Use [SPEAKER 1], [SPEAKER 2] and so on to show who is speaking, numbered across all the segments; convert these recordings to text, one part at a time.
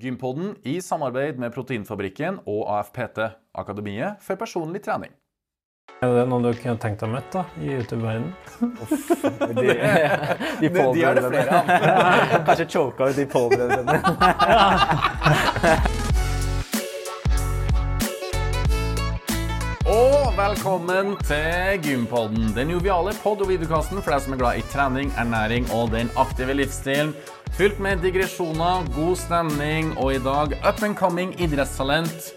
[SPEAKER 1] Gympodden i samarbeid med Proteinfabrikken og AFPT, Akademiet for personlig trening.
[SPEAKER 2] Er det noen du kunne tenkt deg å møte da, i YouTube-verdenen?
[SPEAKER 3] De, de,
[SPEAKER 1] Det- de er det flere av.
[SPEAKER 3] påbrødrene. Kanskje choka ut de påbrødrene.
[SPEAKER 1] Og velkommen til Gympodden, den joviale pod- og videokasten for deg som er glad i trening, ernæring og den aktive livsstilen. Fylt med digresjoner, god stemning og i dag up and coming idrettstalent.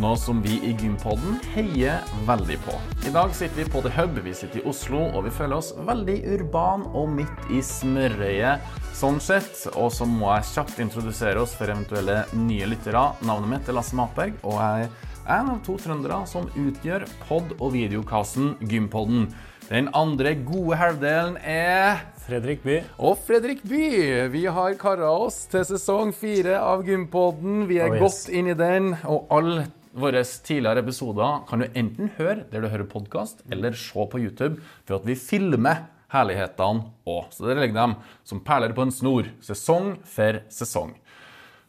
[SPEAKER 1] Noe som vi i Gympodden heier veldig på. I dag sitter vi på The Hub, vi sitter i Oslo, og vi føler oss veldig urban og midt i smørøyet sånn sett. Og så må jeg kjapt introdusere oss for eventuelle nye lyttere. Navnet mitt er Lasse Matberg, og jeg er en av to trøndere som utgjør pod- og videokassen Gympodden. Den andre gode halvdelen er
[SPEAKER 2] Fredrik By.
[SPEAKER 1] og Fredrik By. Vi har kara oss til sesong fire av Gympodden. Vi er
[SPEAKER 2] Oh, yes.
[SPEAKER 1] godt inn i den, og alle våre tidligere episoder kan du enten høre der du hører podkast, eller se på YouTube for at vi filmer herlighetene òg. Så der ligger dem som perler på en snor, sesong for sesong.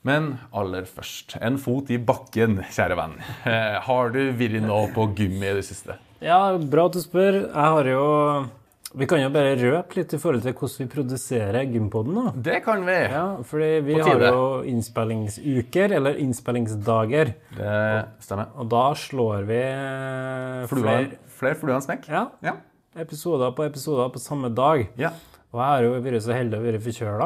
[SPEAKER 1] Men aller først, en fot i bakken, kjære venn. Eh, Har du vært nå på gym i det siste?
[SPEAKER 2] Ja, bra at du spør. Jeg har jo Vi kan jo bare røpe litt i forhold til hvordan vi produserer Gympodden nå.
[SPEAKER 1] Det kan vi.
[SPEAKER 2] Ja, fordi vi
[SPEAKER 1] På
[SPEAKER 2] har
[SPEAKER 1] tide.
[SPEAKER 2] jo innspillingsuker, eller innspillingsdager,
[SPEAKER 1] Det stemmer.
[SPEAKER 2] og da slår vi eh,
[SPEAKER 1] Flua,
[SPEAKER 2] flere
[SPEAKER 1] flere fluer enn smekk?
[SPEAKER 2] ja,
[SPEAKER 1] Ja.
[SPEAKER 2] episoder på episoder på samme dag.
[SPEAKER 1] ja.
[SPEAKER 2] Og jeg har jo vært så heldig å være forkjøla.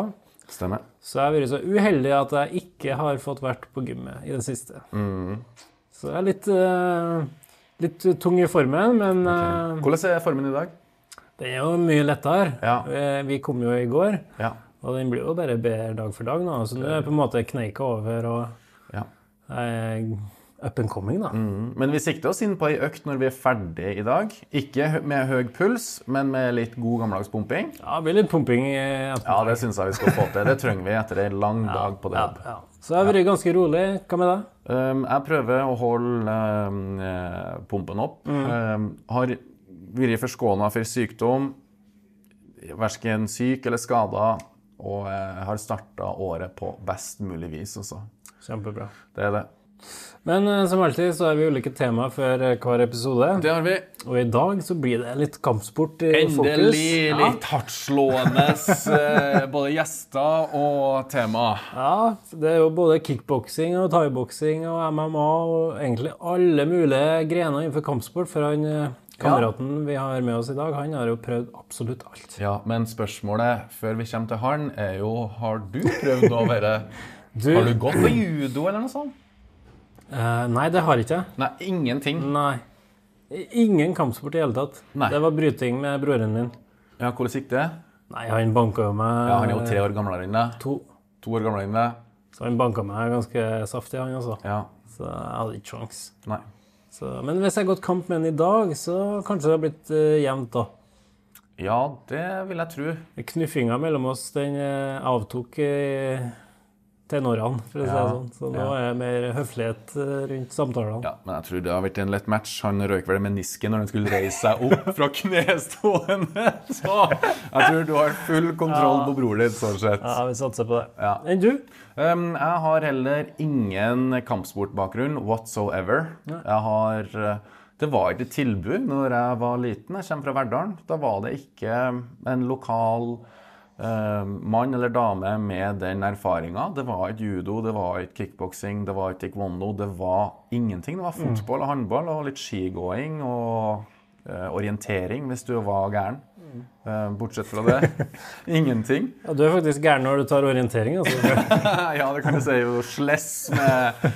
[SPEAKER 1] Stemmer.
[SPEAKER 2] Så jeg har vært så uheldig at jeg ikke har fått vært på gymmet i det siste.
[SPEAKER 1] Mm.
[SPEAKER 2] Så jeg er litt, eh, litt tung i formen, men eh,
[SPEAKER 1] Hvordan er formen i dag?
[SPEAKER 2] det er jo mye lettere.
[SPEAKER 1] Ja.
[SPEAKER 2] Eh, Vi kom jo i går,
[SPEAKER 1] Ja.
[SPEAKER 2] og den blir jo bare bedre dag for dag. nå. Så nå er jeg på en måte kneika over og
[SPEAKER 1] Ja. Mm.
[SPEAKER 2] jeg er up and coming, da.
[SPEAKER 1] Men vi sikter oss inn på ei økt når vi er ferdig i dag. Ikke hø- med høy puls, men med litt god gammeldags pumping.
[SPEAKER 2] Ja, det blir litt pumping. i
[SPEAKER 1] Ja, det syns jeg vi skal få til. Det trenger vi etter ei lang dag på det.
[SPEAKER 2] Ja, ja. Så jeg har vært ganske rolig. Hva med deg?
[SPEAKER 1] Um, jeg prøver å holde um, eh, pumpen opp. Um, har vært forskåna for sykdom. Verken syk eller skada. Og eh, har starta året på best mulig vis, altså.
[SPEAKER 2] Kjempebra.
[SPEAKER 1] Det er det.
[SPEAKER 2] Men eh, som alltid så har vi ulike temaer for eh, hver episode.
[SPEAKER 1] Det har vi.
[SPEAKER 2] Og i dag så blir det litt kampsport i fokus.
[SPEAKER 1] Endelig
[SPEAKER 2] Ja.
[SPEAKER 1] litt hardtslående eh, både gjester og tema.
[SPEAKER 2] Ja, det er jo både kickboksing og thaiboksing og MMA og egentlig alle mulige grener innenfor kampsport. For han eh, kameraten vi har med oss i dag, han har jo prøvd absolutt alt.
[SPEAKER 1] Ja, Men spørsmålet før vi kommer til han, er jo har du prøvd å være
[SPEAKER 2] Du,
[SPEAKER 1] Har du gått på judo eller noe sånt?
[SPEAKER 2] Eh, nei, det har ikke jeg.
[SPEAKER 1] Nei, ingenting.
[SPEAKER 2] Nei. Ingen kampsport i hele tatt.
[SPEAKER 1] Nei.
[SPEAKER 2] Det var bryting med broren min.
[SPEAKER 1] Ja, Hvordan gikk det?
[SPEAKER 2] Nei, han banka jo meg eh,
[SPEAKER 1] Ja, Han er jo tre år gamlere enn deg.
[SPEAKER 2] to.
[SPEAKER 1] To år gamlere enn deg.
[SPEAKER 2] Så han banka meg ganske saftig, han altså.
[SPEAKER 1] Ja.
[SPEAKER 2] Så jeg hadde ikke sjans.
[SPEAKER 1] Nei.
[SPEAKER 2] Så, men hvis jeg har gått kamp med han i dag, så kanskje det har blitt eh, jevnt, da.
[SPEAKER 1] Ja, det vil jeg tro.
[SPEAKER 2] Knuffinga mellom oss den eh, avtok i tenårene, for å si det
[SPEAKER 1] Ja,
[SPEAKER 2] sånn. Så nå
[SPEAKER 1] ja.
[SPEAKER 2] er det mer høflighet eh, rundt samtalene.
[SPEAKER 1] Ja, Men jeg tror det har vært en lett match. Han røyk vel menisken når han skulle reise seg opp fra knestående. Så jeg tror du har full kontroll på broren din, sånn sett.
[SPEAKER 2] Ja, vi satser på det.
[SPEAKER 1] Ja.
[SPEAKER 2] Enn du?
[SPEAKER 1] Um, jeg har heller ingen kampsportbakgrunn whatsoever. Jeg har eh, Det var ikke et tilbud når jeg var liten. Jeg kommer fra Verdalen. Da var det ikke en lokal eh, mann eller dame med den erfaringa. Det var ikke judo, det var ikke kickboksing, det var ikke taekwondo. Det var ingenting. Det var fotball og håndball og litt skigåing og eh, orientering hvis du var gæren. Eh, bortsett fra det, ingenting.
[SPEAKER 2] Ja, du er faktisk gæren når du tar orientering. Altså.
[SPEAKER 1] Ja, det kan du si. Jo sless med,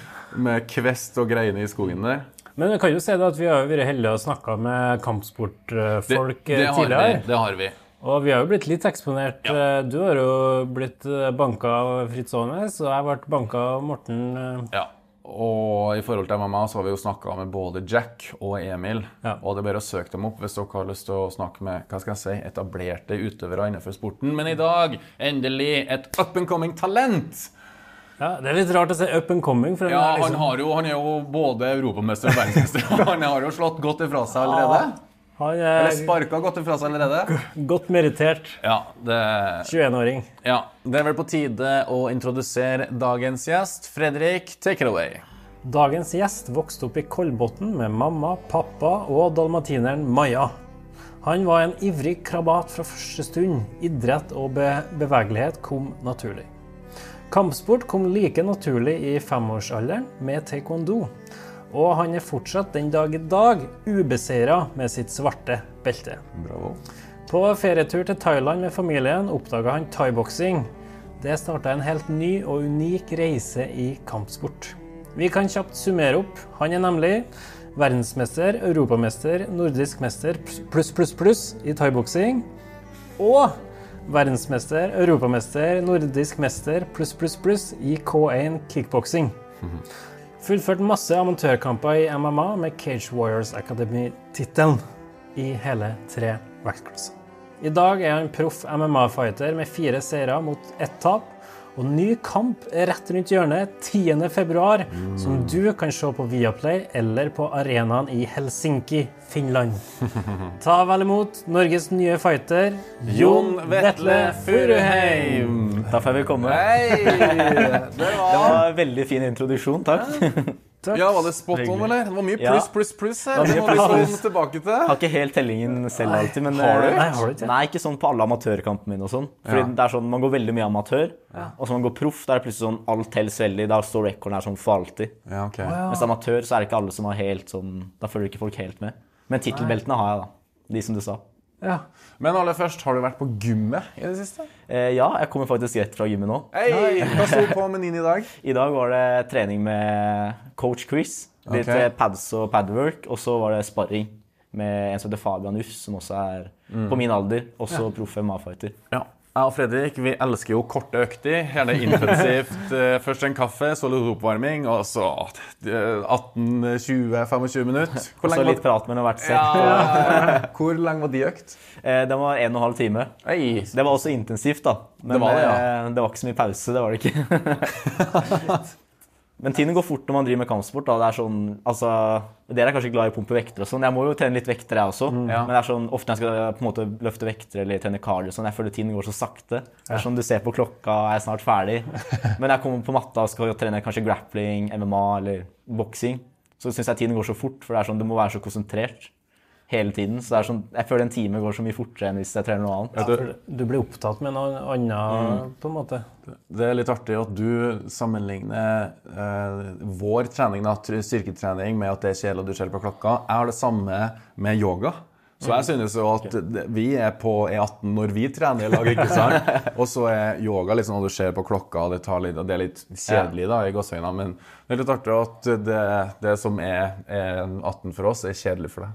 [SPEAKER 1] med kvest og greiene i skogen der.
[SPEAKER 2] Men jeg kan jo si det at vi har jo vært heldige og snakka med kampsportfolk eh,
[SPEAKER 1] har
[SPEAKER 2] tidligere.
[SPEAKER 1] Vi, det har vi.
[SPEAKER 2] Og vi har jo blitt litt eksponert. Eh, Du har jo blitt eh, banka av Fritz Aanes, og jeg ble banka av Morten eh,
[SPEAKER 1] Ja. Og i forhold til MMA så har vi jo snakka med både Jack og Emil.
[SPEAKER 2] Ja.
[SPEAKER 1] Og det er bare å søke dem opp hvis dere har lyst til å snakke med hva skal jeg si, etablerte utøvere innenfor sporten. Men i dag, endelig, et up and coming talent!
[SPEAKER 2] Ja, Det er litt rart å si up and coming. For
[SPEAKER 1] Ja,
[SPEAKER 2] er
[SPEAKER 1] han,
[SPEAKER 2] liksom,
[SPEAKER 1] har jo, han er jo både europamester og verdensmester. Han har jo slått godt ifra seg allerede.
[SPEAKER 2] Han
[SPEAKER 1] Eller
[SPEAKER 2] er
[SPEAKER 1] sparka godt ifra seg allerede?
[SPEAKER 2] godt merittert
[SPEAKER 1] Ja, det
[SPEAKER 2] 21-åring.
[SPEAKER 1] Ja, det er vel på tide å introdusere dagens gjest. Fredrik, take it away.
[SPEAKER 2] Dagens gjest vokste opp i Kolbotn med mamma, pappa og dalmatineren Maja. Han var en ivrig krabat fra første stund. Idrett og be bevegelighet kom naturlig. Kampsport kom like naturlig i femårsalderen med taekwondo. Og han er fortsatt den dag i dag ubeseira med sitt svarte belte.
[SPEAKER 1] Bravo.
[SPEAKER 2] På ferietur til Thailand med familien oppdaga han thaiboksing. Det starta en helt ny og unik reise i kampsport. Vi kan kjapt summere opp. Han er nemlig verdensmester, europamester, nordisk mester pluss, pluss, pluss i thaiboksing. Og verdensmester, europamester, nordisk mester pluss, pluss, pluss i K1 kickboksing. Fullført masse amatørkamper i MMA med Cage Warriors Academy-tittelen i hele tre vektklasser. I dag er han proff MMA-fighter med fire seire mot ett tap. Og ny kamp er rett rundt hjørnet 10. februar, som du kan se på Viaplay eller på arenaen i Helsinki, Finland. Ta vel imot Norges nye fighter
[SPEAKER 1] Jon Vetle Furuheim.
[SPEAKER 3] Da får jeg velkommen.
[SPEAKER 1] Hei! Det
[SPEAKER 3] Det
[SPEAKER 1] var
[SPEAKER 3] var en veldig fin introduksjon, takk.
[SPEAKER 2] Takk.
[SPEAKER 1] Ja, var det spot on, eller? Det var mye
[SPEAKER 3] Ja.
[SPEAKER 1] pluss, pluss, pluss her.
[SPEAKER 3] Det
[SPEAKER 1] Det må
[SPEAKER 3] var mye
[SPEAKER 1] vi
[SPEAKER 3] pluss,
[SPEAKER 1] komme
[SPEAKER 3] pluss.
[SPEAKER 1] tilbake til.
[SPEAKER 3] Har ikke helt tellingen selv alltid, men
[SPEAKER 1] Har du?
[SPEAKER 3] eh,
[SPEAKER 2] Nei, har du ikke?
[SPEAKER 3] Nei, ikke sånn på alle amatørkampene mine og sånn. Fordi
[SPEAKER 1] Ja.
[SPEAKER 3] det er sånn, Man går veldig mye amatør, og så man går proff. Da er det plutselig sånn alt teller veldig. Da står rekorden her sånn for alltid.
[SPEAKER 1] Ja, ok.
[SPEAKER 3] Mens amatør så er det ikke alle som har helt sånn Da følger ikke folk helt med. Men tittelbeltene har jeg, da. De som du sa.
[SPEAKER 2] Ja.
[SPEAKER 1] Men aller først, har du vært på gymmet i det siste?
[SPEAKER 3] Eh, ja, jeg kommer faktisk rett fra gymmet nå.
[SPEAKER 1] Hei! Hva sto på menyen i dag?
[SPEAKER 3] I dag var det trening med coach Chris. Litt
[SPEAKER 1] Ok.
[SPEAKER 3] eh, pads og padwork. Og så var det sparring med en som heter Fabian Uff, som også er
[SPEAKER 1] Mm.
[SPEAKER 3] på min alder. Også proff MMA-fighter.
[SPEAKER 1] Ja. Jeg og Fredrik vi elsker jo korte økter. Gjerne intensivt. Eh, Først en kaffe, så litt oppvarming, og så eh, 18-20-25 minutter. Hvor
[SPEAKER 3] Og så
[SPEAKER 1] lenge,
[SPEAKER 3] litt
[SPEAKER 1] var,
[SPEAKER 3] prat mellom hvert sett.
[SPEAKER 1] ja. Hvor lenge var de økt?
[SPEAKER 3] Eh, Den var en og en halv time.
[SPEAKER 1] Hei.
[SPEAKER 3] Det var også intensivt, da. Men
[SPEAKER 1] Det var det, ja.
[SPEAKER 3] eh, det var ikke så mye pause. Det var det ikke. Men tiden går fort når man driver med kampsport. da. Det er sånn, altså, Dere er kanskje glad i å pumpe vekter og sånn. Jeg må jo trene litt vekter, jeg også.
[SPEAKER 1] Ja.
[SPEAKER 3] Men det er sånn, ofte når jeg skal på en måte løfte vekter eller trene cardio, og sånn, jeg føler tiden går så sakte. Det er sånn, Du ser på klokka, jeg er snart ferdig. Men jeg kommer på matta og skal trene kanskje grappling, MMA eller boksing. Så syns jeg tiden går så fort, for det er sånn, du må være så konsentrert hele tiden. Så det er sånn, jeg føler en time går så mye fortere enn hvis jeg trener noe annet.
[SPEAKER 2] for Du blir opptatt med noe annet,
[SPEAKER 1] Mm.
[SPEAKER 2] på en måte.
[SPEAKER 1] Det er litt artig at du sammenligner eh, vår trening, da, tr- styrketrening, med at det er kjedelig og du ser på klokka. Jeg har det samme med yoga. Så
[SPEAKER 3] Mhm.
[SPEAKER 1] jeg synes jo at det- vi er på E18 når vi trener i lag, ikke sant? Og så er yoga litt sånn at du ser på klokka, og det, tar litt, og det er litt kjedelig da, i gåseøynene. Men det er litt artig at det, det som er, er 18 for oss, er kjedelig for deg.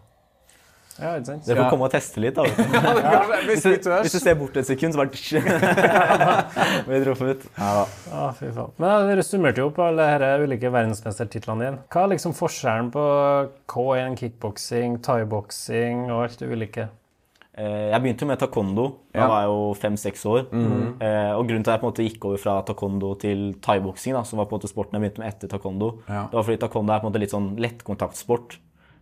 [SPEAKER 2] Ja, ikke sant?
[SPEAKER 3] Dere får
[SPEAKER 1] Ja.
[SPEAKER 3] komme og teste litt, da. vet du.
[SPEAKER 1] Hvis
[SPEAKER 3] Hvis
[SPEAKER 1] vi
[SPEAKER 3] du,
[SPEAKER 1] tør.
[SPEAKER 3] hvis du ser bort et sekund, så bare tsj. Vi droppet ut.
[SPEAKER 2] Ja, fy faen. Men ja, Dere summerte jo opp alle disse ulike verdensmestertitlene dine. Hva er liksom forskjellen på K1 kickboksing, thaiboksing og alt det ulike?
[SPEAKER 3] Eh, Jeg begynte jo med taekwondo da
[SPEAKER 1] Ja. Mhm.
[SPEAKER 3] var jeg jo fem-seks år. Eh, Og grunnen til at jeg på en måte gikk over fra taekwondo til thaiboksing, da, som var på en måte sporten jeg begynte med etter taekwondo,
[SPEAKER 1] Ja.
[SPEAKER 3] det var fordi taekwondo er på en måte litt sånn lettkontaktsport.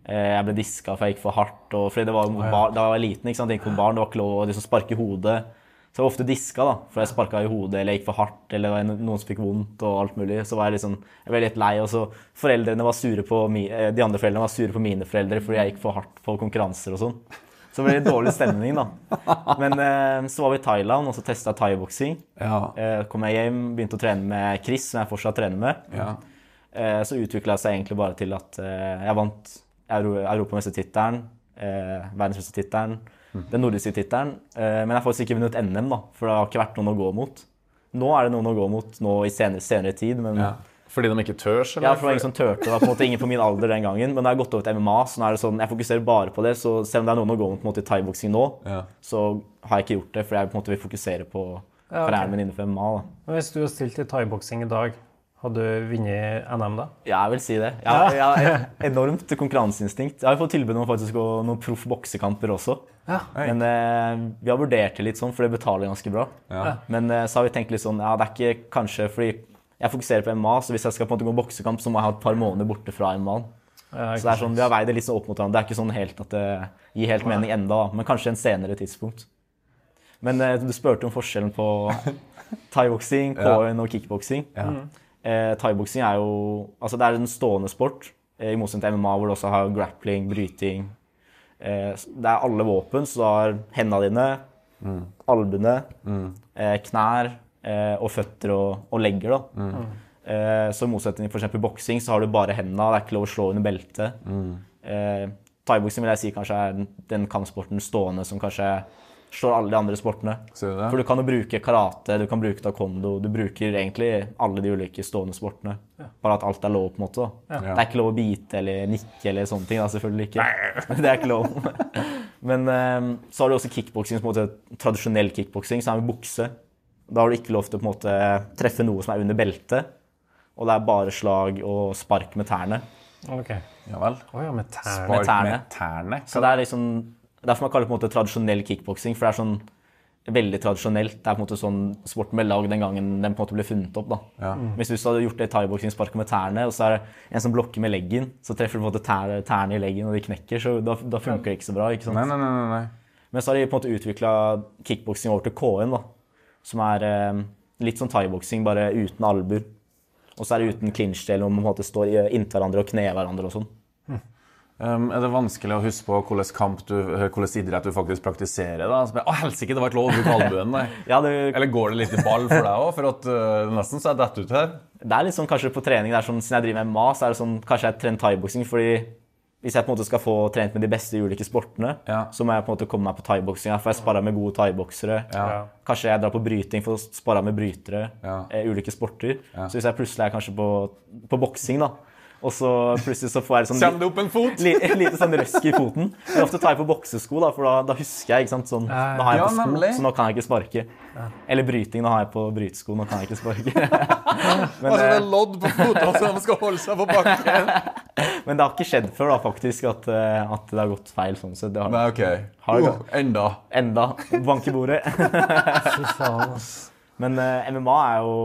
[SPEAKER 3] Eh, Jeg ble diska for jeg gikk for hardt. Og fordi det var mot bar, da jeg var liten, ikke sant? Jeg gikk mot barn, det var ikke lov å liksom sparke i hodet. Så jeg var ofte diska, da, for jeg sparka i hodet eller jeg gikk for hardt. eller det var no- Noen som fikk vondt og alt mulig. Så var jeg liksom, jeg ble litt lei. Og så foreldrene var sure på mi, eh, de andre foreldrene var sure på mine foreldre fordi jeg gikk for hardt på konkurranser og sånn. Så det ble litt dårlig stemning, da. Men eh, så var vi i Thailand, og så testa jeg thaiboksing.
[SPEAKER 1] Ja,
[SPEAKER 3] Eh, kom jeg hjem, begynte å trene med Chris, som jeg fortsatt trener med.
[SPEAKER 1] ja.
[SPEAKER 3] Eh, så utvikla det seg egentlig bare til at eh, jeg vant Euro europamestertittelen, eh, verdensmestertittelen, den nordiske tittelen. Eh, men jeg har faktisk ikke vunnet NM, da, for det har ikke vært noen å gå mot. Nå er det noen å gå mot nå i senere, senere tid, men
[SPEAKER 1] ja. Fordi de ikke tør, eller?
[SPEAKER 3] ja, for det var ingen som turte. Det var på en måte ingen på min alder den gangen. Men da har jeg gått over til MMA, så nå er det sånn, jeg fokuserer bare på det. Så selv om det er noen å gå mot på en måte, i thaiboksing nå,
[SPEAKER 1] Ja.
[SPEAKER 3] så har jeg ikke gjort det, for jeg på en måte vil fokusere på
[SPEAKER 2] Ja, ok.
[SPEAKER 3] karrieren min innenfor MMA. da.
[SPEAKER 2] Men Hvis du hadde stilt i thaiboksing i dag, hadde du vunnet NM da?
[SPEAKER 3] Ja, jeg vil si det. Jeg har, jeg har enormt konkurranseinstinkt. Jeg har jo fått tilbud om faktisk å noen proff boksekamper også.
[SPEAKER 2] Ja.
[SPEAKER 3] Men eh, vi har vurdert det litt sånn, for det betaler ganske bra.
[SPEAKER 1] Ja.
[SPEAKER 3] Men eh, så har vi tenkt litt sånn, ja, det er ikke kanskje fordi jeg fokuserer på MMA, så hvis jeg skal på en måte gå boksekamp, så må jeg ha et par måneder borte fra MMA.
[SPEAKER 2] Ja, ikke
[SPEAKER 3] så det er sånn, vi har veid det litt sånn opp mot hverandre. Det er ikke sånn helt at det gir helt mening enda, da. men kanskje en senere tidspunkt. Men eh, du spurte om forskjellen på thaiboksing, KN og kickboksing. Eh, thaiboksing er jo altså det er en stående sport, eh, i motsetning til MMA, hvor du også har grappling, bryting. Eh, s- det er alle våpen, så du har hendene dine, albuene, eh, knær eh, og føtter og, og legger. da. Eh, så i motsetning til for eksempel boksing, så har du bare hendene. Det er ikke lov å slå under beltet. Eh, Thaiboksing vil jeg si kanskje er den- den kampsporten stående som kanskje slår alle de andre sportene.
[SPEAKER 1] Ser du det?
[SPEAKER 3] For du kan jo bruke karate, du kan bruke taekwondo, du bruker egentlig alle de ulike stående sportene. Bare at alt er lov, på en måte. da. Det er ikke lov å bite eller nikke eller sånne ting. da, Selvfølgelig ikke. Det er ikke lov. Men eh, så har du også kickboksing, som på en måte tradisjonell kickboksing, som er med bukse. Da har du ikke lov til å på en måte treffe noe som er under beltet. Og det er bare slag og spark med tærne.
[SPEAKER 2] Ok.
[SPEAKER 1] Ja vel.
[SPEAKER 2] Å ja, med tærne.
[SPEAKER 1] Spark
[SPEAKER 3] tærne.
[SPEAKER 1] med tærne.
[SPEAKER 3] Så det er liksom Derfor man kaller det på en måte tradisjonell kickboksing, for det er sånn veldig tradisjonelt. Det er på en måte sånn sporten ble lagd den gangen den på en måte ble funnet opp. da.
[SPEAKER 1] Mm.
[SPEAKER 3] Hvis du hadde gjort det i thaiboksing, sparket med tærne, og så er det en som blokker med leggen, så treffer du på en måte tær, tærne i leggen, og de knekker, så da, da funker det ikke så bra. ikke sant?
[SPEAKER 1] Nei, nei, nei. nei, nei.
[SPEAKER 3] Men så har de på en måte utvikla kickboksing over til KN, da. Som er eh, litt sånn thaiboksing, bare uten albuer. Og så er det uten clinch-del, hvor man på en måte står i- inntil hverandre og kner hverandre og sånn.
[SPEAKER 1] Um, er det vanskelig å huske på hvilken kamp du, eh, hvordan idrett du faktisk praktiserer? da? Så bare, Å, helsike, det var ikke lov å bruke albuen, nei.
[SPEAKER 3] Ja, det,
[SPEAKER 1] Eller går det litt i ball for deg òg? For at uh, nesten så er jeg dett ut her.
[SPEAKER 3] det er litt sånn kanskje på trening det er sånn, Siden jeg driver med MMA, så er det sånn kanskje jeg trener thaiboksing fordi hvis jeg på en måte skal få trent med de beste i ulike sportene,
[SPEAKER 1] Ja.
[SPEAKER 3] så må jeg på en måte komme meg på thaiboksing. For jeg sparrer med gode thaiboksere.
[SPEAKER 2] Ja.
[SPEAKER 3] Kanskje jeg drar på bryting for å sparre med brytere.
[SPEAKER 1] Ja.
[SPEAKER 3] Eh, ulike sporter. Så hvis jeg plutselig er kanskje på, på boksing, da, og så plutselig så får jeg sånn
[SPEAKER 1] Kjenner det opp en fot?
[SPEAKER 3] li, lite sånn røsk i foten. Men ofte tar jeg på boksesko, da, for da, da husker jeg. ikke sant? Sånn,
[SPEAKER 2] Ja,
[SPEAKER 3] nå har jeg
[SPEAKER 1] ja,
[SPEAKER 3] på sko,
[SPEAKER 1] nemlig.
[SPEAKER 3] så nå kan jeg ikke sparke. Eller bryting. Nå har jeg på brytesko, nå kan jeg ikke sparke. Men,
[SPEAKER 1] Altså, det
[SPEAKER 3] eh,
[SPEAKER 1] er lodd på fotene så de skal holde seg på bakken.
[SPEAKER 3] men det har ikke skjedd før, da, faktisk, at, eh, at det har gått feil sånn sett. Det har
[SPEAKER 1] Nei, OK.
[SPEAKER 3] Har det
[SPEAKER 1] Uh, enda.
[SPEAKER 3] enda bank i bordet.
[SPEAKER 2] Fy faen, ass.
[SPEAKER 3] Men eh, MMA er jo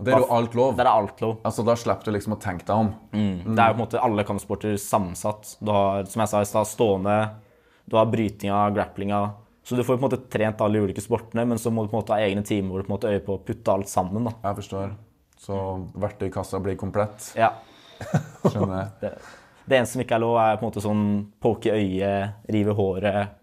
[SPEAKER 1] Det er jo alt lov.
[SPEAKER 3] Der er alt lov.
[SPEAKER 1] Altså, Da slipper du liksom å tenke deg om.
[SPEAKER 3] Det er jo på en måte alle kampsporter sammensatt. Du har, som jeg sa i stad, stående, du har brytinga, grapplinga. Så du får på en måte trent alle de ulike sportene, men så må du på en måte ha egne timer hvor du på en måte øyer på å putte alt sammen. da.
[SPEAKER 1] Jeg forstår. Så verktøykassa blir komplett.
[SPEAKER 3] Ja.
[SPEAKER 1] Skjønner jeg.
[SPEAKER 3] Det eneste som ikke er lov, er på en måte sånn poke i øyet, rive håret,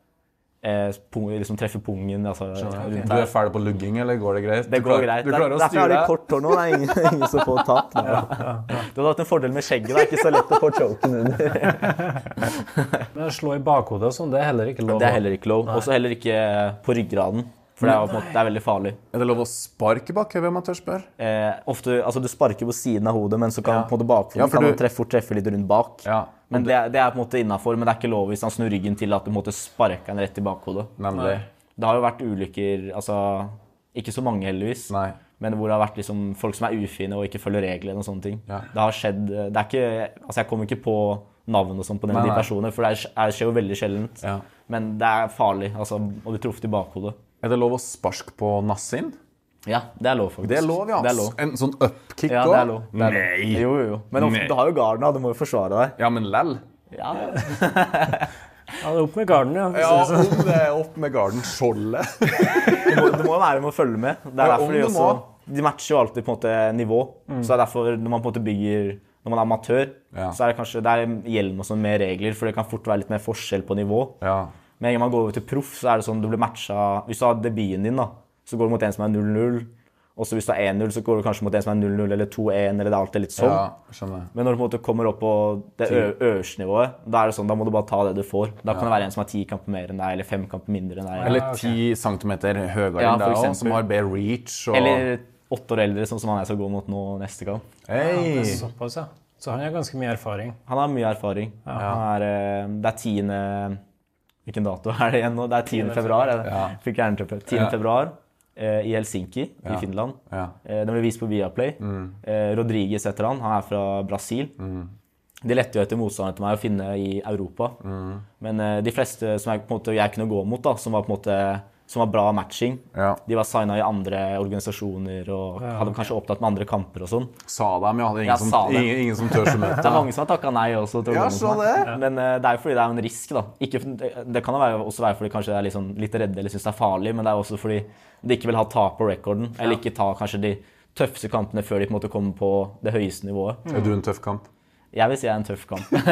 [SPEAKER 3] eh, pung, liksom treffe pungen. altså rundt
[SPEAKER 1] Du er ferdig på lugging, eller går det greit?
[SPEAKER 3] Det
[SPEAKER 1] Du
[SPEAKER 3] går
[SPEAKER 1] klarer-
[SPEAKER 3] greit.
[SPEAKER 1] Du klarer å
[SPEAKER 3] Derfor har
[SPEAKER 1] styre
[SPEAKER 3] de
[SPEAKER 1] deg.
[SPEAKER 3] kort hår nå. Det er ingen, ingen som får tatt. da. Du hadde hatt en fordel med skjegget. Det er ikke så lett å få choken under.
[SPEAKER 2] Men å slå i bakhodet og sånn, det er heller ikke lov.
[SPEAKER 3] Det er heller ikke lov. Og så heller ikke på ryggraden, for det er, jo på en måte, det er veldig farlig.
[SPEAKER 1] Er det lov å sparke bakhodet, om jeg tør spørre?
[SPEAKER 3] Eh, ofte, altså Du sparker på siden av hodet, men så
[SPEAKER 1] Ja.
[SPEAKER 3] kan på en måte bakfoten
[SPEAKER 1] Ja, for
[SPEAKER 3] kan
[SPEAKER 1] du-
[SPEAKER 3] man treffe, fort treffe litt rundt bak.
[SPEAKER 1] Ja.
[SPEAKER 3] Men det, er- det er på en måte innafor, men det er ikke lov hvis han snur ryggen til at du på en måte sparker han rett i bakhodet.
[SPEAKER 1] Nemlig.
[SPEAKER 3] Det har jo vært ulykker, altså ikke så mange heldigvis,
[SPEAKER 1] Nei.
[SPEAKER 3] men hvor det har vært liksom folk som er ufine og ikke følger reglene og sånne ting.
[SPEAKER 1] Ja.
[SPEAKER 3] Det har skjedd det er ikke, altså Jeg kommer ikke på navn og sånn på den,
[SPEAKER 1] Nei,
[SPEAKER 3] de
[SPEAKER 1] nei.
[SPEAKER 3] personene, for det er- det skjer jo veldig sjeldent.
[SPEAKER 1] Ja.
[SPEAKER 3] Men det er farlig altså, å bli truffet i bakhodet.
[SPEAKER 1] Er det lov å sparke på nassen?
[SPEAKER 3] Ja, det er lov, faktisk.
[SPEAKER 1] Det er lov, ja.
[SPEAKER 3] Det er lov.
[SPEAKER 1] En sånn upkick
[SPEAKER 3] Ja,
[SPEAKER 1] også?
[SPEAKER 3] det er lov. Det er lov.
[SPEAKER 1] Nei.
[SPEAKER 3] Jo, jo, jo. Men ofte,
[SPEAKER 1] Nei.
[SPEAKER 3] du har jo garden, da. Du må jo forsvare deg.
[SPEAKER 1] Ja, men lell.
[SPEAKER 3] Ja, ja.
[SPEAKER 2] Ja, det er sånn. opp med garden, ja.
[SPEAKER 1] Ja, om det er opp med garden skjoldet.
[SPEAKER 3] Du, må, du må jo være med å følge med. Det er
[SPEAKER 1] Ja,
[SPEAKER 3] derfor
[SPEAKER 1] om
[SPEAKER 3] de
[SPEAKER 1] du
[SPEAKER 3] også
[SPEAKER 1] må. Mm.
[SPEAKER 3] De matcher jo alltid på en måte nivå. Så det er derfor når man på en måte bygger Når man er amatør,
[SPEAKER 1] Ja.
[SPEAKER 3] så er det kanskje det er hjelm og sånn med regler, for det kan fort være litt mer forskjell på nivå.
[SPEAKER 1] Ja.
[SPEAKER 3] Med en gang man går over til proff, så er det sånn du blir matcha Hvis du har debuten din, da, så går du mot en som er 0-0. Og så hvis du er 1-0, så går du kanskje mot en som er 0-0 eller 2-1, eller det er alltid litt sånn.
[SPEAKER 1] ja, skjønner. jeg.
[SPEAKER 3] Men når du på en måte kommer opp på det ø- øverste nivået, da er det sånn, da må du bare ta det du får. Da kan det være en som har ti kamper mer enn deg, eller fem kamper mindre enn deg. Eller,
[SPEAKER 1] Eller 10 centimeter høyere
[SPEAKER 3] Ja,
[SPEAKER 1] enn
[SPEAKER 3] for
[SPEAKER 1] deg også,
[SPEAKER 3] eksempel.
[SPEAKER 1] som har bedre reach og
[SPEAKER 3] eller åtte år eldre, sånn som han jeg skal gå mot nå neste kamp.
[SPEAKER 1] Hei!
[SPEAKER 2] Såpass, ja. Så han har ganske mye erfaring.
[SPEAKER 3] Han har mye erfaring. Han er, ø, det er tiende Hvilken dato er det igjen nå? Det er 10. februar. er det? Fikk jernteppe. 10.
[SPEAKER 1] Ja.
[SPEAKER 3] februar eh, i Helsinki i Finland.
[SPEAKER 1] Ja.
[SPEAKER 3] Eh, Den ble vist på Viaplay. Eh, Rodriguez heter han. Han er fra Brasil. De lette jo etter motstandere til meg å finne i Europa. Men eh, de fleste som jeg, på en måte, jeg kunne gå mot, da, som var på en måte som var bra matching.
[SPEAKER 1] Ja.
[SPEAKER 3] De var signa i andre organisasjoner og hadde kanskje opptatt med andre kamper og sånn.
[SPEAKER 1] Sa dem, ja. Det er
[SPEAKER 3] Ja,
[SPEAKER 1] ingen, som,
[SPEAKER 3] sa dem.
[SPEAKER 1] ingen, ingen som tør så mye.
[SPEAKER 3] Det er mange som har takka nei også. til
[SPEAKER 1] Ja,
[SPEAKER 3] organisasjonen.
[SPEAKER 1] så det.
[SPEAKER 3] Men eh, det er jo fordi det er jo en risk, da. Ikke, det kan jo være, også være fordi kanskje de er litt sånn- litt redde eller syns det er farlig, men det er også fordi de ikke vil ha tap på rekorden. Eller ikke ta kanskje de tøffeste kampene før de på en måte kommer på det høyeste nivået.
[SPEAKER 1] Er du en tøff kamp?
[SPEAKER 3] Jeg vil si jeg er en tøff kamp. det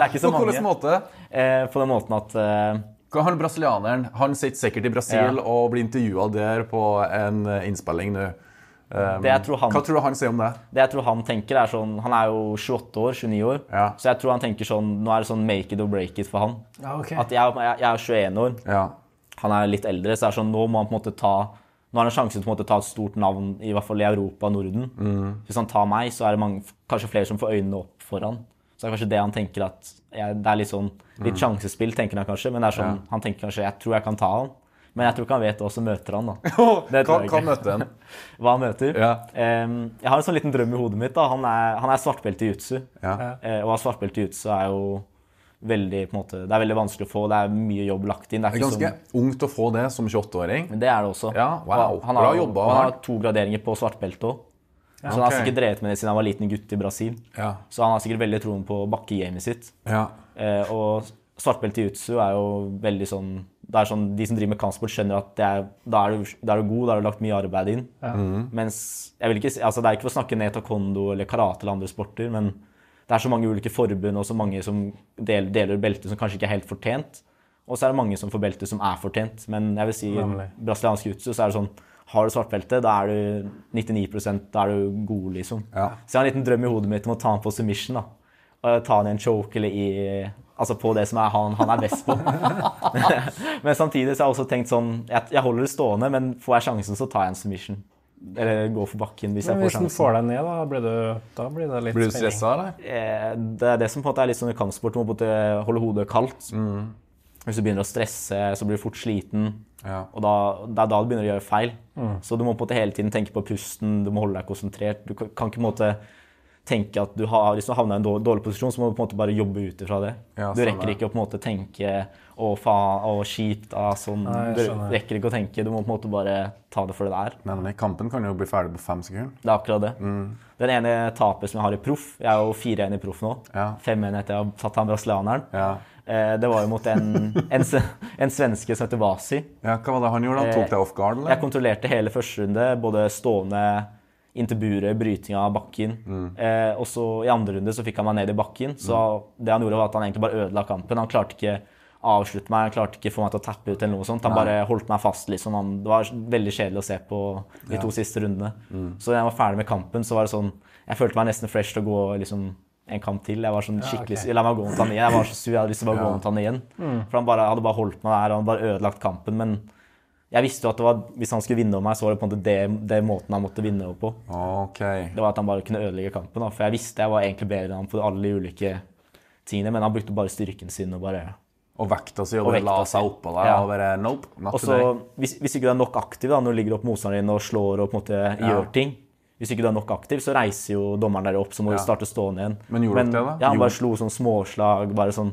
[SPEAKER 3] er ikke så
[SPEAKER 1] På hvilken
[SPEAKER 3] mange.
[SPEAKER 1] måte?
[SPEAKER 3] Eh, på den måten at eh,
[SPEAKER 1] Han brasilianeren han sitter sikkert i Brasil
[SPEAKER 3] Ja.
[SPEAKER 1] og blir intervjua der på en eh, innspilling nå. Um,
[SPEAKER 3] Det jeg tror han-
[SPEAKER 1] Hva tror du han sier om det?
[SPEAKER 3] Det jeg tror han tenker er sånn, Han er jo 28 år, 29 år,
[SPEAKER 1] Ja.
[SPEAKER 3] så jeg tror han tenker sånn Nå er det sånn make it or break it for han.
[SPEAKER 2] Ja, ok.
[SPEAKER 3] At jeg, jeg, jeg er 21 år,
[SPEAKER 1] Ja.
[SPEAKER 3] han er litt eldre, så det er sånn, nå må han på en måte ta nå har han en sjanse til å på en måte ta et stort navn i hvert fall i Europa og Norden.
[SPEAKER 1] Mm.
[SPEAKER 3] Hvis han tar meg, så er det mange, kanskje flere som får øynene opp for han. Så det er kanskje det han tenker at jeg, Det er litt sånn litt
[SPEAKER 1] Mm.
[SPEAKER 3] sjansespill, tenker han kanskje. Men det er sånn, han tenker kanskje jeg tror jeg kan ta han. Men jeg tror ikke han vet hva som møter han, da.
[SPEAKER 1] Hva,
[SPEAKER 3] Det tror jeg
[SPEAKER 1] hva
[SPEAKER 3] ikke.
[SPEAKER 1] møtte han?
[SPEAKER 3] Hva han møter.
[SPEAKER 1] Ja.
[SPEAKER 3] Em, jeg har en sånn liten drøm i hodet mitt. da. Han er, han er svartbelte i jutsu.
[SPEAKER 1] Ja.
[SPEAKER 3] Eh, og å ha svartbelte i jutsu er jo veldig på en måte, Det er veldig vanskelig å få. Det er mye jobb lagt inn. Det er,
[SPEAKER 1] Det er
[SPEAKER 3] ikke
[SPEAKER 1] ganske
[SPEAKER 3] sånn,
[SPEAKER 1] ungt å få det som 28-åring.
[SPEAKER 3] men det er det også.
[SPEAKER 1] Ja, wow.
[SPEAKER 3] Og Han
[SPEAKER 1] Bra
[SPEAKER 3] har, jo-
[SPEAKER 1] jobba,
[SPEAKER 3] og han
[SPEAKER 1] Harald.
[SPEAKER 3] har to graderinger på svartbelte òg. Så han har
[SPEAKER 1] Ok.
[SPEAKER 3] sikkert drevet med det siden han var liten gutt i Brasil.
[SPEAKER 1] Ja.
[SPEAKER 3] Så han har sikkert veldig troen på bakkegamet sitt.
[SPEAKER 1] Ja.
[SPEAKER 3] Eh, og svartbelte i jutsu er jo veldig sånn det er sånn, De som driver med kampsport, skjønner at det er, da, er du, da er du god, da har du lagt mye arbeid inn. Mens jeg vil ikke, si- altså Det er ikke for å snakke ned taekwondo eller karate eller andre sporter, men det er så mange ulike forbund og så mange som del, deler belter som kanskje ikke er helt fortjent. Og så er det mange som får belter som er fortjent. Men jeg vil si i
[SPEAKER 2] Nemlig.
[SPEAKER 3] brasiliansk jutsu så er det sånn har du svartbelte, da er du 99 da er du god, liksom.
[SPEAKER 1] Ja.
[SPEAKER 3] Så jeg har en liten drøm i hodet mitt om å ta han på submission. da. Og ta han i en choke eller i Altså på det som er han, han er best på. men samtidig så har jeg også tenkt sånn Jeg, jeg holder det stående, men får jeg sjansen, så tar jeg en submission. Eller går for bakken hvis
[SPEAKER 2] Men
[SPEAKER 3] jeg får
[SPEAKER 2] hvis den
[SPEAKER 3] sjansen.
[SPEAKER 2] får deg ned, da blir det, da blir det litt
[SPEAKER 1] Blir du stressa, eller?
[SPEAKER 3] Eh, Det er det som på en måte er litt sånn i kampsport. Du må på en måte holde hodet kaldt. Hvis du begynner å stresse, så blir du fort sliten.
[SPEAKER 1] Ja.
[SPEAKER 3] Og da, det er da du begynner å gjøre feil. Så du må på en måte hele tiden tenke på pusten, du må holde deg konsentrert. Du kan kan ikke på en måte tenke at du har, Hvis du havner i en dårlig, dårlig posisjon, så må du på en måte bare jobbe ut ifra det.
[SPEAKER 1] Ja,
[SPEAKER 3] du
[SPEAKER 1] stemmer.
[SPEAKER 3] rekker ikke å på en måte tenke 'å faen', 'å kjipt', ah, sånn.
[SPEAKER 2] Nei, jeg
[SPEAKER 3] du
[SPEAKER 2] skjønner.
[SPEAKER 3] rekker ikke å tenke. Du må på en måte bare ta det for det det er.
[SPEAKER 1] Nemlig. Kampen kan jo bli ferdig på fem sekunder.
[SPEAKER 3] Det er akkurat det. Den ene taper som jeg har i proff Jeg er jo 4-1 i proff nå.
[SPEAKER 1] Ja.
[SPEAKER 3] 5-1 etter jeg har tatt han brasilianeren.
[SPEAKER 1] Ja.
[SPEAKER 3] Eh, Det var jo mot en, en, s- en svenske som heter Vasi.
[SPEAKER 1] ja, Hva var det han gjorde? Han tok deg off guard,
[SPEAKER 3] Jeg
[SPEAKER 1] eller?
[SPEAKER 3] kontrollerte hele første runde, både stående inntil buret, bryting av bakken. Eh, og så i andre runde så fikk han meg ned i bakken, så det han gjorde var at han egentlig bare ødela kampen. Han klarte ikke avslutte meg, han klarte ikke få meg til å tappe ut eller noe sånt. Han bare holdt meg fast, liksom. Han, det var veldig kjedelig å se på de to siste rundene. Så da jeg var ferdig med kampen, så var det sånn Jeg følte meg nesten fresh til å gå liksom en kamp til. Jeg var sånn skikkelig
[SPEAKER 2] ok.
[SPEAKER 3] sur. La meg gå mot han igjen. Jeg var så sur, jeg hadde lyst til å bare gå mot han igjen. For han bare, hadde bare holdt meg der, og han bare ødelagt kampen. Men jeg visste jo at det var, hvis han skulle vinne over meg, så var det på en måte det, det måten han måtte vinne over på.
[SPEAKER 1] Ok.
[SPEAKER 3] Det var at han bare kunne ødelegge kampen. Da. For jeg visste jeg var egentlig bedre enn han på alle de ulike tingene, men han brukte bare styrken sin og bare
[SPEAKER 1] Og vekta si, og
[SPEAKER 3] Og
[SPEAKER 1] det la
[SPEAKER 3] vekta si.
[SPEAKER 1] seg oppå deg,
[SPEAKER 3] Ja.
[SPEAKER 1] og bare nope, not
[SPEAKER 3] Og så,
[SPEAKER 1] today.
[SPEAKER 3] hvis, hvis ikke du er nok aktiv da, når du ligger opp motstanderen din og slår og på en måte gjør ting Hvis ikke du er nok aktiv, så reiser jo dommeren dere opp, så må
[SPEAKER 1] Ja.
[SPEAKER 3] du starte stående igjen.
[SPEAKER 1] Men gjorde dere det da?
[SPEAKER 3] Ja, han bare
[SPEAKER 1] Gjorde-
[SPEAKER 3] slo sånn småslag, bare sånn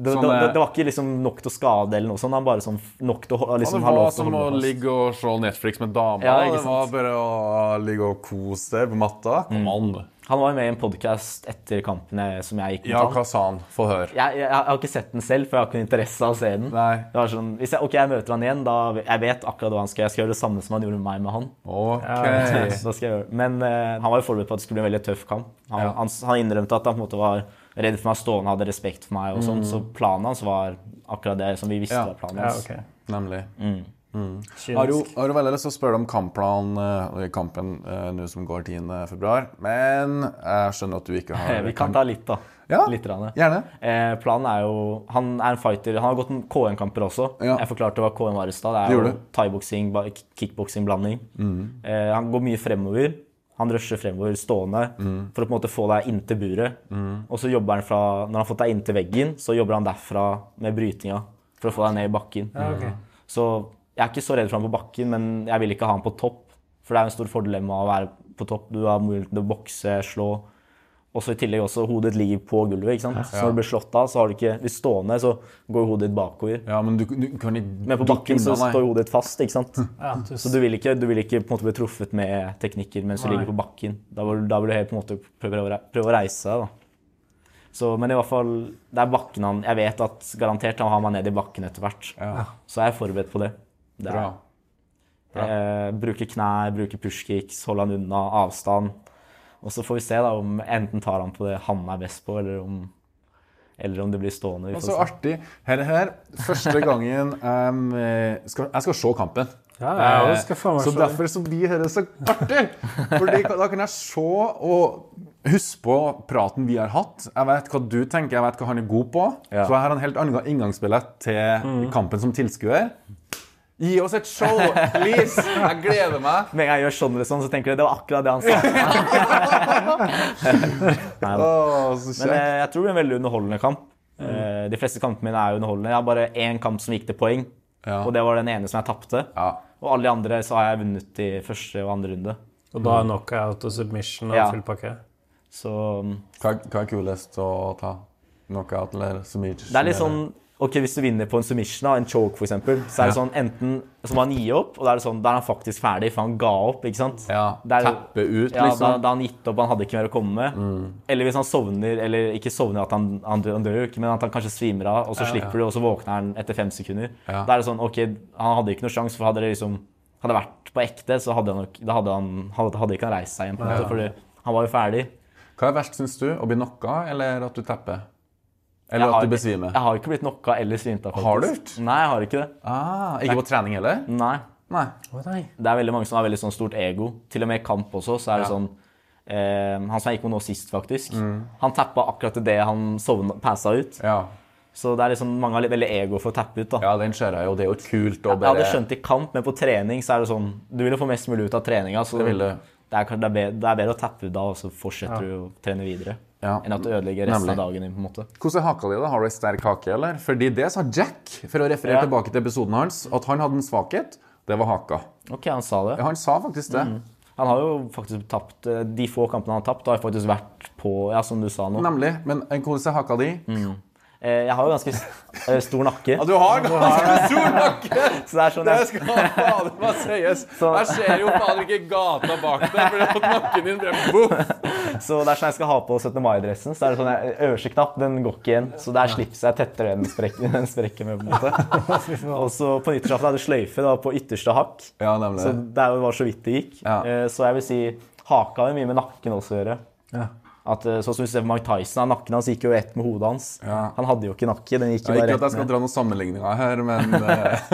[SPEAKER 3] det,
[SPEAKER 1] Sånn,
[SPEAKER 3] det, det,
[SPEAKER 1] eh,
[SPEAKER 3] det var ikke liksom nok til å skade eller noe sånt. Han bare sånn nok til å ho-
[SPEAKER 1] Ja,
[SPEAKER 3] liksom,
[SPEAKER 1] det
[SPEAKER 3] ha lov
[SPEAKER 1] var sånn
[SPEAKER 3] til å
[SPEAKER 1] som å
[SPEAKER 3] holde fast.
[SPEAKER 1] ligge og se Netflix med dama.
[SPEAKER 3] Ja, ikke
[SPEAKER 1] det var bare å ligge og kose deg på matta. Kom an.
[SPEAKER 3] Han var jo med i en podkast etter kampene som jeg gikk mot
[SPEAKER 1] Ja,
[SPEAKER 3] han.
[SPEAKER 1] hva sa han? Få høre.
[SPEAKER 3] jeg, jeg, jeg har ikke sett den selv, for jeg har ikke noe interesse av å se den.
[SPEAKER 1] Nei.
[SPEAKER 3] Det var sånn, hvis jeg, ok, jeg møter han igjen, da jeg vet akkurat hva han skal gjøre. Jeg skal gjøre det samme som han gjorde med meg med han.
[SPEAKER 1] Ok.
[SPEAKER 3] Så da skal jeg gjøre. det. Men eh, han var jo forberedt på at det skulle bli en veldig tøff kamp. Han,
[SPEAKER 1] Ja.
[SPEAKER 3] han, han innrømte at han på en måte var redd for meg stående, hadde respekt for meg og sånn. Så planen hans var akkurat det som vi visste
[SPEAKER 1] Mm. Ja.
[SPEAKER 3] var planen
[SPEAKER 2] Ja,
[SPEAKER 3] hans.
[SPEAKER 2] ok.
[SPEAKER 1] Nemlig.
[SPEAKER 3] Mm.
[SPEAKER 1] Har jo,
[SPEAKER 2] Kynisk.
[SPEAKER 1] har jo veldig lyst til å spørre om kampplanen eh, i kampen eh, nå som går 10. februar, men jeg skjønner at du ikke
[SPEAKER 3] Eh,
[SPEAKER 1] har
[SPEAKER 3] Vi kan ta litt, da.
[SPEAKER 1] Ja,
[SPEAKER 3] Litt. grann.
[SPEAKER 1] Gjerne.
[SPEAKER 3] Eh, planen er jo Han er en fighter. Han har gått KM-kamper også.
[SPEAKER 1] Ja.
[SPEAKER 3] Jeg forklarte hva KM var i stad. Det
[SPEAKER 1] Det
[SPEAKER 3] er
[SPEAKER 1] gjorde
[SPEAKER 3] jo thaiboksing, ba- kickboksing-blanding. Eh, han går mye fremover. Han rusher fremover stående for å på en måte få deg inntil buret. Og så jobber han fra Når han har fått deg inntil veggen, så jobber han derfra med brytinga for å få deg ned i bakken.
[SPEAKER 2] ok.
[SPEAKER 3] Så jeg er ikke så redd for han på bakken, men jeg vil ikke ha han på topp. For det er jo en stor fordel med å være på topp. Du har mulighet til å bokse, slå. Og så i tillegg også hodet ditt ligger på gulvet. ikke sant? Så når du blir slått av, så har du ikke Hvis stående, så går hodet ditt bakover.
[SPEAKER 1] Ja, men du, du kan ikke
[SPEAKER 3] Men på bakken så står jo hodet ditt fast, ikke sant?
[SPEAKER 2] Ja, du-
[SPEAKER 3] Så du vil ikke, du vil ikke på en måte bli truffet med teknikker mens du
[SPEAKER 2] Nei.
[SPEAKER 3] ligger på bakken. Da vil, da vil du helt på en måte prøve, å rei- prøve å reise deg, da. Så, men i hvert fall, det er bakken han Jeg vet at garantert han har meg ned i bakken etter hvert.
[SPEAKER 1] Ja,
[SPEAKER 3] Så jeg er forberedt på det. det er,
[SPEAKER 1] bra. bra.
[SPEAKER 3] Eh, bruke knær, bruke pushkicks, holde han unna, avstand. Og så får vi se da om enten tar han på det han er best på, eller om, eller om det blir stående. Vi
[SPEAKER 1] Og
[SPEAKER 3] får
[SPEAKER 1] så
[SPEAKER 3] se.
[SPEAKER 1] artig. Her, her. Første gangen em, eh, skal, Jeg skal se kampen.
[SPEAKER 2] Ja, ja, det skal
[SPEAKER 1] Eh,
[SPEAKER 2] faen meg
[SPEAKER 1] så
[SPEAKER 2] se.
[SPEAKER 1] derfor så blir dette så artig! Fordi ka- da kan jeg se og huske på praten vi har hatt. Jeg vet hva du tenker, jeg vet hva han er god på.
[SPEAKER 3] Ja.
[SPEAKER 1] Så jeg har en helt annen inngangsbillett til
[SPEAKER 2] Mm.
[SPEAKER 1] kampen som tilskuer. Gi oss et show, please! Jeg gleder meg.
[SPEAKER 3] Med en gang jeg gjør sånn eller sånn, så tenker jeg det var akkurat det han sa. Nei, da.
[SPEAKER 1] Å, så
[SPEAKER 3] Men
[SPEAKER 1] kjekt.
[SPEAKER 3] eh, jeg tror det er en veldig underholdende kamp. Eh, De fleste kampene mine er jo underholdende. Jeg har bare én kamp som gikk til poeng,
[SPEAKER 1] Ja.
[SPEAKER 3] og det var den ene som jeg tapte.
[SPEAKER 1] Ja.
[SPEAKER 3] Og alle de andre så har jeg vunnet i første og andre runde.
[SPEAKER 2] Og da er knockout og submission og
[SPEAKER 3] Ja.
[SPEAKER 2] full pakke.
[SPEAKER 3] Så mm,
[SPEAKER 1] Hva, hva er kulest å ta? Knockout eller submission?
[SPEAKER 3] det er litt sånn Ok, Hvis du vinner på en submission, da, en choke f.eks., så er det sånn enten så må han gi opp, og da er det sånn, da er han faktisk ferdig, for han ga opp, ikke sant?
[SPEAKER 1] ja,
[SPEAKER 3] Det er-
[SPEAKER 1] Teppe ut,
[SPEAKER 3] Ja, da,
[SPEAKER 1] liksom.
[SPEAKER 3] da han gitt opp, han hadde ikke mer å komme med.
[SPEAKER 1] Mm.
[SPEAKER 3] Eller hvis han sovner, eller ikke sovner at han, han, dør, han dør jo ikke, men at han kanskje svimer av, og så slipper du, og så våkner han etter fem sekunder.
[SPEAKER 1] Ja.
[SPEAKER 3] Da er det sånn, ok, han hadde ikke noe sjans, for hadde det liksom, hadde det vært på ekte, så hadde, han, nok- da hadde, han, hadde, hadde ikke han reist seg igjen, på en måte, fordi han var jo ferdig.
[SPEAKER 1] Hva er verst, syns du? Å bli knocka, eller at du tepper? Eller
[SPEAKER 3] Jeg
[SPEAKER 1] at
[SPEAKER 3] har-
[SPEAKER 1] du besvimer?
[SPEAKER 3] Jeg har jo ikke blitt knocka eller svimt av, faktisk.
[SPEAKER 1] Har du ikke?
[SPEAKER 3] Nei, jeg har ikke det.
[SPEAKER 1] Ah, ikke på trening heller?
[SPEAKER 3] Nei.
[SPEAKER 1] Nei.
[SPEAKER 3] Det er veldig mange som har veldig sånn stort ego. Til og med i kamp også, så er det
[SPEAKER 1] Ja. Mm.
[SPEAKER 3] sånn eh, Han som jeg gikk med nå sist, faktisk, han tappa akkurat idet han sovna, passa ut.
[SPEAKER 1] Ja.
[SPEAKER 3] Så det er liksom mange har litt veldig ego for å tappe ut. da.
[SPEAKER 1] ja, den ser jeg jo. Det er jo kult å
[SPEAKER 3] Jeg
[SPEAKER 1] bare
[SPEAKER 3] hadde skjønt i kamp, men på trening så er det sånn Du vil jo få mest mulig ut av treninga, så
[SPEAKER 1] Det vil du.
[SPEAKER 3] det er, kan- det, er bedre, det er bedre å tappe ut da, og så fortsetter du å trene videre.
[SPEAKER 1] Ja.
[SPEAKER 3] Enn at du ødelegger resten
[SPEAKER 1] Nemlig.
[SPEAKER 3] av dagen din, på en måte.
[SPEAKER 1] Hvordan er haka di? da? Har du ei sterk hake, eller? Fordi det sa Jack, for å referere
[SPEAKER 3] Ja.
[SPEAKER 1] tilbake til episoden hans, at han hadde en svakhet. Det var haka.
[SPEAKER 3] Ok, han sa det.
[SPEAKER 1] Ja, Han sa faktisk
[SPEAKER 3] Mm.
[SPEAKER 1] det.
[SPEAKER 3] Han har jo faktisk tapt eh, De få kampene han har tapt, har jo faktisk vært på Ja, som du sa nå.
[SPEAKER 1] Nemlig. Men eh, hvordan er haka di?
[SPEAKER 3] Eh, Jeg har jo ganske s- eh, stor nakke.
[SPEAKER 1] Ja, du har ganske stor nakke!
[SPEAKER 3] Så det er sånn
[SPEAKER 1] Det
[SPEAKER 3] jeg,
[SPEAKER 1] skal fader meg sies.
[SPEAKER 3] Så-
[SPEAKER 1] Jeg ser jo fader ikke gata bak deg, for at nakken din ble boff.
[SPEAKER 3] så det er sånn jeg skal ha på 17. mai-dressen. Så er det sånn jeg, Øverste knapp den går ikke igjen. Så der slipset jeg tettere enn sprekken, den sprekken med. på en måte. Og så på nyttårsaften hadde jeg sløyfe det var på ytterste hakk.
[SPEAKER 1] Ja, nemlig.
[SPEAKER 3] Så det er jo- var så vidt det gikk.
[SPEAKER 1] Ja.
[SPEAKER 3] Eh, Så jeg vil si haka har jo mye med nakken også å gjøre. At, eh, sånn som vi ser på Mike Tyson, han, Nakken hans gikk jo ett med hodet hans.
[SPEAKER 1] Ja.
[SPEAKER 3] Han hadde jo ikke nakke. den gikk jo
[SPEAKER 1] Ja, ikke
[SPEAKER 3] bare
[SPEAKER 1] at
[SPEAKER 3] rett
[SPEAKER 1] jeg skal
[SPEAKER 3] ned.
[SPEAKER 1] dra noen sammenligninger her, men eh,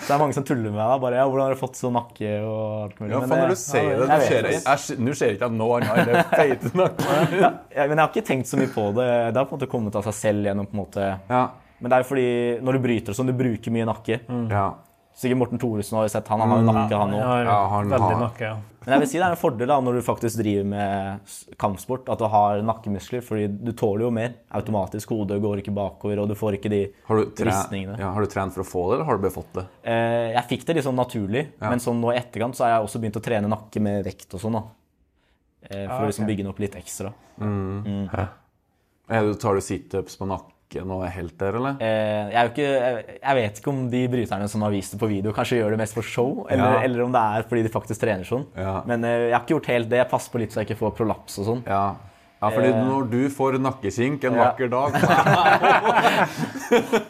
[SPEAKER 3] Så det er mange som tuller med deg. bare, ja, 'Hvordan har du fått sånn nakke?' og alt mulig.
[SPEAKER 1] ja,
[SPEAKER 3] Men
[SPEAKER 1] faen, når
[SPEAKER 3] det-
[SPEAKER 1] du sier det,
[SPEAKER 3] jeg
[SPEAKER 1] nå
[SPEAKER 3] vet
[SPEAKER 1] ser jeg
[SPEAKER 3] det.
[SPEAKER 1] jeg ser- Nå ser jeg ikke at noe annet enn det feite nakken.
[SPEAKER 3] Ja, men jeg har ikke tenkt så mye på det. Det har på en måte kommet av seg selv gjennom på en måte.
[SPEAKER 1] Ja.
[SPEAKER 3] Men det er jo fordi når du bryter og sånn, du bruker mye nakke.
[SPEAKER 1] Ja.
[SPEAKER 3] Sikkert Morten Thoresen har jo sett han, han har jo nakke, han òg.
[SPEAKER 2] Ja,
[SPEAKER 1] Ja, han
[SPEAKER 2] veldig
[SPEAKER 1] har-
[SPEAKER 2] nakke. Ja.
[SPEAKER 3] Men jeg vil si det er en fordel da, når du faktisk driver med s- kampsport, at du har nakkemuskler, fordi du tåler jo mer automatisk. Hodet går ikke bakover, og du får ikke de
[SPEAKER 1] Har, du tre...
[SPEAKER 3] ristningene.
[SPEAKER 1] ja, har du trent for å få det, eller har du bare fått det?
[SPEAKER 3] Eh, jeg fikk det litt sånn naturlig, men sånn nå i etterkant så har jeg også begynt å trene nakke med vekt og sånn, da. Eh, for å liksom bygge den opp litt ekstra.
[SPEAKER 1] Eh, du- Tar du situps på nakken og er helt der, eller?
[SPEAKER 3] Eh, jeg, er jo ikke, jeg, jeg vet ikke om de bryterne som har vist det på video, kanskje gjør det mest for show, eller,
[SPEAKER 1] Ja.
[SPEAKER 3] eller om det er fordi de faktisk trener sånn.
[SPEAKER 1] Ja.
[SPEAKER 3] Men eh, jeg har ikke gjort helt det. Jeg passer på litt så jeg ikke får prolaps og sånn.
[SPEAKER 1] Ja. ja, fordi
[SPEAKER 3] Eh.
[SPEAKER 1] når du får nakkekink en
[SPEAKER 3] Ja.
[SPEAKER 1] vakker dag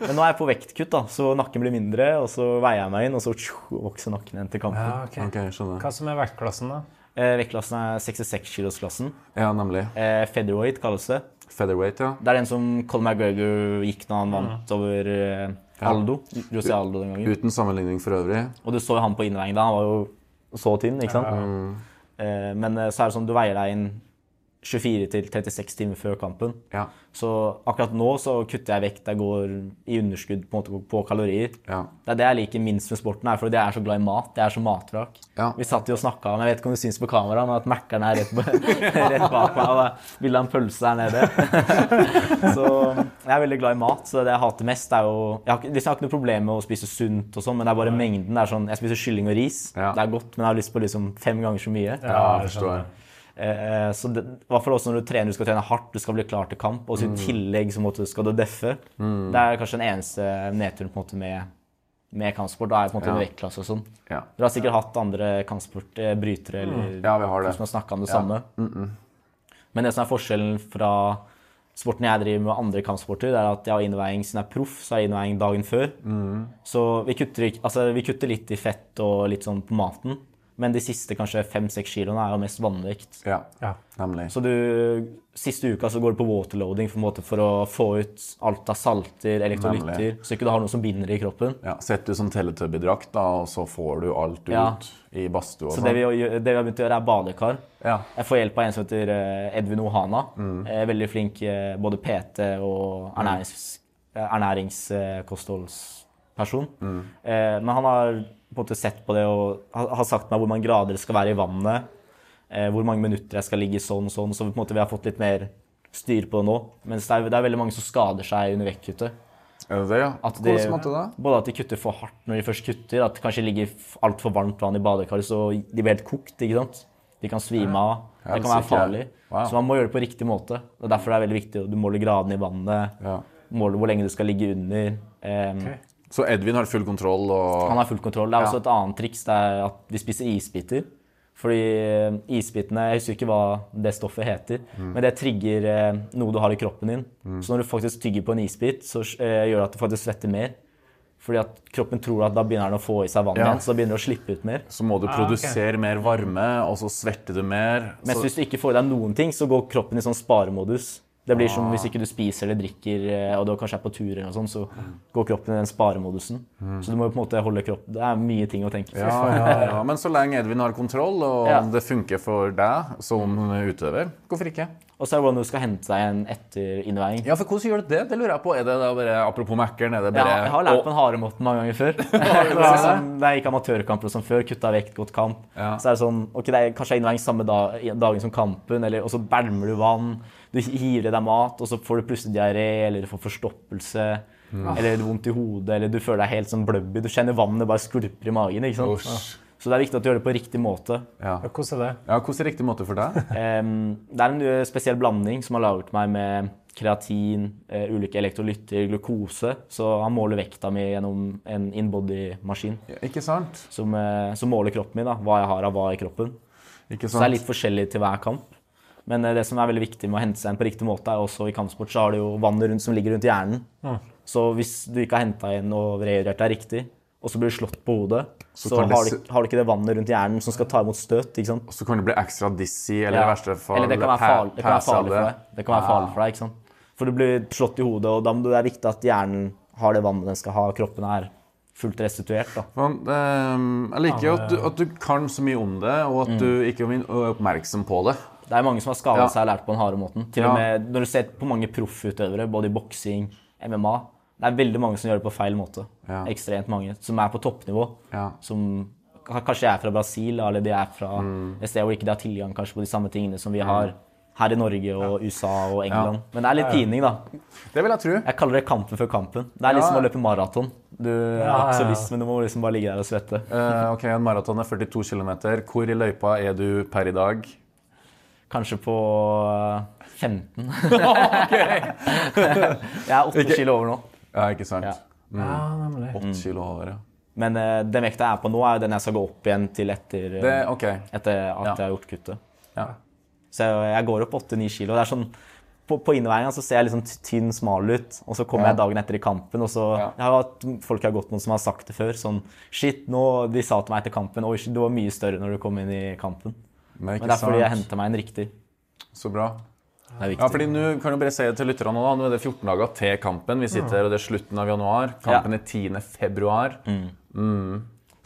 [SPEAKER 3] Men nå er jeg på vektkutt, da, så nakken blir mindre, og så veier jeg meg inn, og så tjo, vokser nakken igjen til kampen.
[SPEAKER 2] Ja, ok.
[SPEAKER 1] Ok, skjønner.
[SPEAKER 2] Hva som er vektklassen, da?
[SPEAKER 3] Eh, vektklassen er 66-kilosklassen.
[SPEAKER 1] Ja, nemlig.
[SPEAKER 3] Eh, featherweight kalles det.
[SPEAKER 1] Featherweight, ja.
[SPEAKER 3] Det er den som Colin McGregor gikk når han vant over eh, Aldo. José Aldo den gangen.
[SPEAKER 1] Uten sammenligning for øvrig.
[SPEAKER 3] Og du så jo han på innveiing da, han var jo så tynn, ikke sant? Eh, Men eh, så er det sånn, du veier deg inn 24 til 36 timer før kampen.
[SPEAKER 1] Ja.
[SPEAKER 3] Så akkurat nå så kutter jeg vekt, jeg går i underskudd på, en måte på kalorier.
[SPEAKER 1] Ja.
[SPEAKER 3] Det er det jeg liker minst med sporten, her, fordi jeg er så glad i mat. Jeg er så matvrak.
[SPEAKER 1] Ja.
[SPEAKER 3] Vi satt jo og snakka om jeg vet ikke om det syns på kamera, men at Mækkern er rett, rett bak meg og jeg vil ha en pølse her nede. så jeg er veldig glad i mat. så Det jeg hater mest, er jo Jeg har, ikke- liksom, jeg har ikke noe problem med å spise sunt, og sånn, men det er bare mengden. det er sånn, Jeg spiser kylling og ris.
[SPEAKER 1] Ja.
[SPEAKER 3] Det er godt, men jeg har lyst på liksom fem ganger så mye.
[SPEAKER 1] Ja,
[SPEAKER 2] jeg
[SPEAKER 1] forstår.
[SPEAKER 2] skjønner.
[SPEAKER 1] jeg.
[SPEAKER 3] Eh, så det, i hvert fall også når du trener, du skal trene hardt, du skal bli klar til kamp, og så
[SPEAKER 1] Mm.
[SPEAKER 3] i tillegg så måtte, skal du deffe. Det er kanskje den eneste nedturen på en måte med, med kampsport. Da er det på en måte
[SPEAKER 1] Ja.
[SPEAKER 3] en vektklasse og sånn.
[SPEAKER 1] Ja. Mm.
[SPEAKER 3] Dere har sikkert hatt andre kampsportbrytere eller
[SPEAKER 1] Ja, vi har det.
[SPEAKER 3] som har snakka om det samme. Men det som er forskjellen fra sporten jeg driver med og andre kampsporter, det er at jeg har innveiing siden jeg er proff, så har jeg innveiing dagen før.
[SPEAKER 1] Mm.
[SPEAKER 3] Så vi kutter, ikke- altså, vi kutter litt i fett og litt sånn på maten. Men de siste kanskje fem-seks kiloene er jo mest vannvekt.
[SPEAKER 1] Ja,
[SPEAKER 2] Ja.
[SPEAKER 1] nemlig.
[SPEAKER 3] Så du, siste uka så går du på waterloading for, en måte, for å få ut alt av salter, elektrolytter, så ikke du har noe som binder i kroppen.
[SPEAKER 1] Ja, Sett du som teletubby-drakt, da, og så får du alt ut
[SPEAKER 3] Ja.
[SPEAKER 1] i badstua. og
[SPEAKER 3] Så det vi,
[SPEAKER 1] sånn.
[SPEAKER 3] gjør- det vi har begynt å gjøre, er badekar.
[SPEAKER 1] Ja.
[SPEAKER 3] Jeg får hjelp av en som heter eh, Edvin Ohana. Eh, Veldig flink eh, både PT og ernærings, eh, ernæringskostholdsperson. Eh, Men han har på en måte sett på det og har har sagt meg hvor mange grader det skal være i vannet. eh, Hvor mange minutter jeg skal ligge sånn sånn. Så på en måte vi har fått litt mer styr på det nå. Mens det er, det er veldig mange som skader seg under vektkuttet.
[SPEAKER 1] Er det det, ja?
[SPEAKER 3] At de,
[SPEAKER 1] Hvordan måtte det?
[SPEAKER 3] Både at de kutter for hardt når de først kutter, at det kanskje ligger altfor varmt vann i badekaret, så de blir helt kokt. ikke sant? De kan svime av. Det kan være
[SPEAKER 1] sikkert.
[SPEAKER 3] farlig.
[SPEAKER 1] Wow.
[SPEAKER 3] Så man må gjøre det på riktig måte. Og Derfor er det veldig viktig at du måler graden i vannet,
[SPEAKER 1] Ja.
[SPEAKER 3] måler hvor lenge du skal ligge under. Ehm,
[SPEAKER 1] Så Edvin har full kontroll
[SPEAKER 3] Han
[SPEAKER 1] og
[SPEAKER 3] har full kontroll. Det er også et annet triks det er at vi spiser isbiter. Fordi eh, isbitene Jeg husker ikke hva det stoffet heter.
[SPEAKER 1] Mm.
[SPEAKER 3] Men det trigger eh, noe du har i kroppen din. Så når du faktisk tygger på en isbit, så eh, gjør det at du faktisk svetter mer. Fordi at kroppen tror at da begynner den å få i seg vann
[SPEAKER 1] Ja.
[SPEAKER 3] igjen. Så da begynner det å slippe ut mer.
[SPEAKER 1] Så må du produsere mer varme, og så svetter du mer.
[SPEAKER 3] Mens
[SPEAKER 1] Så,
[SPEAKER 3] hvis du ikke får i deg noen ting, så går kroppen i sånn sparemodus. Det blir
[SPEAKER 1] Ah.
[SPEAKER 3] som hvis ikke du spiser eller drikker, eh, og du kanskje er på tur, eller noe sånt, så
[SPEAKER 1] Mm.
[SPEAKER 3] går kroppen i den sparemodusen. Så du må jo på en måte holde kroppen Det er mye ting å tenke på.
[SPEAKER 1] ja, ja, ja. Men så lenge Edvin har kontroll, og
[SPEAKER 3] Ja.
[SPEAKER 1] det funker for deg som utøver, hvorfor ikke?
[SPEAKER 3] Og så er det hvordan du skal hente deg en etter innveiing.
[SPEAKER 1] Ja,
[SPEAKER 3] Ja,
[SPEAKER 1] for hvordan gjør du det? Det lurer jeg på. Er det da bare, Apropos Mækkern, er det bare
[SPEAKER 3] jeg har lært på den harde måten mange ganger før. Det var sånn, da jeg gikk amatørkamper og sånn før, kutta vekt, gått kamp.
[SPEAKER 1] Ja.
[SPEAKER 3] Så er det sånn Ok, det er kanskje innveiing samme dag, dagen som kampen, eller, og så bælmer du vann. Du hiver i deg mat, og så får du plutselig diaré, eller du får forstoppelse.
[SPEAKER 1] Mm.
[SPEAKER 3] Eller vondt i hodet, eller du føler deg helt sånn blubby. Du kjenner vannet bare skvulper i magen. ikke sant?
[SPEAKER 1] Usch.
[SPEAKER 3] Så det er viktig at du gjør det på riktig måte.
[SPEAKER 1] Ja.
[SPEAKER 2] Ja, Hvordan er det?
[SPEAKER 1] ja, hvordan er riktig måte for deg?
[SPEAKER 3] Em, Ehm, det er en ø, spesiell blanding som har laget meg med kreatin, eh, ulike elektrolytter, glukose. Så han måler vekta mi gjennom en inbody-maskin
[SPEAKER 1] Ja, Ikke sant?
[SPEAKER 3] som, eh, som måler kroppen min, da, hva jeg har av hva i kroppen.
[SPEAKER 1] Ikke
[SPEAKER 3] Så
[SPEAKER 1] sant?
[SPEAKER 3] det er litt forskjellig til hver kamp. Men eh, det som er veldig viktig med å hente seg inn på riktig måte, er også i kampsport så har du jo vannet rundt som ligger rundt hjernen. Så hvis du ikke har henta inn og rehydrert deg riktig, og så blir du slått på hodet, så,
[SPEAKER 1] kan det
[SPEAKER 3] har,
[SPEAKER 1] se-
[SPEAKER 3] du, har du ikke det vannet rundt hjernen som skal ta imot støt. ikke sant?
[SPEAKER 1] Så kan det bli ekstra dizzy, eller i
[SPEAKER 3] Ja.
[SPEAKER 1] verste fall
[SPEAKER 3] Eller det kan være,
[SPEAKER 1] pa-
[SPEAKER 3] farlig, det kan være
[SPEAKER 1] pass
[SPEAKER 3] farlig for
[SPEAKER 1] alle.
[SPEAKER 3] deg. Det kan være farlig for deg, ikke sant? For du blir slått i hodet, og da må det er viktig at hjernen har det vannet den skal ha. Kroppen er fullt restituert. da.
[SPEAKER 1] Men, ehm, jeg liker jo at du, at du kan så mye om det, og at du ikke er oppmerksom på det.
[SPEAKER 3] Det er mange som har skada
[SPEAKER 1] Ja.
[SPEAKER 3] seg og lært på den harde måten. Til
[SPEAKER 1] Ja.
[SPEAKER 3] og med Når du ser på mange proffutøvere, både i boksing, MMA Det er veldig mange som gjør det på feil måte.
[SPEAKER 1] Ja.
[SPEAKER 3] Ekstremt mange som er på toppnivå.
[SPEAKER 1] Ja.
[SPEAKER 3] Som k- kanskje er fra Brasil, eller de er fra
[SPEAKER 1] Mm.
[SPEAKER 3] et sted hvor ikke de har tilgang kanskje på de samme tingene som vi har her i Norge og USA og England. Men det er litt pining, da.
[SPEAKER 1] Det vil jeg tro.
[SPEAKER 3] Jeg kaller det kampen før kampen. Det er litt
[SPEAKER 1] Ja.
[SPEAKER 3] som å løpe maraton. Du
[SPEAKER 2] ja,
[SPEAKER 3] har ikke så
[SPEAKER 2] ja.
[SPEAKER 3] lyst, men du må liksom bare ligge der og svette.
[SPEAKER 1] Eh, ok, En maraton er 42 km. Hvor i løypa er du per i dag?
[SPEAKER 3] Kanskje på eh, 15. Jeg er 8 kilo over nå.
[SPEAKER 1] Ja, ikke sant?
[SPEAKER 3] Ja.
[SPEAKER 2] Ja, nemlig.
[SPEAKER 1] 8 kilo over, ja.
[SPEAKER 3] Men eh, den vekta jeg er på nå, er jo den jeg skal gå opp igjen til etter, eh,
[SPEAKER 1] Det, ok.
[SPEAKER 3] etter at
[SPEAKER 1] Ja.
[SPEAKER 3] jeg har gjort kuttet.
[SPEAKER 1] Ja.
[SPEAKER 3] Så jeg, jeg går opp 8-9 kilo. Det er sånn, på, på innveiinga så ser jeg litt sånn t- tynn, smal ut, og så kommer jeg dagen etter i kampen, og så
[SPEAKER 1] Ja.
[SPEAKER 3] Jeg har jo hatt folk jeg har gått mot som har sagt det før, sånn Shit, nå De sa til meg etter kampen Oi, shit, du var mye større når du kom inn i kampen.
[SPEAKER 1] Men
[SPEAKER 3] Men
[SPEAKER 1] ikke
[SPEAKER 3] det er fordi jeg
[SPEAKER 1] sant?
[SPEAKER 3] henter meg en riktig.
[SPEAKER 1] Så bra.
[SPEAKER 3] Det er
[SPEAKER 1] Ja,
[SPEAKER 3] viktig.
[SPEAKER 1] fordi Nå kan du bare si det til lytterne, nå, da. nå er det 14 dager til kampen. Vi sitter her, og det er slutten av januar. Kampen
[SPEAKER 3] Mm. Ja.
[SPEAKER 1] er 10. februar.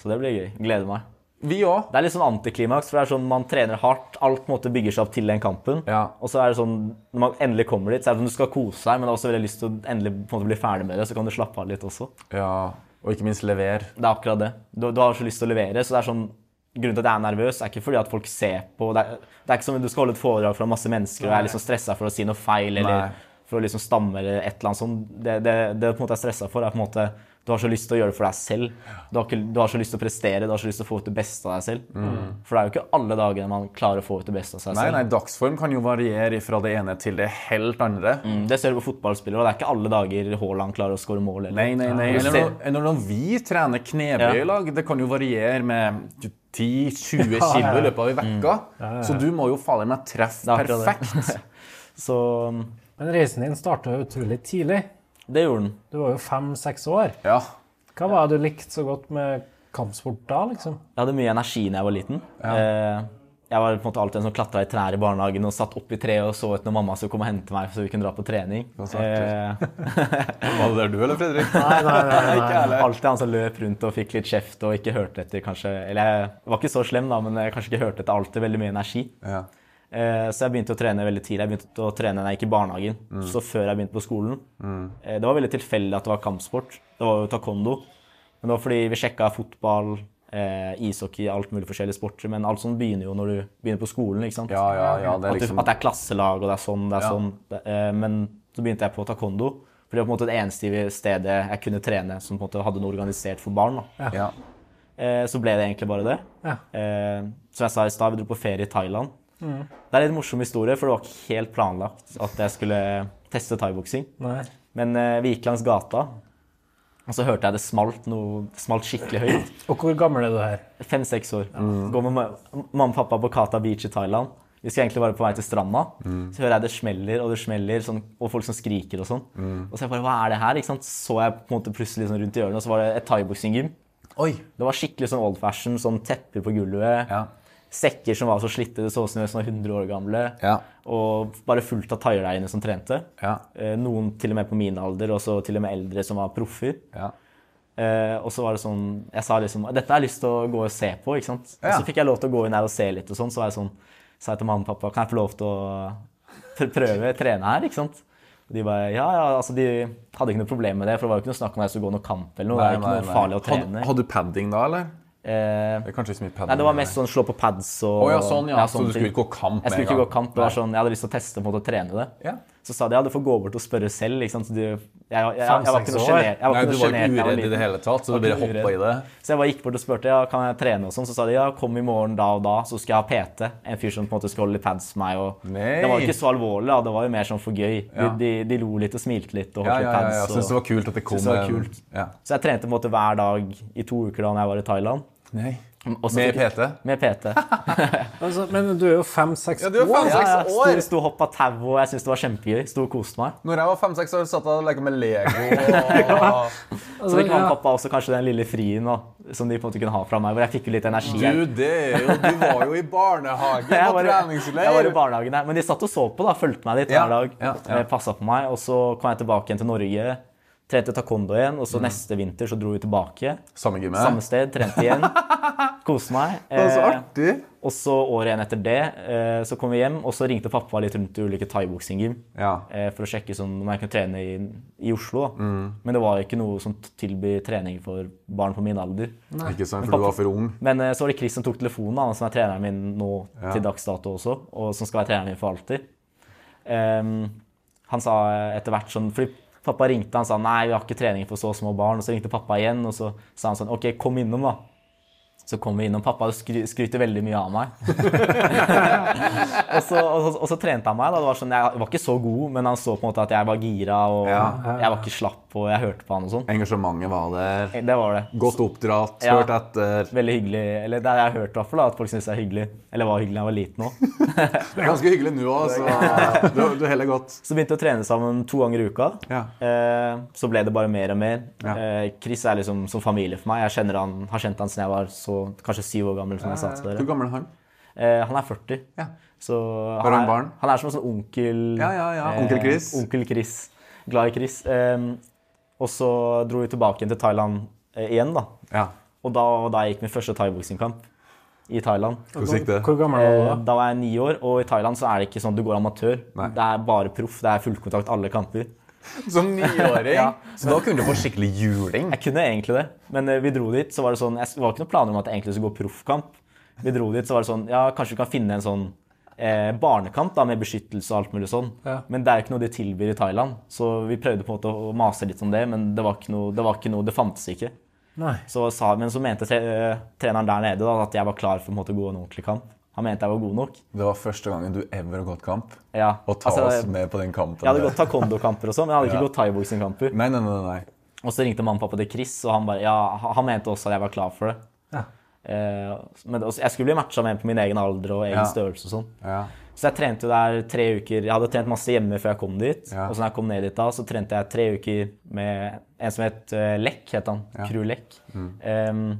[SPEAKER 3] Så det blir gøy. Gleder meg.
[SPEAKER 1] Vi òg.
[SPEAKER 3] Det er litt sånn antiklimaks, for det er sånn man trener hardt. Alt på en måte bygger seg opp til den kampen.
[SPEAKER 1] Ja.
[SPEAKER 3] Og så er det sånn, når man endelig kommer dit, så er det sånn du skal kose deg, men du har også veldig lyst til å endelig på en måte bli ferdig med det, så kan du slappe av litt også.
[SPEAKER 1] Ja. Og ikke minst levere.
[SPEAKER 3] Det er akkurat det. Du, du har så lyst til å levere, så det er sånn Grunnen til at jeg er nervøs, er ikke fordi at folk ser på. Det er, det er ikke som om du skal holde et foredrag fra masse mennesker og jeg er liksom stressa for å si noe feil eller
[SPEAKER 1] Nei.
[SPEAKER 3] for å liksom stamme eller et eller annet sånt. Det, det, det jeg på en måte er stressa for, er på en måte Du har så lyst til å gjøre det for deg selv. Du har, ikke, du har så lyst til å prestere, du har så lyst til å få ut det beste av deg selv. For det er jo ikke alle dager man klarer å få ut det beste av seg
[SPEAKER 1] Mm. Nei,
[SPEAKER 3] selv.
[SPEAKER 1] nei, dagsform kan jo variere fra det ene til det helt andre.
[SPEAKER 3] Mm, Det ser du på fotballspillere, og det er ikke alle dager Haaland klarer å skåre mål. Eller.
[SPEAKER 1] Nei, nei, nei.
[SPEAKER 3] Du
[SPEAKER 1] Eller
[SPEAKER 3] ser-
[SPEAKER 1] når, eller når vi trener knebøy i lag, det kan jo variere med 10-20 kilo i løpet av ei
[SPEAKER 3] Mm.
[SPEAKER 1] uke. Så du må jo fader meg treffe
[SPEAKER 3] Det er akkurat det.
[SPEAKER 1] perfekt.
[SPEAKER 3] Så um,
[SPEAKER 2] Men reisen din starta utrolig tidlig.
[SPEAKER 3] det gjorde den.
[SPEAKER 2] Du var jo fem-seks år.
[SPEAKER 1] Ja.
[SPEAKER 2] Hva var det du likte så godt med kampsport da, liksom?
[SPEAKER 3] Jeg hadde mye energi da jeg var liten. Eh, Jeg var på en måte alltid en som klatra i trær i barnehagen og satt oppi treet og så ut når mamma skulle komme og hente meg så vi kunne dra på trening.
[SPEAKER 1] sant,
[SPEAKER 3] Eh,
[SPEAKER 1] Var det der du eller Fredrik?
[SPEAKER 2] Nei, nei, nei.
[SPEAKER 3] Alltid han som løp rundt og fikk litt kjeft og ikke hørte etter, kanskje. Eller jeg var ikke så slem, da, men jeg kanskje ikke hørte etter. Alltid veldig mye energi.
[SPEAKER 1] Ja.
[SPEAKER 3] Eh, Så jeg begynte å trene veldig tidlig. Jeg begynte å trene da jeg gikk i barnehagen.
[SPEAKER 1] Mm.
[SPEAKER 3] Så før jeg begynte på skolen. Eh, Det var veldig tilfeldig at det var kampsport. Det var jo taekwondo. Men det var fordi vi sjekka fotball, eh, ishockey, alt mulig forskjellige sporter. Men alt sånt begynner jo når du begynner på skolen, ikke sant.
[SPEAKER 1] ja, ja, ja. Det er
[SPEAKER 3] At,
[SPEAKER 1] liksom
[SPEAKER 3] du, at det er klasselag, og det er sånn, det er
[SPEAKER 1] Ja.
[SPEAKER 3] sånn. Det- eh, Men så begynte jeg på taekwondo. For det var på en måte det eneste stedet jeg kunne trene som på en måte hadde noe organisert for barn. Da.
[SPEAKER 1] ja.
[SPEAKER 3] Eh, Så ble det egentlig bare det.
[SPEAKER 2] Ja.
[SPEAKER 3] Eh, Som jeg sa i stad, vi dro på ferie i Thailand. Det er en litt morsom historie, for det var ikke helt planlagt at jeg skulle teste thaiboksing.
[SPEAKER 2] nei.
[SPEAKER 3] Men eh, vi gikk langs gata, og så hørte jeg det smalt, noe, det smalt skikkelig høyt.
[SPEAKER 2] Og hvor gammel er du her?
[SPEAKER 3] Fem-seks år. Går med ma- mamma og pappa på Kata Beach i Thailand. Vi skal egentlig bare på vei til stranda. Så hører jeg det smeller og det smeller, sånn, og folk som skriker og sånn. Og så jeg bare, hva er det her? Ikke sant? Så jeg på en måte plutselig sånn rundt i hjørnet, og så var det et thaiboksing-gym.
[SPEAKER 1] Oi!
[SPEAKER 3] Det var skikkelig sånn old fashion, sånn tepper på gulvet.
[SPEAKER 1] Ja.
[SPEAKER 3] Sekker som var så slitte, det så ut som de var sånn 100 år gamle.
[SPEAKER 1] Ja.
[SPEAKER 3] Og bare fullt av thaier der inne som trente.
[SPEAKER 1] Ja.
[SPEAKER 3] Eh, Noen til og med på min alder, og så til og med eldre som var proffer.
[SPEAKER 1] ja.
[SPEAKER 3] Eh, og så var det sånn Jeg sa liksom Dette har jeg lyst til å gå og se på, ikke sant? Og
[SPEAKER 1] Ja.
[SPEAKER 3] så fikk jeg lov til å gå inn her og se litt, og sånn. Så var jeg sånn Sa jeg til mamma og pappa Kan jeg få lov til å pr- prøve å trene her, ikke sant? Og de bare Ja, ja, altså de hadde ikke noe problem med det, for det var jo ikke noe snakk om at jeg skulle gå noe kamp eller noe. det er jo ikke
[SPEAKER 1] Nei, nei,
[SPEAKER 3] noe
[SPEAKER 1] nei.
[SPEAKER 3] farlig å
[SPEAKER 1] Hadde,
[SPEAKER 3] trene.
[SPEAKER 1] hadde du padding da, eller?
[SPEAKER 3] Eh,
[SPEAKER 1] Det er kanskje ikke så mye padding.
[SPEAKER 3] nei, det var mest sånn slå på pads og
[SPEAKER 1] Å ja, sånn, ja. Så du
[SPEAKER 3] sånne
[SPEAKER 1] skulle
[SPEAKER 3] ting.
[SPEAKER 1] ikke gå kamp
[SPEAKER 3] Jeg skulle ikke gå kamp. Det var sånn, jeg hadde lyst til å teste på en måte å trene det.
[SPEAKER 1] Ja.
[SPEAKER 3] Så sa de ja, du får gå bort og spørre selv. ikke sant? Så de, jeg, jeg, jeg, jeg var ikke noe
[SPEAKER 2] Fem-seks år?
[SPEAKER 3] sjenert. jeg var
[SPEAKER 1] Nei,
[SPEAKER 3] ikke
[SPEAKER 1] du
[SPEAKER 3] noe
[SPEAKER 1] var ikke
[SPEAKER 3] sjenert da jeg var
[SPEAKER 1] uredd i
[SPEAKER 3] liten.
[SPEAKER 1] det hele tatt, så du
[SPEAKER 3] Var
[SPEAKER 1] bare
[SPEAKER 3] ikke
[SPEAKER 1] hoppa
[SPEAKER 3] uredd.
[SPEAKER 1] i det.
[SPEAKER 3] Så jeg bare gikk bort og spurte ja, kan jeg trene og sånn. Så sa de ja, kom i morgen da og da, så skal jeg ha PT. En fyr som på en måte skulle holde litt pads med meg. Og
[SPEAKER 1] Nei.
[SPEAKER 3] Det var jo ikke så alvorlig, da. det var jo mer sånn for gøy. De,
[SPEAKER 1] Ja.
[SPEAKER 3] de, de lo litt og smilte litt og
[SPEAKER 1] Ja,
[SPEAKER 3] holdt
[SPEAKER 1] ja,
[SPEAKER 3] litt
[SPEAKER 1] ja, ja.
[SPEAKER 3] pads. og-
[SPEAKER 1] Syns det var kult at det kom
[SPEAKER 3] Synes det var
[SPEAKER 1] en-
[SPEAKER 3] kult.
[SPEAKER 1] Ja.
[SPEAKER 3] Så jeg trente på en måte hver dag i to uker da når jeg var i Thailand.
[SPEAKER 1] Nei.
[SPEAKER 3] Og så
[SPEAKER 1] Med
[SPEAKER 3] fikk-
[SPEAKER 1] PT?
[SPEAKER 3] Med PT.
[SPEAKER 2] Altså, men du er jo fem-seks
[SPEAKER 1] Ja, du er
[SPEAKER 2] år.
[SPEAKER 1] fem-
[SPEAKER 3] Ja, ja,
[SPEAKER 1] Seks år?
[SPEAKER 3] sto, sto og hoppa tau, og jeg syntes det var kjempegøy. Sto og koste meg.
[SPEAKER 1] Når jeg var fem-seks år, satt jeg og lekte med Lego. og... Altså,
[SPEAKER 3] Så fikk mamma
[SPEAKER 2] ja.
[SPEAKER 3] og pappa også kanskje den lille frien da, som de på en måte kunne ha fra meg, hvor jeg fikk jo litt energi.
[SPEAKER 1] Du, det er jo, du var jo i barnehage
[SPEAKER 3] jeg
[SPEAKER 1] og
[SPEAKER 3] var,
[SPEAKER 1] treningsleir.
[SPEAKER 3] jeg var i barnehagen der. Men de satt og så på, da. Fulgte meg dit
[SPEAKER 1] Ja,
[SPEAKER 3] hver dag.
[SPEAKER 1] ja, ja.
[SPEAKER 3] eh, Passa på meg. Og så kom jeg tilbake igjen til Norge. Trente taekwondo igjen. Og
[SPEAKER 1] Mm.
[SPEAKER 3] så neste vinter så dro vi tilbake.
[SPEAKER 1] Samme eh? gymmet.
[SPEAKER 3] Samme sted, trente igjen. Koste meg.
[SPEAKER 1] Det var så
[SPEAKER 3] Eh,
[SPEAKER 1] artig.
[SPEAKER 3] og så året igjen etter det eh, så kom vi hjem, og så ringte pappa litt rundt til ulike thaiboksing-gym
[SPEAKER 1] Ja.
[SPEAKER 3] eh, for å sjekke sånn, om jeg kunne trene i, i Oslo. Da. Men det var jo ikke noe som tilbyr trening for barn på min alder.
[SPEAKER 1] Ikke sant, for du var for ung.
[SPEAKER 3] Men eh, så var det Chris som tok telefonen, han som er treneren min nå
[SPEAKER 1] Ja.
[SPEAKER 3] til dags dato også, og som skal være treneren min for alltid. Ehm, han sa eh, etter hvert sånn Fordi pappa ringte, han sa nei, vi har ikke trening for så små barn. Og så ringte pappa igjen, og så sa han sånn OK, kom innom, da. Så kom vi innom. Pappa skry skryter veldig mye av meg. og, så, og, så, og så trente han meg. da, det var sånn, Jeg var ikke så god, men han så på en måte at jeg var gira, og
[SPEAKER 1] Ja,
[SPEAKER 3] jeg var ikke slapp, og jeg hørte på han og sånn.
[SPEAKER 1] Engasjementet var der.
[SPEAKER 3] Det var det.
[SPEAKER 1] Godt oppdratt,
[SPEAKER 3] Ja.
[SPEAKER 1] hørt etter.
[SPEAKER 3] Veldig hyggelig. Eller det har jeg hørt i hvert fall, da, at folk syns jeg er hyggelig. Eller var hyggelig da jeg var liten òg.
[SPEAKER 1] Det er ganske hyggelig nå òg, så du, du heller godt.
[SPEAKER 3] Så begynte jeg å trene sammen to ganger i uka.
[SPEAKER 1] Ja.
[SPEAKER 3] Eh, så ble det bare mer og mer.
[SPEAKER 1] Ja.
[SPEAKER 3] Eh, Chris er liksom som familie for meg. Jeg kjenner han, har kjent han siden jeg var så, kanskje syv år gammel. som jeg sa til
[SPEAKER 1] Hvor
[SPEAKER 3] dere.
[SPEAKER 1] gammel er han?
[SPEAKER 3] Eh, han er 40.
[SPEAKER 1] Ja.
[SPEAKER 3] Så
[SPEAKER 1] Har han
[SPEAKER 3] er-
[SPEAKER 1] barn?
[SPEAKER 3] Han er som en sånn onkel
[SPEAKER 1] Ja, ja, ja. Onkel Chris.
[SPEAKER 3] Eh, onkel Chris. Glad i Chris. Eh, og så dro vi tilbake igjen til Thailand eh, igjen, da.
[SPEAKER 1] Ja.
[SPEAKER 3] Og da, da gikk min første thaiboksingkamp i Thailand.
[SPEAKER 1] Hvordan gikk det?
[SPEAKER 2] Hvor gammel var du
[SPEAKER 3] Eh,
[SPEAKER 2] da?
[SPEAKER 3] Da var jeg ni år, og i Thailand så er det ikke sånn at du går amatør.
[SPEAKER 1] Nei.
[SPEAKER 3] Det er bare proff. Det er fullkontakt alle kamper.
[SPEAKER 1] Som niåring?
[SPEAKER 3] Ja.
[SPEAKER 1] Så da kunne du få skikkelig juling.
[SPEAKER 3] Jeg kunne egentlig det, men eh, vi dro dit, så var det sånn Jeg det var ikke noen planer om at jeg egentlig skulle gå proffkamp. Vi dro dit, så var det sånn Ja, kanskje vi kan finne en sånn eh, barnekamp da, med beskyttelse og alt mulig sånn.
[SPEAKER 2] Ja.
[SPEAKER 3] Men det er jo ikke noe de tilbyr i Thailand. Så vi prøvde på en måte å mase litt om det, men det var ikke noe, det, var ikke noe, det fantes ikke.
[SPEAKER 2] Nei.
[SPEAKER 3] Så sa, men så mente tre, eh, treneren der nede da, at jeg var klar for på en måte, å gå en ordentlig kamp. Han mente jeg var god nok.
[SPEAKER 4] Det var første gangen du ever har gått kamp.
[SPEAKER 3] Ja.
[SPEAKER 4] Og ta
[SPEAKER 3] altså,
[SPEAKER 4] oss med på den kampen.
[SPEAKER 3] Jeg hadde
[SPEAKER 4] der.
[SPEAKER 3] gått taekwondo-kamper og sånn, men jeg hadde ikke
[SPEAKER 4] Ja.
[SPEAKER 3] gått thaiboksing-kamper.
[SPEAKER 4] Nei, nei, nei. nei.
[SPEAKER 3] Og så ringte mamma og pappa til Chris, og han bare Ja, han mente også at jeg var klar for det.
[SPEAKER 2] Ja.
[SPEAKER 3] Eh, men også, jeg skulle bli matcha med en på min egen alder og egen
[SPEAKER 4] Ja.
[SPEAKER 3] størrelse og sånn.
[SPEAKER 4] Ja.
[SPEAKER 3] Så jeg trente jo der tre uker. Jeg hadde trent masse hjemme før jeg kom dit.
[SPEAKER 4] Ja.
[SPEAKER 3] Og så når jeg kom ned dit da, så trente jeg tre uker med en som het eh, Lek, het han. Crew Lek.
[SPEAKER 4] Mm.
[SPEAKER 3] Em,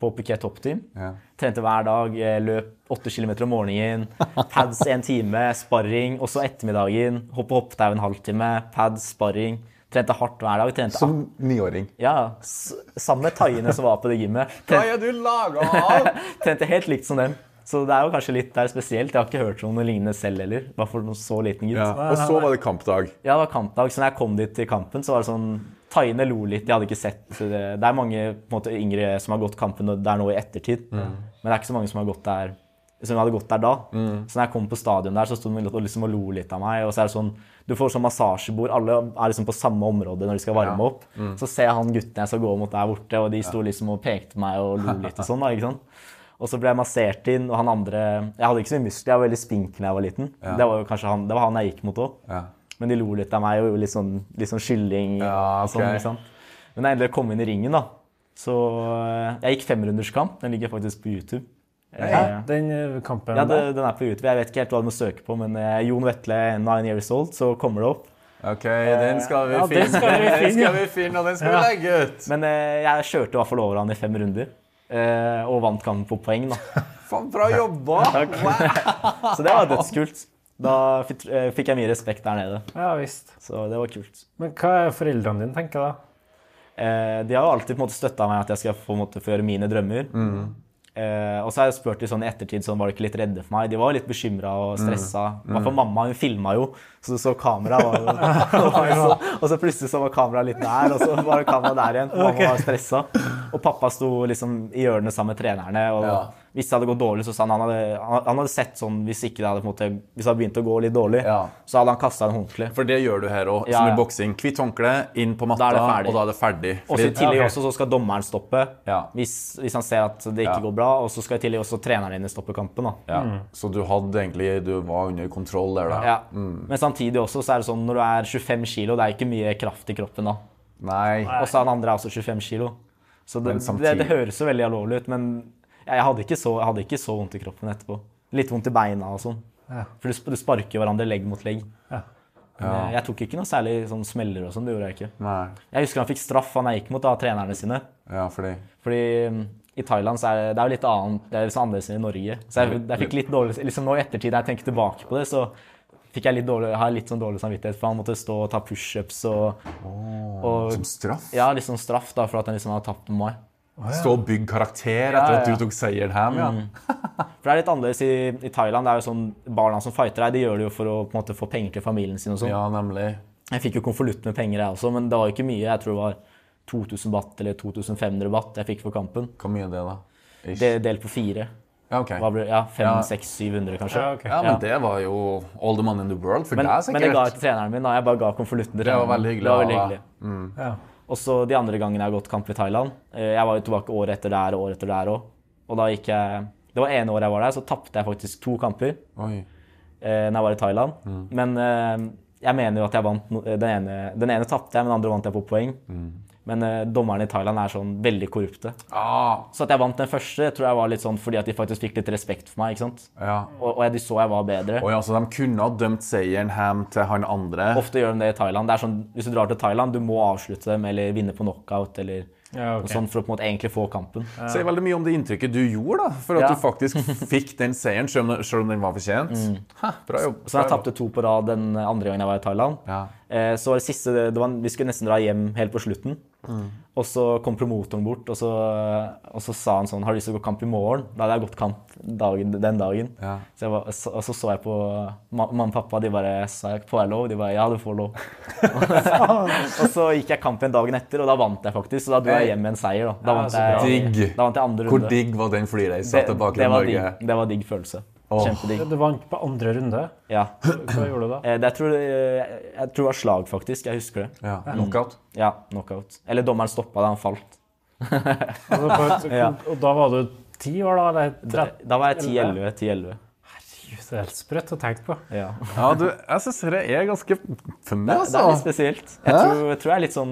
[SPEAKER 3] på Phuket Top Team.
[SPEAKER 4] Ja.
[SPEAKER 3] Trente hver dag, eh, løp åtte kilometer om morgenen. Pads en time, sparring. Og så ettermiddagen, hoppe hoppetau en halvtime, pads, sparring. Trente hardt hver dag. Trente
[SPEAKER 4] Som niåring.
[SPEAKER 3] ja, s- sammen med thaiene som var på det gymmet. Trente,
[SPEAKER 4] er du laga av?!
[SPEAKER 3] trente helt likt som dem. Så det er jo kanskje litt der spesielt. Jeg har ikke hørt om noe lignende selv heller. Bare for noen så liten gutt.
[SPEAKER 4] Ja.
[SPEAKER 3] Ja.
[SPEAKER 4] Og så var det kampdag.
[SPEAKER 3] det var kampdag, så når jeg kom dit til kampen, så var det sånn Thaiene lo litt, de hadde ikke sett det. Det er mange på en måte, yngre som har gått kampen der nå i ettertid, men det er ikke så mange som har gått der som hadde gått der da. Så når jeg kom på stadion der, så sto de og liksom og lo litt av meg. Og så er det sånn, Du får sånn massasjebord, alle er liksom på samme område når de skal varme
[SPEAKER 4] Ja.
[SPEAKER 3] opp. Så ser jeg han gutten jeg skal gå mot der borte, og de sto liksom og pekte på meg og lo litt og sånn. da, ikke sant? Og så ble jeg massert inn, og han andre Jeg hadde ikke så mye muskler, jeg var veldig spinkel da jeg var liten. Det var jo kanskje han, det var han jeg gikk mot òg.
[SPEAKER 4] Ja.
[SPEAKER 3] Men de lo litt av meg og gjorde litt sånn, litt sånn skylling.
[SPEAKER 4] Ja,
[SPEAKER 3] og sånn,
[SPEAKER 4] ok.
[SPEAKER 3] ikke sant? Men da jeg endelig kom inn i ringen, da så eh, Jeg gikk femrunderskamp. Den ligger faktisk på YouTube. Eh,
[SPEAKER 2] Den eh, kampen
[SPEAKER 3] ja, det,
[SPEAKER 2] der.
[SPEAKER 3] den er på YouTube. Jeg vet ikke helt hva du må søke på, men eh, Jon Vetle, 9 years old, så kommer det opp.
[SPEAKER 4] OK, den skal vi
[SPEAKER 2] Ja,
[SPEAKER 4] finne.
[SPEAKER 2] den skal vi
[SPEAKER 4] Den
[SPEAKER 2] finne, ja.
[SPEAKER 4] skal vi finne, og den skal vi legge ut.
[SPEAKER 3] Men eh, jeg kjørte i hvert fall over han i fem runder. eh, og vant kampen på poeng, da.
[SPEAKER 4] Faen, bra jobba!
[SPEAKER 3] Så det var dødskult. Da fikk eh, fikk jeg mye respekt der nede.
[SPEAKER 2] Ja visst.
[SPEAKER 3] Så det var kult.
[SPEAKER 2] Men hva er foreldrene dine tenker da?
[SPEAKER 3] Eh, de har jo alltid på en måte støtta meg at jeg skal på en måte få gjøre mine drømmer.
[SPEAKER 4] Mm.
[SPEAKER 3] Eh, og så har jeg spurt de sånn i ettertid sånn, var de ikke litt redde for meg. De var jo litt bekymra og stressa.
[SPEAKER 4] Mm.
[SPEAKER 3] I hvert fall mamma hun filma jo, så du så kameraet. var jo- Og, så- og så plutselig så var kameraet litt der, og så var kameraet der igjen. Mamma var stressa. Og pappa sto liksom i hjørnet sammen med trenerne. Og
[SPEAKER 4] Ja.
[SPEAKER 3] hvis det hadde gått dårlig, så sa han han hadde, han- han hadde sett sånn hvis ikke det hadde på en måte, hvis det hadde begynt å gå litt dårlig,
[SPEAKER 4] Ja.
[SPEAKER 3] så hadde han kasta en håndkle.
[SPEAKER 4] For det gjør du her òg,
[SPEAKER 3] Ja,
[SPEAKER 4] som
[SPEAKER 3] ja.
[SPEAKER 4] i boksing. Kvitt håndkle, inn på matta,
[SPEAKER 3] Da er det ferdig.
[SPEAKER 4] og da er det ferdig.
[SPEAKER 3] Og så i
[SPEAKER 4] Fordi-
[SPEAKER 3] tillegg
[SPEAKER 2] Ja, ok.
[SPEAKER 3] også så skal dommeren stoppe
[SPEAKER 4] Ja.
[SPEAKER 3] hvis, hvis han ser at det ikke
[SPEAKER 4] Ja.
[SPEAKER 3] går bra. Og så skal i tillegg også treneren din stoppe kampen. da.
[SPEAKER 4] ja. Så du hadde egentlig Du var under kontroll der, da.
[SPEAKER 3] Mm. Ja.
[SPEAKER 4] Mm.
[SPEAKER 3] Men samtidig også så er det sånn når du er 25 kilo, det er ikke mye kraft i kroppen da.
[SPEAKER 4] Nei.
[SPEAKER 3] Og så han andre er også 25 kilo. Så det,
[SPEAKER 4] Men samtidig-
[SPEAKER 3] det, det høres jo veldig alvorlig ut, men jeg hadde ikke så, jeg hadde ikke så vondt i kroppen etterpå. Litt vondt i beina og sånn. For du, sp- du sparker jo hverandre legg mot legg. Men, eh, Jeg tok ikke noe særlig sånn smeller og sånn. Det gjorde jeg ikke.
[SPEAKER 4] Nei.
[SPEAKER 3] Jeg husker han fikk straff, han jeg gikk mot, da, av trenerne sine.
[SPEAKER 4] Ja, fordi
[SPEAKER 3] Fordi mm, i Thailand så er det, det er jo litt annet, det er litt sånn annerledes enn i Norge. Så jeg, jeg fikk litt dårlig, liksom nå i ettertid, når jeg tenker tilbake på det, så fikk jeg litt dårlig, har jeg litt sånn dårlig samvittighet, for han måtte stå og ta pushups og, og
[SPEAKER 4] Som straff?
[SPEAKER 3] ja, liksom straff da, for at han liksom hadde tapt med meg.
[SPEAKER 4] Stå og bygg karakter etter
[SPEAKER 3] Ja,
[SPEAKER 4] at
[SPEAKER 3] ja. Mm.
[SPEAKER 4] du tok seieren hjem, ja.
[SPEAKER 3] For det er litt annerledes i, i Thailand. Det er jo sånn, Barna som fighter deg, de gjør det jo for å på en måte få penger til familien sin og sånn.
[SPEAKER 4] Ja, nemlig.
[SPEAKER 3] Jeg fikk jo konvolutt med penger, jeg også, men det var jo ikke mye. Jeg tror det var 2000 baht eller 2500 baht jeg fikk for kampen.
[SPEAKER 4] Hvor mye er det, da? Ish.
[SPEAKER 3] Det delt på fire.
[SPEAKER 4] ja, ok.
[SPEAKER 3] Hva ble, ja,
[SPEAKER 4] Ja.
[SPEAKER 3] 500-600, kanskje.
[SPEAKER 2] Ja, ok.
[SPEAKER 4] Ja, men
[SPEAKER 3] Ja.
[SPEAKER 4] det var jo all the money in the world for
[SPEAKER 3] Men,
[SPEAKER 4] deg,
[SPEAKER 3] men det ga jeg
[SPEAKER 4] sikkert.
[SPEAKER 3] til treneren min. Da. Jeg bare ga konvolutten til
[SPEAKER 4] Det var
[SPEAKER 3] treneren min.
[SPEAKER 4] veldig hyggelig
[SPEAKER 3] Det var
[SPEAKER 4] av
[SPEAKER 3] veldig
[SPEAKER 4] deg.
[SPEAKER 3] hyggelig.
[SPEAKER 2] Ja.
[SPEAKER 3] Og så de andre gangene jeg har gått kamp i Thailand eh, Jeg var jo tilbake året etter der og året etter der òg. Og da gikk jeg Det var ene året jeg var der, så tapte jeg faktisk to kamper
[SPEAKER 4] Oi.
[SPEAKER 3] eh, når jeg var i Thailand.
[SPEAKER 4] Mm.
[SPEAKER 3] Men eh, jeg mener jo at jeg vant no- Den ene, den ene tapte jeg, men den andre vant jeg på poeng.
[SPEAKER 4] Mm.
[SPEAKER 3] Men eh, dommerne i Thailand er sånn veldig korrupte.
[SPEAKER 4] Ah,
[SPEAKER 3] Så at jeg vant den første, tror jeg var litt sånn fordi at de faktisk fikk litt respekt for meg. ikke sant?
[SPEAKER 4] ja.
[SPEAKER 3] Og, og jeg- de så jeg var bedre.
[SPEAKER 4] Oi, altså, de kunne ha dømt seieren hjem til han andre.
[SPEAKER 3] Ofte gjør de det i Thailand. Det er sånn, hvis du drar til Thailand, du må avslutte dem eller vinne på knockout eller
[SPEAKER 2] Ja, ok.
[SPEAKER 3] noe
[SPEAKER 1] sånn-
[SPEAKER 3] sånt for å på en måte egentlig få kampen.
[SPEAKER 4] sier veldig mye om det inntrykket du gjorde, da, for at
[SPEAKER 3] Ja.
[SPEAKER 4] du faktisk fikk den seieren, selv om, selv om den var fortjent. Ha, bra jobb.
[SPEAKER 3] Mm. Så jeg
[SPEAKER 4] bra jobb.
[SPEAKER 3] tapte to på rad den andre gangen jeg var i Thailand.
[SPEAKER 4] Ja.
[SPEAKER 3] Eh, Så var det siste, det var, Vi skulle nesten dra hjem helt på slutten. Og så kom promotoren bort, og så, og så sa han sånn Har du lyst til å gå kamp i morgen? Da hadde jeg gått kamp dagen, den dagen.
[SPEAKER 4] Ja.
[SPEAKER 3] Så jeg var, så, og så så jeg på ma- mamma og pappa, de bare sa jeg får jeg lov? De bare ja, du får lov. og så gikk jeg kampen dagen etter, og da vant jeg faktisk. Så da dro jeg hjem med en seier. Da, da,
[SPEAKER 2] Ja,
[SPEAKER 3] vant,
[SPEAKER 2] så
[SPEAKER 3] jeg,
[SPEAKER 4] bra. Digg.
[SPEAKER 3] da vant jeg andre
[SPEAKER 4] Hvor
[SPEAKER 3] runde.
[SPEAKER 4] digg var den flyreisa tilbake til
[SPEAKER 3] var
[SPEAKER 4] Norge?
[SPEAKER 3] digg, det var digg følelse. Kjempedigg.
[SPEAKER 2] Du vant på andre runde.
[SPEAKER 3] Ja.
[SPEAKER 2] Hva gjorde du da?
[SPEAKER 3] Eh, Det jeg tror, eh, jeg tror det var slag, faktisk. Jeg husker det.
[SPEAKER 1] Ja. Knockout.
[SPEAKER 3] Ja, knockout. Eller dommeren stoppa da han falt.
[SPEAKER 2] Altså, på,
[SPEAKER 3] Ja.
[SPEAKER 2] og da var du ti år, da? Eller 13?
[SPEAKER 3] Da var jeg 10-11. 10-11.
[SPEAKER 2] Gud, det er helt sprøtt å tenke på.
[SPEAKER 3] Ja.
[SPEAKER 1] Ja, du, jeg syns det er ganske funny,
[SPEAKER 3] Det er litt
[SPEAKER 1] altså.
[SPEAKER 3] spesielt. Jeg tror, jeg tror jeg er litt sånn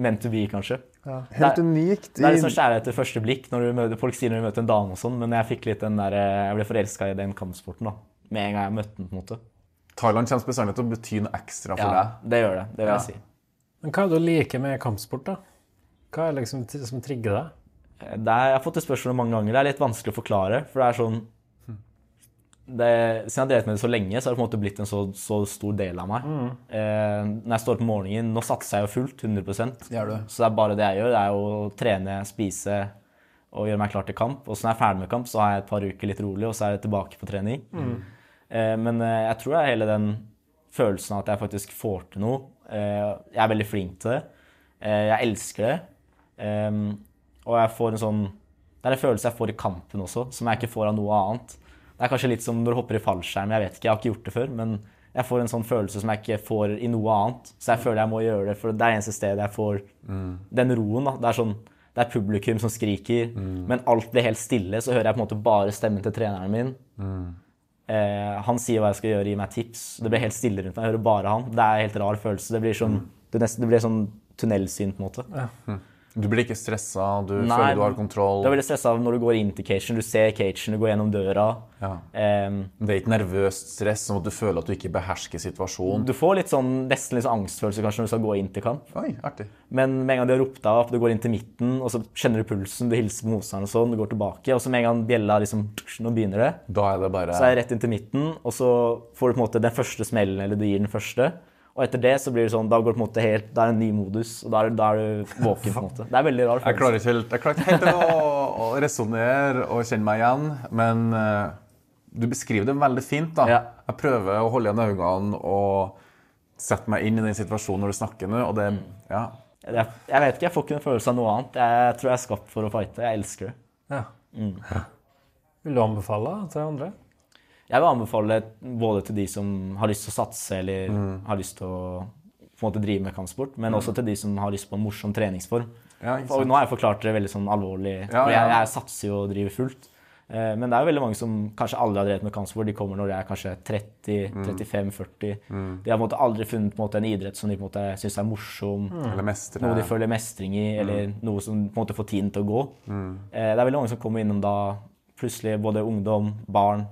[SPEAKER 3] meant to be, kanskje.
[SPEAKER 5] Helt
[SPEAKER 3] Det er-
[SPEAKER 5] unikt.
[SPEAKER 3] Det er litt
[SPEAKER 5] I,
[SPEAKER 3] sånn kjærlighet til første blikk når du møter, folk sier når du møter en dame og sånn, men jeg fikk litt den der, eh, jeg ble forelska i den kampsporten da. Med en gang jeg møtte den, på en måte.
[SPEAKER 1] Thailand kommer bestandig til å bety noe ekstra for
[SPEAKER 3] Ja,
[SPEAKER 1] deg.
[SPEAKER 3] det gjør det. Det vil jeg si.
[SPEAKER 2] Men hva er det du liker med kampsport, da? Hva er det liksom t- som trigger deg?
[SPEAKER 3] Det er, jeg har fått det spørsmålet mange ganger. Det er litt vanskelig å forklare. For det er sånn det, Siden jeg har drevet med det så lenge, så har det på en måte blitt en så, så stor del av meg. Eh, når jeg står opp om morgenen Nå satser jeg jo fullt, 100 Så det er bare det jeg gjør. Det er jo å trene, spise og gjøre meg klar til kamp. Og så når jeg er ferdig med kamp, så har jeg et par uker litt rolig, og så er jeg tilbake på trening. Eh, men eh, jeg tror det er hele den følelsen av at jeg faktisk får til noe. Eh, jeg er veldig flink til det. Eh, jeg elsker det. Ehm, og jeg får en sånn Det er en følelse jeg får i kampen også, som jeg ikke får av noe annet. Det er kanskje litt som når du hopper i fallskjerm. Jeg vet ikke, jeg har ikke gjort det før. Men jeg får en sånn følelse som jeg ikke får i noe annet. Så jeg føler jeg må gjøre det, for det er eneste stedet jeg får den roen. da. Det er sånn, det er publikum som skriker, men alt blir helt stille. Så hører jeg på en måte bare stemmen til treneren min. Eh, han sier hva jeg skal gjøre, gir meg tips. Det blir helt stille rundt meg. Jeg hører bare han. Det er en helt rar følelse. Det blir sånn, det nesten, det blir sånn tunnelsyn, på en måte.
[SPEAKER 1] Du blir ikke stressa, du
[SPEAKER 3] Nei,
[SPEAKER 1] føler du har kontroll.
[SPEAKER 3] Du er veldig stressa når du går inn til cagen. Du ser cagen, du går gjennom døra.
[SPEAKER 1] Ja.
[SPEAKER 3] Ehm,
[SPEAKER 1] Det er ikke nervøst stress som at du føler at du ikke behersker situasjonen.
[SPEAKER 3] du får litt sånn, nesten litt sånn angstfølelse kanskje når du skal gå inn til kamp.
[SPEAKER 1] Oi, artig.
[SPEAKER 3] Men med en gang de har ropt deg opp, du går inn til midten, og så kjenner du pulsen, du hilser på motstanderen og sånn, du går tilbake, og så med en gang bjella liksom Nå begynner det.
[SPEAKER 1] Da er det bare
[SPEAKER 3] Så er jeg rett inn til midten, og så får du på en måte den første smellen, eller du gir den første. Og etter det så blir det sånn, da går det på en måte helt, da er det en ny modus, og da er, da er du våken på en måte. Det er en veldig rar
[SPEAKER 1] Jeg
[SPEAKER 3] følelse.
[SPEAKER 1] klarer ikke helt, jeg klarer ikke helt til å, å resonnere og kjenne meg igjen, men eh, du beskriver det veldig fint. da.
[SPEAKER 3] Ja.
[SPEAKER 1] Jeg prøver å holde igjen øynene og sette meg inn i den situasjonen når du snakker nå. og det, ja.
[SPEAKER 3] Jeg, jeg vet ikke, jeg får ikke en følelse av noe annet. Jeg tror jeg er skapt for å fighte, jeg elsker det.
[SPEAKER 2] Ja.
[SPEAKER 1] Mm.
[SPEAKER 2] Vil du anbefale til andre?
[SPEAKER 3] Jeg vil anbefale både til de som har lyst til å satse eller
[SPEAKER 1] Mm.
[SPEAKER 3] har lyst til å på en måte drive med kampsport, men også til de som har lyst på en morsom treningsform.
[SPEAKER 1] Ja, Mm. ikke
[SPEAKER 3] og
[SPEAKER 1] sant.
[SPEAKER 3] nå har jeg forklart det veldig sånn alvorlig,
[SPEAKER 1] Ja,
[SPEAKER 3] og jeg,
[SPEAKER 1] ja.
[SPEAKER 3] jeg satser jo og driver fullt. Eh, Men det er jo veldig mange som kanskje aldri har drevet med kampsport. De kommer når de er kanskje
[SPEAKER 1] Mm.
[SPEAKER 3] 30-35-40. De har på en måte aldri funnet på en, måte en idrett som de på en måte syns er morsom.
[SPEAKER 1] Eller mestre.
[SPEAKER 3] Noe de føler mestring i, eller
[SPEAKER 1] Mm.
[SPEAKER 3] noe som på en måte får tiden til å gå. Eh, Det er veldig mange som kommer innom da plutselig både ungdom, barn,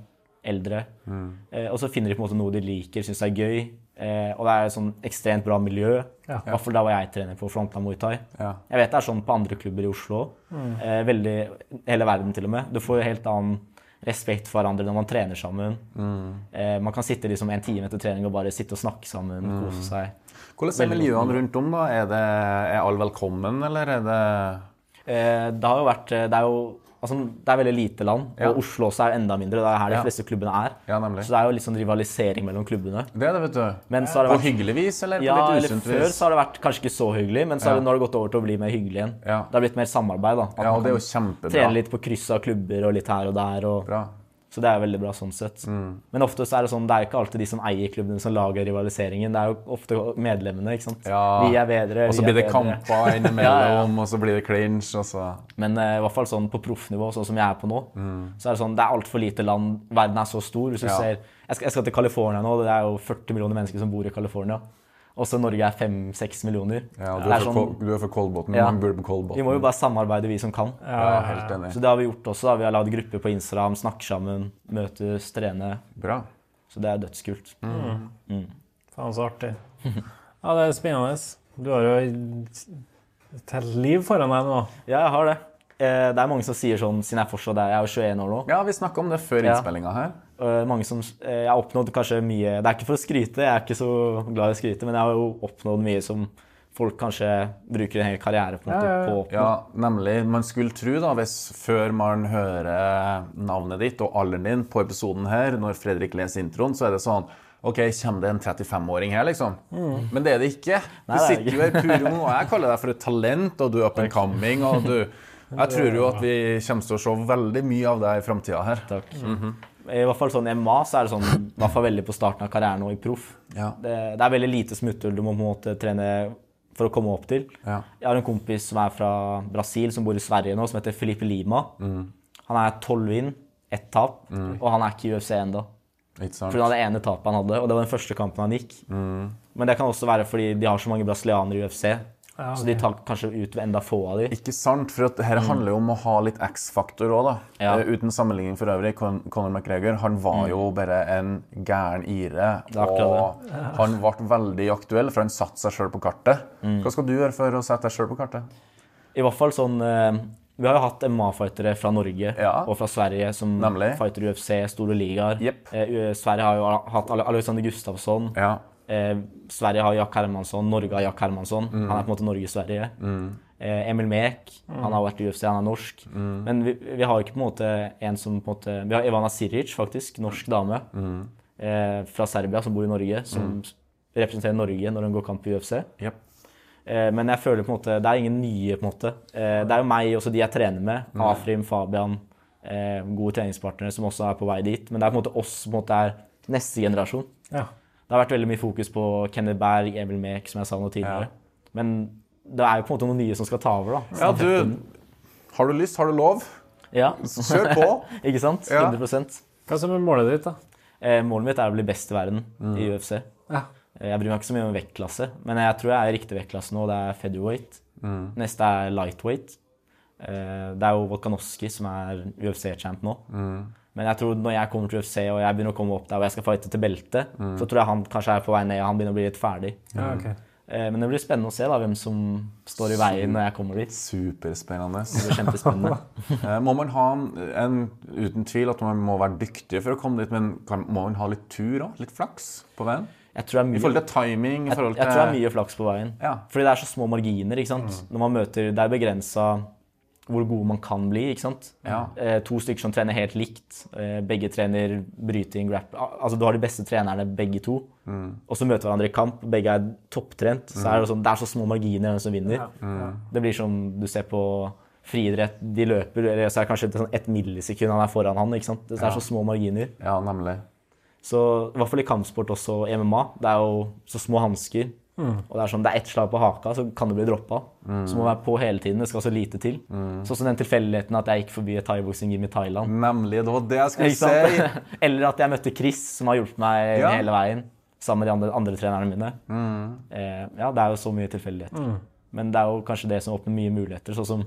[SPEAKER 3] eldre.
[SPEAKER 1] Mm.
[SPEAKER 3] Eh, Og så finner de på en måte noe de liker, syns er gøy. Eh, Og det er et sånn ekstremt bra miljø.
[SPEAKER 2] Ja.
[SPEAKER 3] I hvert fall der hvor jeg trener på Frontland Muay Thai.
[SPEAKER 1] Ja.
[SPEAKER 3] Jeg vet det er sånn på andre klubber i Oslo. Eh, veldig, hele verden til og med. Du får jo helt annen respekt for hverandre når man trener sammen.
[SPEAKER 1] Mm.
[SPEAKER 3] Eh, man kan sitte liksom en time etter trening og bare sitte og snakke sammen,
[SPEAKER 1] Mm.
[SPEAKER 3] kose seg.
[SPEAKER 1] Hvordan er miljøene rundt om? da? Er, det, er alle velkommen, eller er det
[SPEAKER 3] Eh, Det har jo vært eh, Det er jo altså, det er veldig lite land,
[SPEAKER 1] Ja.
[SPEAKER 3] og Oslo også er enda mindre. Det er her de
[SPEAKER 1] Ja.
[SPEAKER 3] fleste klubbene er.
[SPEAKER 1] Ja, nemlig.
[SPEAKER 3] Så det er jo litt sånn rivalisering mellom klubbene.
[SPEAKER 1] Det er det, vet du.
[SPEAKER 3] Men så har det
[SPEAKER 1] På
[SPEAKER 3] vært
[SPEAKER 1] hyggelig vis, eller på
[SPEAKER 3] ja,
[SPEAKER 1] litt
[SPEAKER 3] eller
[SPEAKER 1] usunt
[SPEAKER 3] Før
[SPEAKER 1] vis?
[SPEAKER 3] så har det vært kanskje ikke så hyggelig, men så har
[SPEAKER 1] Ja.
[SPEAKER 3] det, nå har det gått over til å bli mer hyggelig igjen.
[SPEAKER 1] Ja.
[SPEAKER 3] Det har blitt mer samarbeid. da. At
[SPEAKER 1] Ja,
[SPEAKER 3] man
[SPEAKER 1] og det er jo
[SPEAKER 3] kan
[SPEAKER 1] kjempebra.
[SPEAKER 3] trene litt på kryss av klubber og litt her og der. Og,
[SPEAKER 1] Bra. Mm.
[SPEAKER 3] så det er veldig bra sånn sett. Men ofte så er det sånn, det er jo ikke alltid de som eier klubbene som lager rivaliseringen. Det er jo ofte medlemmene. ikke sant?
[SPEAKER 1] Ja.
[SPEAKER 3] Vi er bedre,
[SPEAKER 1] Og så blir
[SPEAKER 3] vi er
[SPEAKER 1] det
[SPEAKER 3] bedre.
[SPEAKER 1] kamper
[SPEAKER 3] Ja,
[SPEAKER 1] innimellom, og så blir det clinch, og så
[SPEAKER 3] Men eh, i hvert fall sånn på proffnivå, sånn som jeg er på nå, så er det sånn, det er altfor lite land. Verden er så stor. Hvis du
[SPEAKER 1] Mm. Ja.
[SPEAKER 3] ser, jeg skal, jeg skal til California nå, det er jo 40 millioner mennesker som bor i California. Også Norge er 5-6 millioner.
[SPEAKER 1] Ja, og du er fra
[SPEAKER 3] Det er sånn-
[SPEAKER 1] Kol- du er fra Kolbotn.
[SPEAKER 3] Ja.
[SPEAKER 1] Man burde på Kolbotn.
[SPEAKER 3] Vi må jo bare samarbeide, vi som kan.
[SPEAKER 1] Ja, jeg er helt
[SPEAKER 3] Så
[SPEAKER 1] enig.
[SPEAKER 3] det har vi gjort også. da. Vi har lagd grupper på Instagram, snakker sammen, møtes, trener.
[SPEAKER 1] Bra.
[SPEAKER 3] Så det er dødskult.
[SPEAKER 1] Mm.
[SPEAKER 2] Faen, så artig. Ja, det er spennende. Du har jo et helt liv foran deg nå.
[SPEAKER 3] Ja, jeg har det. Eh, Det er mange som sier sånn, siden jeg fortsatt er, jeg er jo 21 år nå,
[SPEAKER 1] Ja, vi snakka om det før
[SPEAKER 3] Ja.
[SPEAKER 1] innspillinga her.
[SPEAKER 3] Eh, mange som, eh, jeg har oppnådd kanskje mye Det er ikke for å skryte, jeg er ikke så glad i å skryte, men jeg har jo oppnådd mye som folk kanskje bruker en hel karriere på, en måte, på å oppnå.
[SPEAKER 1] Ja, nemlig. Man skulle tro, da, hvis før man hører navnet ditt og alderen din på episoden her, når Fredrik leser introen, så er det sånn OK, kommer det en 35-åring her, liksom? Men det er det ikke. Du
[SPEAKER 3] Mm. Nei, det er det
[SPEAKER 1] sitter jo her puro nå. og Jeg kaller deg for et talent, og du er up and coming, og du Jeg tror jo at vi kommer til å se veldig mye av deg i framtida her.
[SPEAKER 3] Takk. I hvert fall sånn i MMA så er det sånn, i hvert fall veldig på starten av karrieren og i proff.
[SPEAKER 1] Ja.
[SPEAKER 3] Det, det er veldig lite smutthull du må på en måte trene for å komme opp til.
[SPEAKER 1] Ja.
[SPEAKER 3] Jeg har en kompis som er fra Brasil, som bor i Sverige nå, som heter Felipe Lima. Han er tolv vinn, ett tap, og han er ikke i UFC ennå.
[SPEAKER 1] Ikke sant?
[SPEAKER 3] Pga. det ene tapet han hadde, og det var den første kampen han gikk. Men det kan også være fordi de har så mange brasilianere i UFC,
[SPEAKER 2] Ja,
[SPEAKER 3] så de
[SPEAKER 2] ok.
[SPEAKER 3] tar kanskje ut enda få av de.
[SPEAKER 1] Ikke sant, for at her handler jo om å ha litt X-faktor òg, da.
[SPEAKER 3] Mm. Ja. Mm.
[SPEAKER 1] Eh, Uten sammenligning for øvrig. Con Conor McGregor han var jo bare en gæren ire.
[SPEAKER 3] er akkurat
[SPEAKER 1] Og han ble veldig aktuell, for han satte seg sjøl på kartet.
[SPEAKER 3] Mm.
[SPEAKER 1] Hva skal du gjøre for å sette deg sjøl på kartet?
[SPEAKER 3] I hvert fall sånn eh, Vi har jo hatt MMA-fightere fra Norge
[SPEAKER 1] Ja.
[SPEAKER 3] og fra Sverige som
[SPEAKER 1] Nemlig.
[SPEAKER 3] fighter i UFC, store ligaer.
[SPEAKER 1] Jepp.
[SPEAKER 3] Eh, U- Sverige har jo hatt Ale- Alexander Gustafsson.
[SPEAKER 1] Ja.
[SPEAKER 3] Eh, Sverige har Jack Hermansson. Norge har Jack Hermansson. Han er på en måte Norge-Sverige. Eh, Emil Mek. Han har vært i UFC, han er norsk. Men vi, vi har jo ikke på en måte en som på en måte Vi har Ivana Siric, faktisk. Norsk dame. Eh, fra Serbia, som bor i Norge. Som representerer Norge når hun går kamp i UFC.
[SPEAKER 1] Jepp.
[SPEAKER 3] Eh, Men jeg føler på en måte, det er ingen nye, på en måte. Eh, Det er jo meg, også de jeg trener med. Afrim, Fabian, eh, gode treningspartnere som også er på vei dit. Men det er på en måte oss som på en måte er neste generasjon.
[SPEAKER 2] Ja.
[SPEAKER 3] Det har vært veldig mye fokus på Kenneth Berg, Emil Mek, som jeg sa noe tidligere. Men det er jo på en måte noen nye som skal ta over, da.
[SPEAKER 1] Ja, du Har du lyst, har du lov?
[SPEAKER 3] Ja,
[SPEAKER 1] Kjør på!
[SPEAKER 3] ikke sant?
[SPEAKER 1] Ja.
[SPEAKER 3] 100
[SPEAKER 2] Hva som er målet ditt, da?
[SPEAKER 3] Eh, Målet mitt er å bli best i verden i UFC. Eh,
[SPEAKER 2] Ja.
[SPEAKER 3] Jeg bryr meg ikke så mye om vektklasse, men jeg tror jeg er i riktig vektklasse nå. Det er featherweight. Neste er lightweight. Eh, Det er jo Volkanovski som er UFC-champ nå. Men jeg tror når jeg kommer til UFC og jeg begynner å komme opp der og jeg skal fighte til belte, så tror jeg han kanskje er på vei ned. Han begynner å bli litt ferdig.
[SPEAKER 1] Mm.
[SPEAKER 2] Ja, ok.
[SPEAKER 3] Eh, Men det blir spennende å se da, hvem som står i veien når jeg kommer dit.
[SPEAKER 1] Superspennende.
[SPEAKER 3] Det blir kjempespennende.
[SPEAKER 1] Eh, Må man ha en, uten tvil at man må være dyktig for å komme dit, men kan, må man ha litt tur òg? Litt flaks på veien?
[SPEAKER 3] Jeg tror det er
[SPEAKER 1] I
[SPEAKER 3] mye
[SPEAKER 1] forhold til timing? I
[SPEAKER 3] jeg,
[SPEAKER 1] forhold
[SPEAKER 3] jeg tror det er
[SPEAKER 1] til Mm.
[SPEAKER 3] mye flaks på veien.
[SPEAKER 1] Ja.
[SPEAKER 3] Fordi det er så små marginer. ikke sant? Når man møter, Det er begrensa hvor god man kan bli. ikke sant?
[SPEAKER 1] Ja.
[SPEAKER 3] Eh, to stykker som trener helt likt. Eh, begge trener bryting, grap... al- Altså, Du har de beste trenerne, begge to.
[SPEAKER 1] Mm.
[SPEAKER 3] Og så møter hverandre i kamp. Begge er topptrent. Så er det, sånn, det er så små marginer hvem som vinner.
[SPEAKER 2] Ja.
[SPEAKER 1] Mm.
[SPEAKER 2] Ja.
[SPEAKER 3] Det blir som du ser på friidrett. De løper, eller så er det kanskje et, sånn, ett millisekund han er foran han. ikke sant? Det er så små marginer.
[SPEAKER 1] Ja, nemlig.
[SPEAKER 3] Så i hvert fall i kampsport også i MMA. Det er jo så små hansker. Og det er sånn, det er ett slag på haka, så kan det bli droppa. Så må man være på hele tiden. Det skal så lite til. Sånn som den tilfeldigheten at jeg gikk forbi et thaiboksing-gym i Thailand.
[SPEAKER 1] Nemlig. Det var det jeg skulle
[SPEAKER 3] Ikke sant?
[SPEAKER 1] si!
[SPEAKER 3] Eller at jeg møtte Chris, som har hjulpet meg
[SPEAKER 1] Ja. Mm.
[SPEAKER 3] hele veien. Sammen med de andre, andre trenerne mine. Eh, ja, det er jo så mye tilfeldigheter. Men det er jo kanskje det som åpner mye muligheter. Sånn som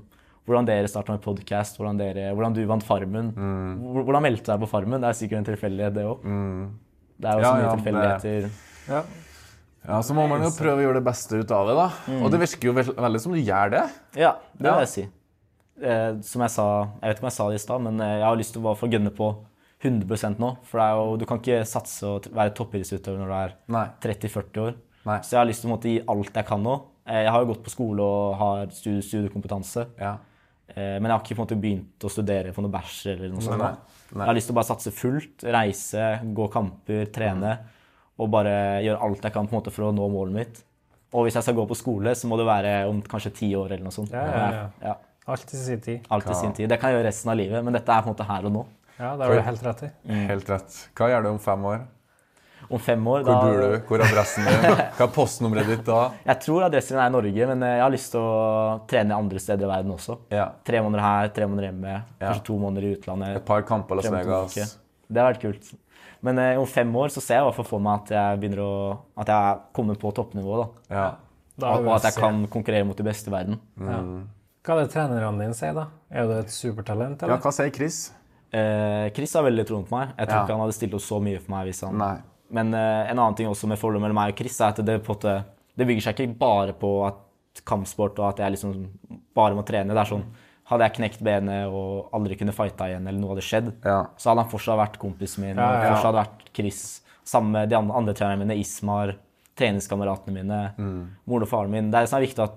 [SPEAKER 3] hvordan dere starta med podkast, hvordan, dere- hvordan du vant Farmen.
[SPEAKER 1] Mm.
[SPEAKER 3] Hvor- Hvordan meldte du deg på Farmen? Det er sikkert en tilfeldighet, det òg. Det er jo
[SPEAKER 1] Ja,
[SPEAKER 3] så mye
[SPEAKER 1] ja, det-
[SPEAKER 3] tilfeldigheter.
[SPEAKER 2] Ja.
[SPEAKER 1] Ja, Så må man jo prøve å gjøre det beste ut av det, da.
[SPEAKER 3] Mm.
[SPEAKER 1] Og det virker jo vel- veldig som du gjør det.
[SPEAKER 3] Ja, det
[SPEAKER 1] Ja.
[SPEAKER 3] vil jeg si. Eh, som jeg sa Jeg vet ikke om jeg sa det i stad, men eh, jeg har lyst til å bare få gønne på 100 nå. For det er jo, du kan ikke satse og t- være toppidrettsutøver når du er
[SPEAKER 1] Nei.
[SPEAKER 3] 30-40 år.
[SPEAKER 1] Nei.
[SPEAKER 3] Så jeg har lyst til å måtte gi alt jeg kan nå. Eh, jeg har jo gått på skole og har studie, studiekompetanse,
[SPEAKER 1] Ja.
[SPEAKER 3] eh, men jeg har ikke på en måte begynt å studere på noe bachelor eller noe
[SPEAKER 1] Nei,
[SPEAKER 3] sånt. da. Jeg har lyst til å bare satse fullt, reise, gå kamper, trene
[SPEAKER 1] Mm.
[SPEAKER 3] og bare gjøre alt jeg kan på en måte for å nå målet mitt. Og hvis jeg skal gå på skole, så må det være om kanskje ti år eller noe sånt.
[SPEAKER 2] Ja, ja, ja.
[SPEAKER 3] Ja.
[SPEAKER 2] Alt i sin tid.
[SPEAKER 3] Alt i sin tid. Det kan jeg gjøre resten av livet, men dette er på en måte her og nå.
[SPEAKER 2] Ja, det har du helt rett i.
[SPEAKER 1] Helt rett. Hva gjør du om fem år?
[SPEAKER 3] Om fem år,
[SPEAKER 1] Hvor
[SPEAKER 3] da
[SPEAKER 1] bor du? Hvor er adressen din? Hva er postnummeret ditt da?
[SPEAKER 3] Jeg tror adressen er i Norge, men eh, jeg har lyst til å trene andre steder i verden også.
[SPEAKER 1] Ja.
[SPEAKER 3] Tre måneder her, tre måneder hjemme,
[SPEAKER 1] Ja.
[SPEAKER 3] kanskje to måneder i
[SPEAKER 1] Et
[SPEAKER 3] utlandet.
[SPEAKER 1] par kamper Las
[SPEAKER 3] frem til
[SPEAKER 1] Vegas.
[SPEAKER 3] Norge. Det har vært kult. Men eh, om fem år så ser jeg i hvert fall for meg at jeg begynner å At jeg kommer på toppnivå, da.
[SPEAKER 1] Ja.
[SPEAKER 2] Da
[SPEAKER 3] Og at jeg
[SPEAKER 2] UFC.
[SPEAKER 3] kan konkurrere mot de beste i verden.
[SPEAKER 2] Ja. Hva er det trenerne dine sier, da? Er du et supertalent,
[SPEAKER 1] ja,
[SPEAKER 2] eller?
[SPEAKER 1] hva sier Chris?
[SPEAKER 3] Eh, Chris har veldig troen på meg. Jeg tror
[SPEAKER 1] Ja.
[SPEAKER 3] ikke han hadde stilt opp så mye for meg hvis han
[SPEAKER 1] Nei.
[SPEAKER 3] Men eh, en annen ting også med forholdet mellom meg og Chris, er at det, på en måte, det bygger seg ikke bare på at kampsport og at jeg liksom bare må trene. Det er sånn, Hadde jeg knekt benet og aldri kunne fighta igjen, eller noe hadde skjedd,
[SPEAKER 1] Ja.
[SPEAKER 3] så hadde han fortsatt vært kompisen min,
[SPEAKER 2] Ja, ja, ja.
[SPEAKER 3] fortsatt hadde vært Chris. Sammen med de andre, andre trenerne mine, Ismar, treningskameratene mine,
[SPEAKER 1] Mm.
[SPEAKER 3] moren og faren min. Det er det som er viktig at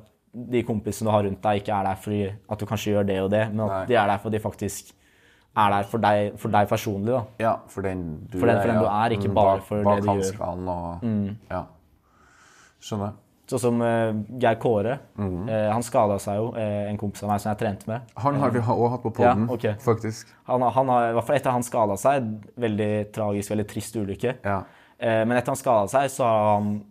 [SPEAKER 3] de kompisene du har rundt deg, ikke er der fordi at du kanskje gjør det og det, men at
[SPEAKER 1] Nei.
[SPEAKER 3] de er der fordi de faktisk er der for deg, for deg personlig. da.
[SPEAKER 1] Ja, for den du
[SPEAKER 3] For den- for den
[SPEAKER 1] ja.
[SPEAKER 3] du Mm. er, ikke
[SPEAKER 1] Mm,
[SPEAKER 3] bare
[SPEAKER 1] bak-
[SPEAKER 3] for det
[SPEAKER 1] bak
[SPEAKER 3] du gjør.
[SPEAKER 1] hanskene og Ja. Skjønner.
[SPEAKER 3] Sånn som eh, Geir Kåre.
[SPEAKER 4] Mhm.
[SPEAKER 3] Eh, han skada seg jo, eh, en kompis av meg som jeg trente med.
[SPEAKER 4] Han har vi ha- også hatt på
[SPEAKER 3] Mm. Ja,
[SPEAKER 4] poden,
[SPEAKER 3] ok.
[SPEAKER 4] faktisk.
[SPEAKER 3] Han, han har, i hvert fall etter han skada seg, veldig tragisk, veldig trist ulykke.
[SPEAKER 4] Ja.
[SPEAKER 3] Eh, men etter han skada seg, så har han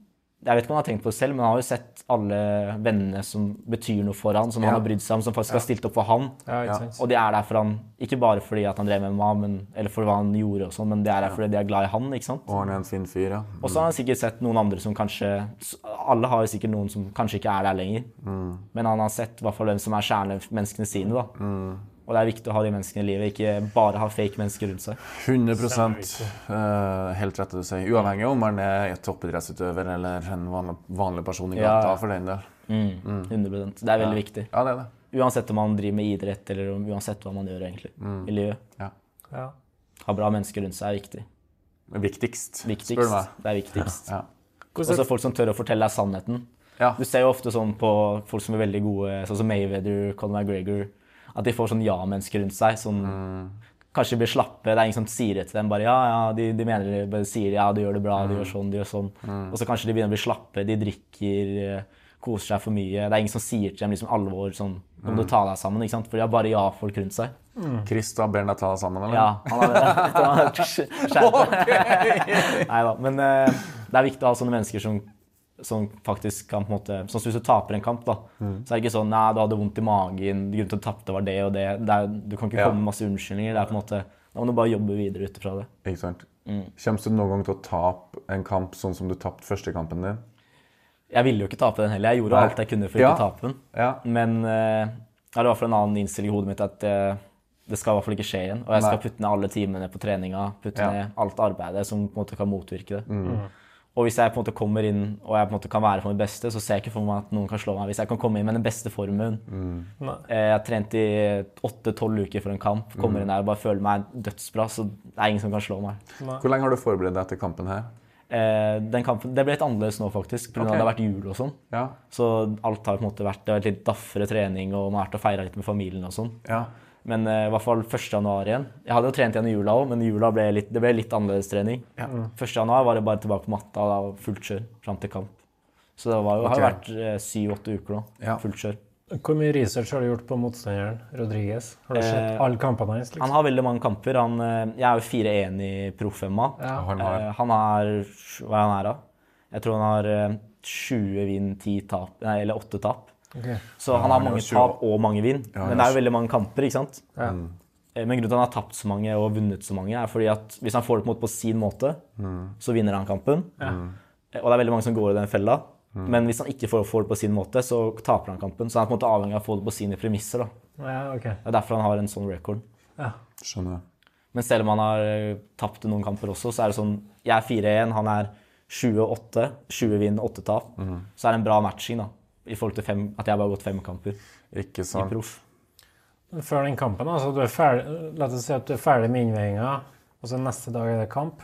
[SPEAKER 3] Jeg vet ikke om han har tenkt på det selv, men han har jo sett alle vennene som betyr noe for han, som
[SPEAKER 4] Ja.
[SPEAKER 3] han har brydd seg om, som faktisk har stilt opp for han.
[SPEAKER 2] Ja, ikke sant.
[SPEAKER 3] Og det er der for han, ikke bare fordi at han drev med MMA, men, eller for hva han gjorde, og sånn, men det er der fordi de er glad i han. ikke sant?
[SPEAKER 4] Og han er en fin fyr, ja.
[SPEAKER 3] Og så har han sikkert sett noen andre som kanskje s- Alle har jo sikkert noen som kanskje ikke er der lenger.
[SPEAKER 4] Mm.
[SPEAKER 3] Men han har sett i hvert fall hvem som er kjernemenneskene sine. da.
[SPEAKER 4] Mm.
[SPEAKER 3] Og det er viktig å ha de menneskene i livet, ikke bare ha fake mennesker rundt seg.
[SPEAKER 4] 100 eh, helt rett det du sier. Uavhengig om han er et toppidrettsutøver eller en vanlig, vanlig person i
[SPEAKER 3] Ja,
[SPEAKER 4] gata,
[SPEAKER 3] ja.
[SPEAKER 4] for den del.
[SPEAKER 3] 100%. Det er veldig viktig.
[SPEAKER 4] Mm. Ja, det er det.
[SPEAKER 3] Uansett om man driver med idrett, eller om, uansett hva man gjør egentlig
[SPEAKER 4] Mm.
[SPEAKER 3] i livet.
[SPEAKER 2] Ja.
[SPEAKER 3] Ha bra mennesker rundt seg er viktig.
[SPEAKER 4] Men Viktigst, spør du meg.
[SPEAKER 3] Viktigst. Det er viktigst.
[SPEAKER 4] Ja.
[SPEAKER 3] Og så folk som tør å fortelle deg sannheten.
[SPEAKER 4] Ja.
[SPEAKER 3] Du ser jo ofte sånn på folk som er veldig gode, sånn som Mayweather, Conor McGregor, at de får sånn ja-mennesker rundt seg. som Kanskje blir slappe. Det er ingen som sier det til dem. bare, ja, ja, De, de mener det, bare sier ja, du gjør det bra, du gjør sånn, du gjør sånn. Og så kanskje de begynner å bli slappe, de drikker, eh, koser seg for mye. Det er ingen som sier til dem liksom alvor sånn Nå må du ta deg sammen, ikke sant? for de har bare ja-folk rundt seg.
[SPEAKER 4] Krista ber deg ta deg sammen, eller?
[SPEAKER 3] Ja, han har det. Han har skjerpet. Neida, Men eh, det er viktig å ha sånne mennesker som, som faktisk kan på en måte Sånn som hvis du taper en kamp, da.
[SPEAKER 4] Mm.
[SPEAKER 3] Så er det ikke sånn Nei, du hadde vondt i magen, grunnen til at du tapte, var det og det. det er, du kan ikke
[SPEAKER 4] Ja.
[SPEAKER 3] komme med masse unnskyldninger. Det er på en måte Da må du bare jobbe videre ut ifra det.
[SPEAKER 4] Ikke sant? Kommer du noen gang til å tape en kamp sånn som du tapte første kampen din?
[SPEAKER 3] Jeg ville jo ikke tape den heller. Jeg gjorde
[SPEAKER 4] Nei.
[SPEAKER 3] alt jeg kunne for
[SPEAKER 4] Ja.
[SPEAKER 3] ikke å tape den.
[SPEAKER 4] Ja.
[SPEAKER 3] Men eh, jeg hadde i hvert fall en annen innstilling i hodet mitt at eh, det skal i hvert fall ikke skje igjen. Og jeg skal
[SPEAKER 4] Nei.
[SPEAKER 3] putte ned alle timene på treninga, putte
[SPEAKER 4] Ja. Mm.
[SPEAKER 3] ned alt arbeidet som på en måte kan motvirke det. Og hvis jeg på en måte kommer inn og jeg på en måte kan være for mitt beste, så ser jeg ikke for meg at noen kan slå meg. Hvis jeg kan komme inn med den beste formen
[SPEAKER 4] Mm.
[SPEAKER 2] Nei.
[SPEAKER 3] eh, Jeg har trent i åtte-tolv uker for en kamp,
[SPEAKER 4] Mm.
[SPEAKER 3] kommer inn der og bare føler meg dødsbra, så det er ingen som kan slå meg.
[SPEAKER 4] Hvor lenge har du forberedt deg til kampen her?
[SPEAKER 3] Eh, den kampen, det ble litt annerledes nå, faktisk, pga. at
[SPEAKER 4] Ok.
[SPEAKER 3] det har vært jul og sånn.
[SPEAKER 4] Ja.
[SPEAKER 3] Så alt har på en måte vært, det har vært litt daffere trening, og man har vært og feira litt med familien og sånn.
[SPEAKER 4] ja.
[SPEAKER 3] Men eh, i hvert fall 1. januar igjen. Jeg hadde jo trent igjen i jula òg, men i jula ble litt, det ble litt annerledes trening.
[SPEAKER 2] Mm.
[SPEAKER 3] 1. januar var det bare tilbake på matta og da fullt kjør fram til kamp. Så det var jo, har jo
[SPEAKER 4] Ok.
[SPEAKER 3] vært eh, syv-åtte uker nå.
[SPEAKER 4] Ja.
[SPEAKER 3] Fullt kjør.
[SPEAKER 2] Hvor mye research har du gjort på motstanderen Rodriguez? Har du sett
[SPEAKER 3] Eh,
[SPEAKER 2] alle kampene hans?
[SPEAKER 3] Han
[SPEAKER 2] Liksom?
[SPEAKER 3] har veldig mange kamper. Han, eh, jeg er jo 4-1 i proff-MA.
[SPEAKER 4] Og Han har
[SPEAKER 3] Eh, han har Hva er han her, da? Jeg tror han har eh, 20 vinn, 10 tap, nei, eller 8 tap.
[SPEAKER 2] Ok.
[SPEAKER 3] Så han har
[SPEAKER 4] han er
[SPEAKER 3] mange
[SPEAKER 4] jo
[SPEAKER 3] tap og mange vinn.
[SPEAKER 4] han er
[SPEAKER 3] Men det er jo veldig mange kamper, ikke sant?
[SPEAKER 2] Ja.
[SPEAKER 3] Eh, Men grunnen til at han har tapt så mange og vunnet så mange, er fordi at hvis han får det på, en måte på sin måte, så vinner han kampen. Eh, Og det er veldig mange som går i den fella. Men hvis han ikke får, får det på sin måte, så taper han kampen. Så han er på en måte avhengig av å få det på sine premisser. Da.
[SPEAKER 2] ja, ok.
[SPEAKER 3] Det er derfor han har en sånn record.
[SPEAKER 2] Ja.
[SPEAKER 4] Skjønner.
[SPEAKER 3] Men selv om han har eh, tapt noen kamper også, så er det sånn Jeg er 4-1, han er 28. 20 vinn, 8 tap. Så er det en bra matching, da. I forhold til fem, at jeg bare har gått fem kamper i
[SPEAKER 4] Ikke sant.
[SPEAKER 3] proff.
[SPEAKER 2] Men Før den kampen, altså, du er ferdig, la oss si at du er ferdig med innveiinga, og så neste dag er det kamp.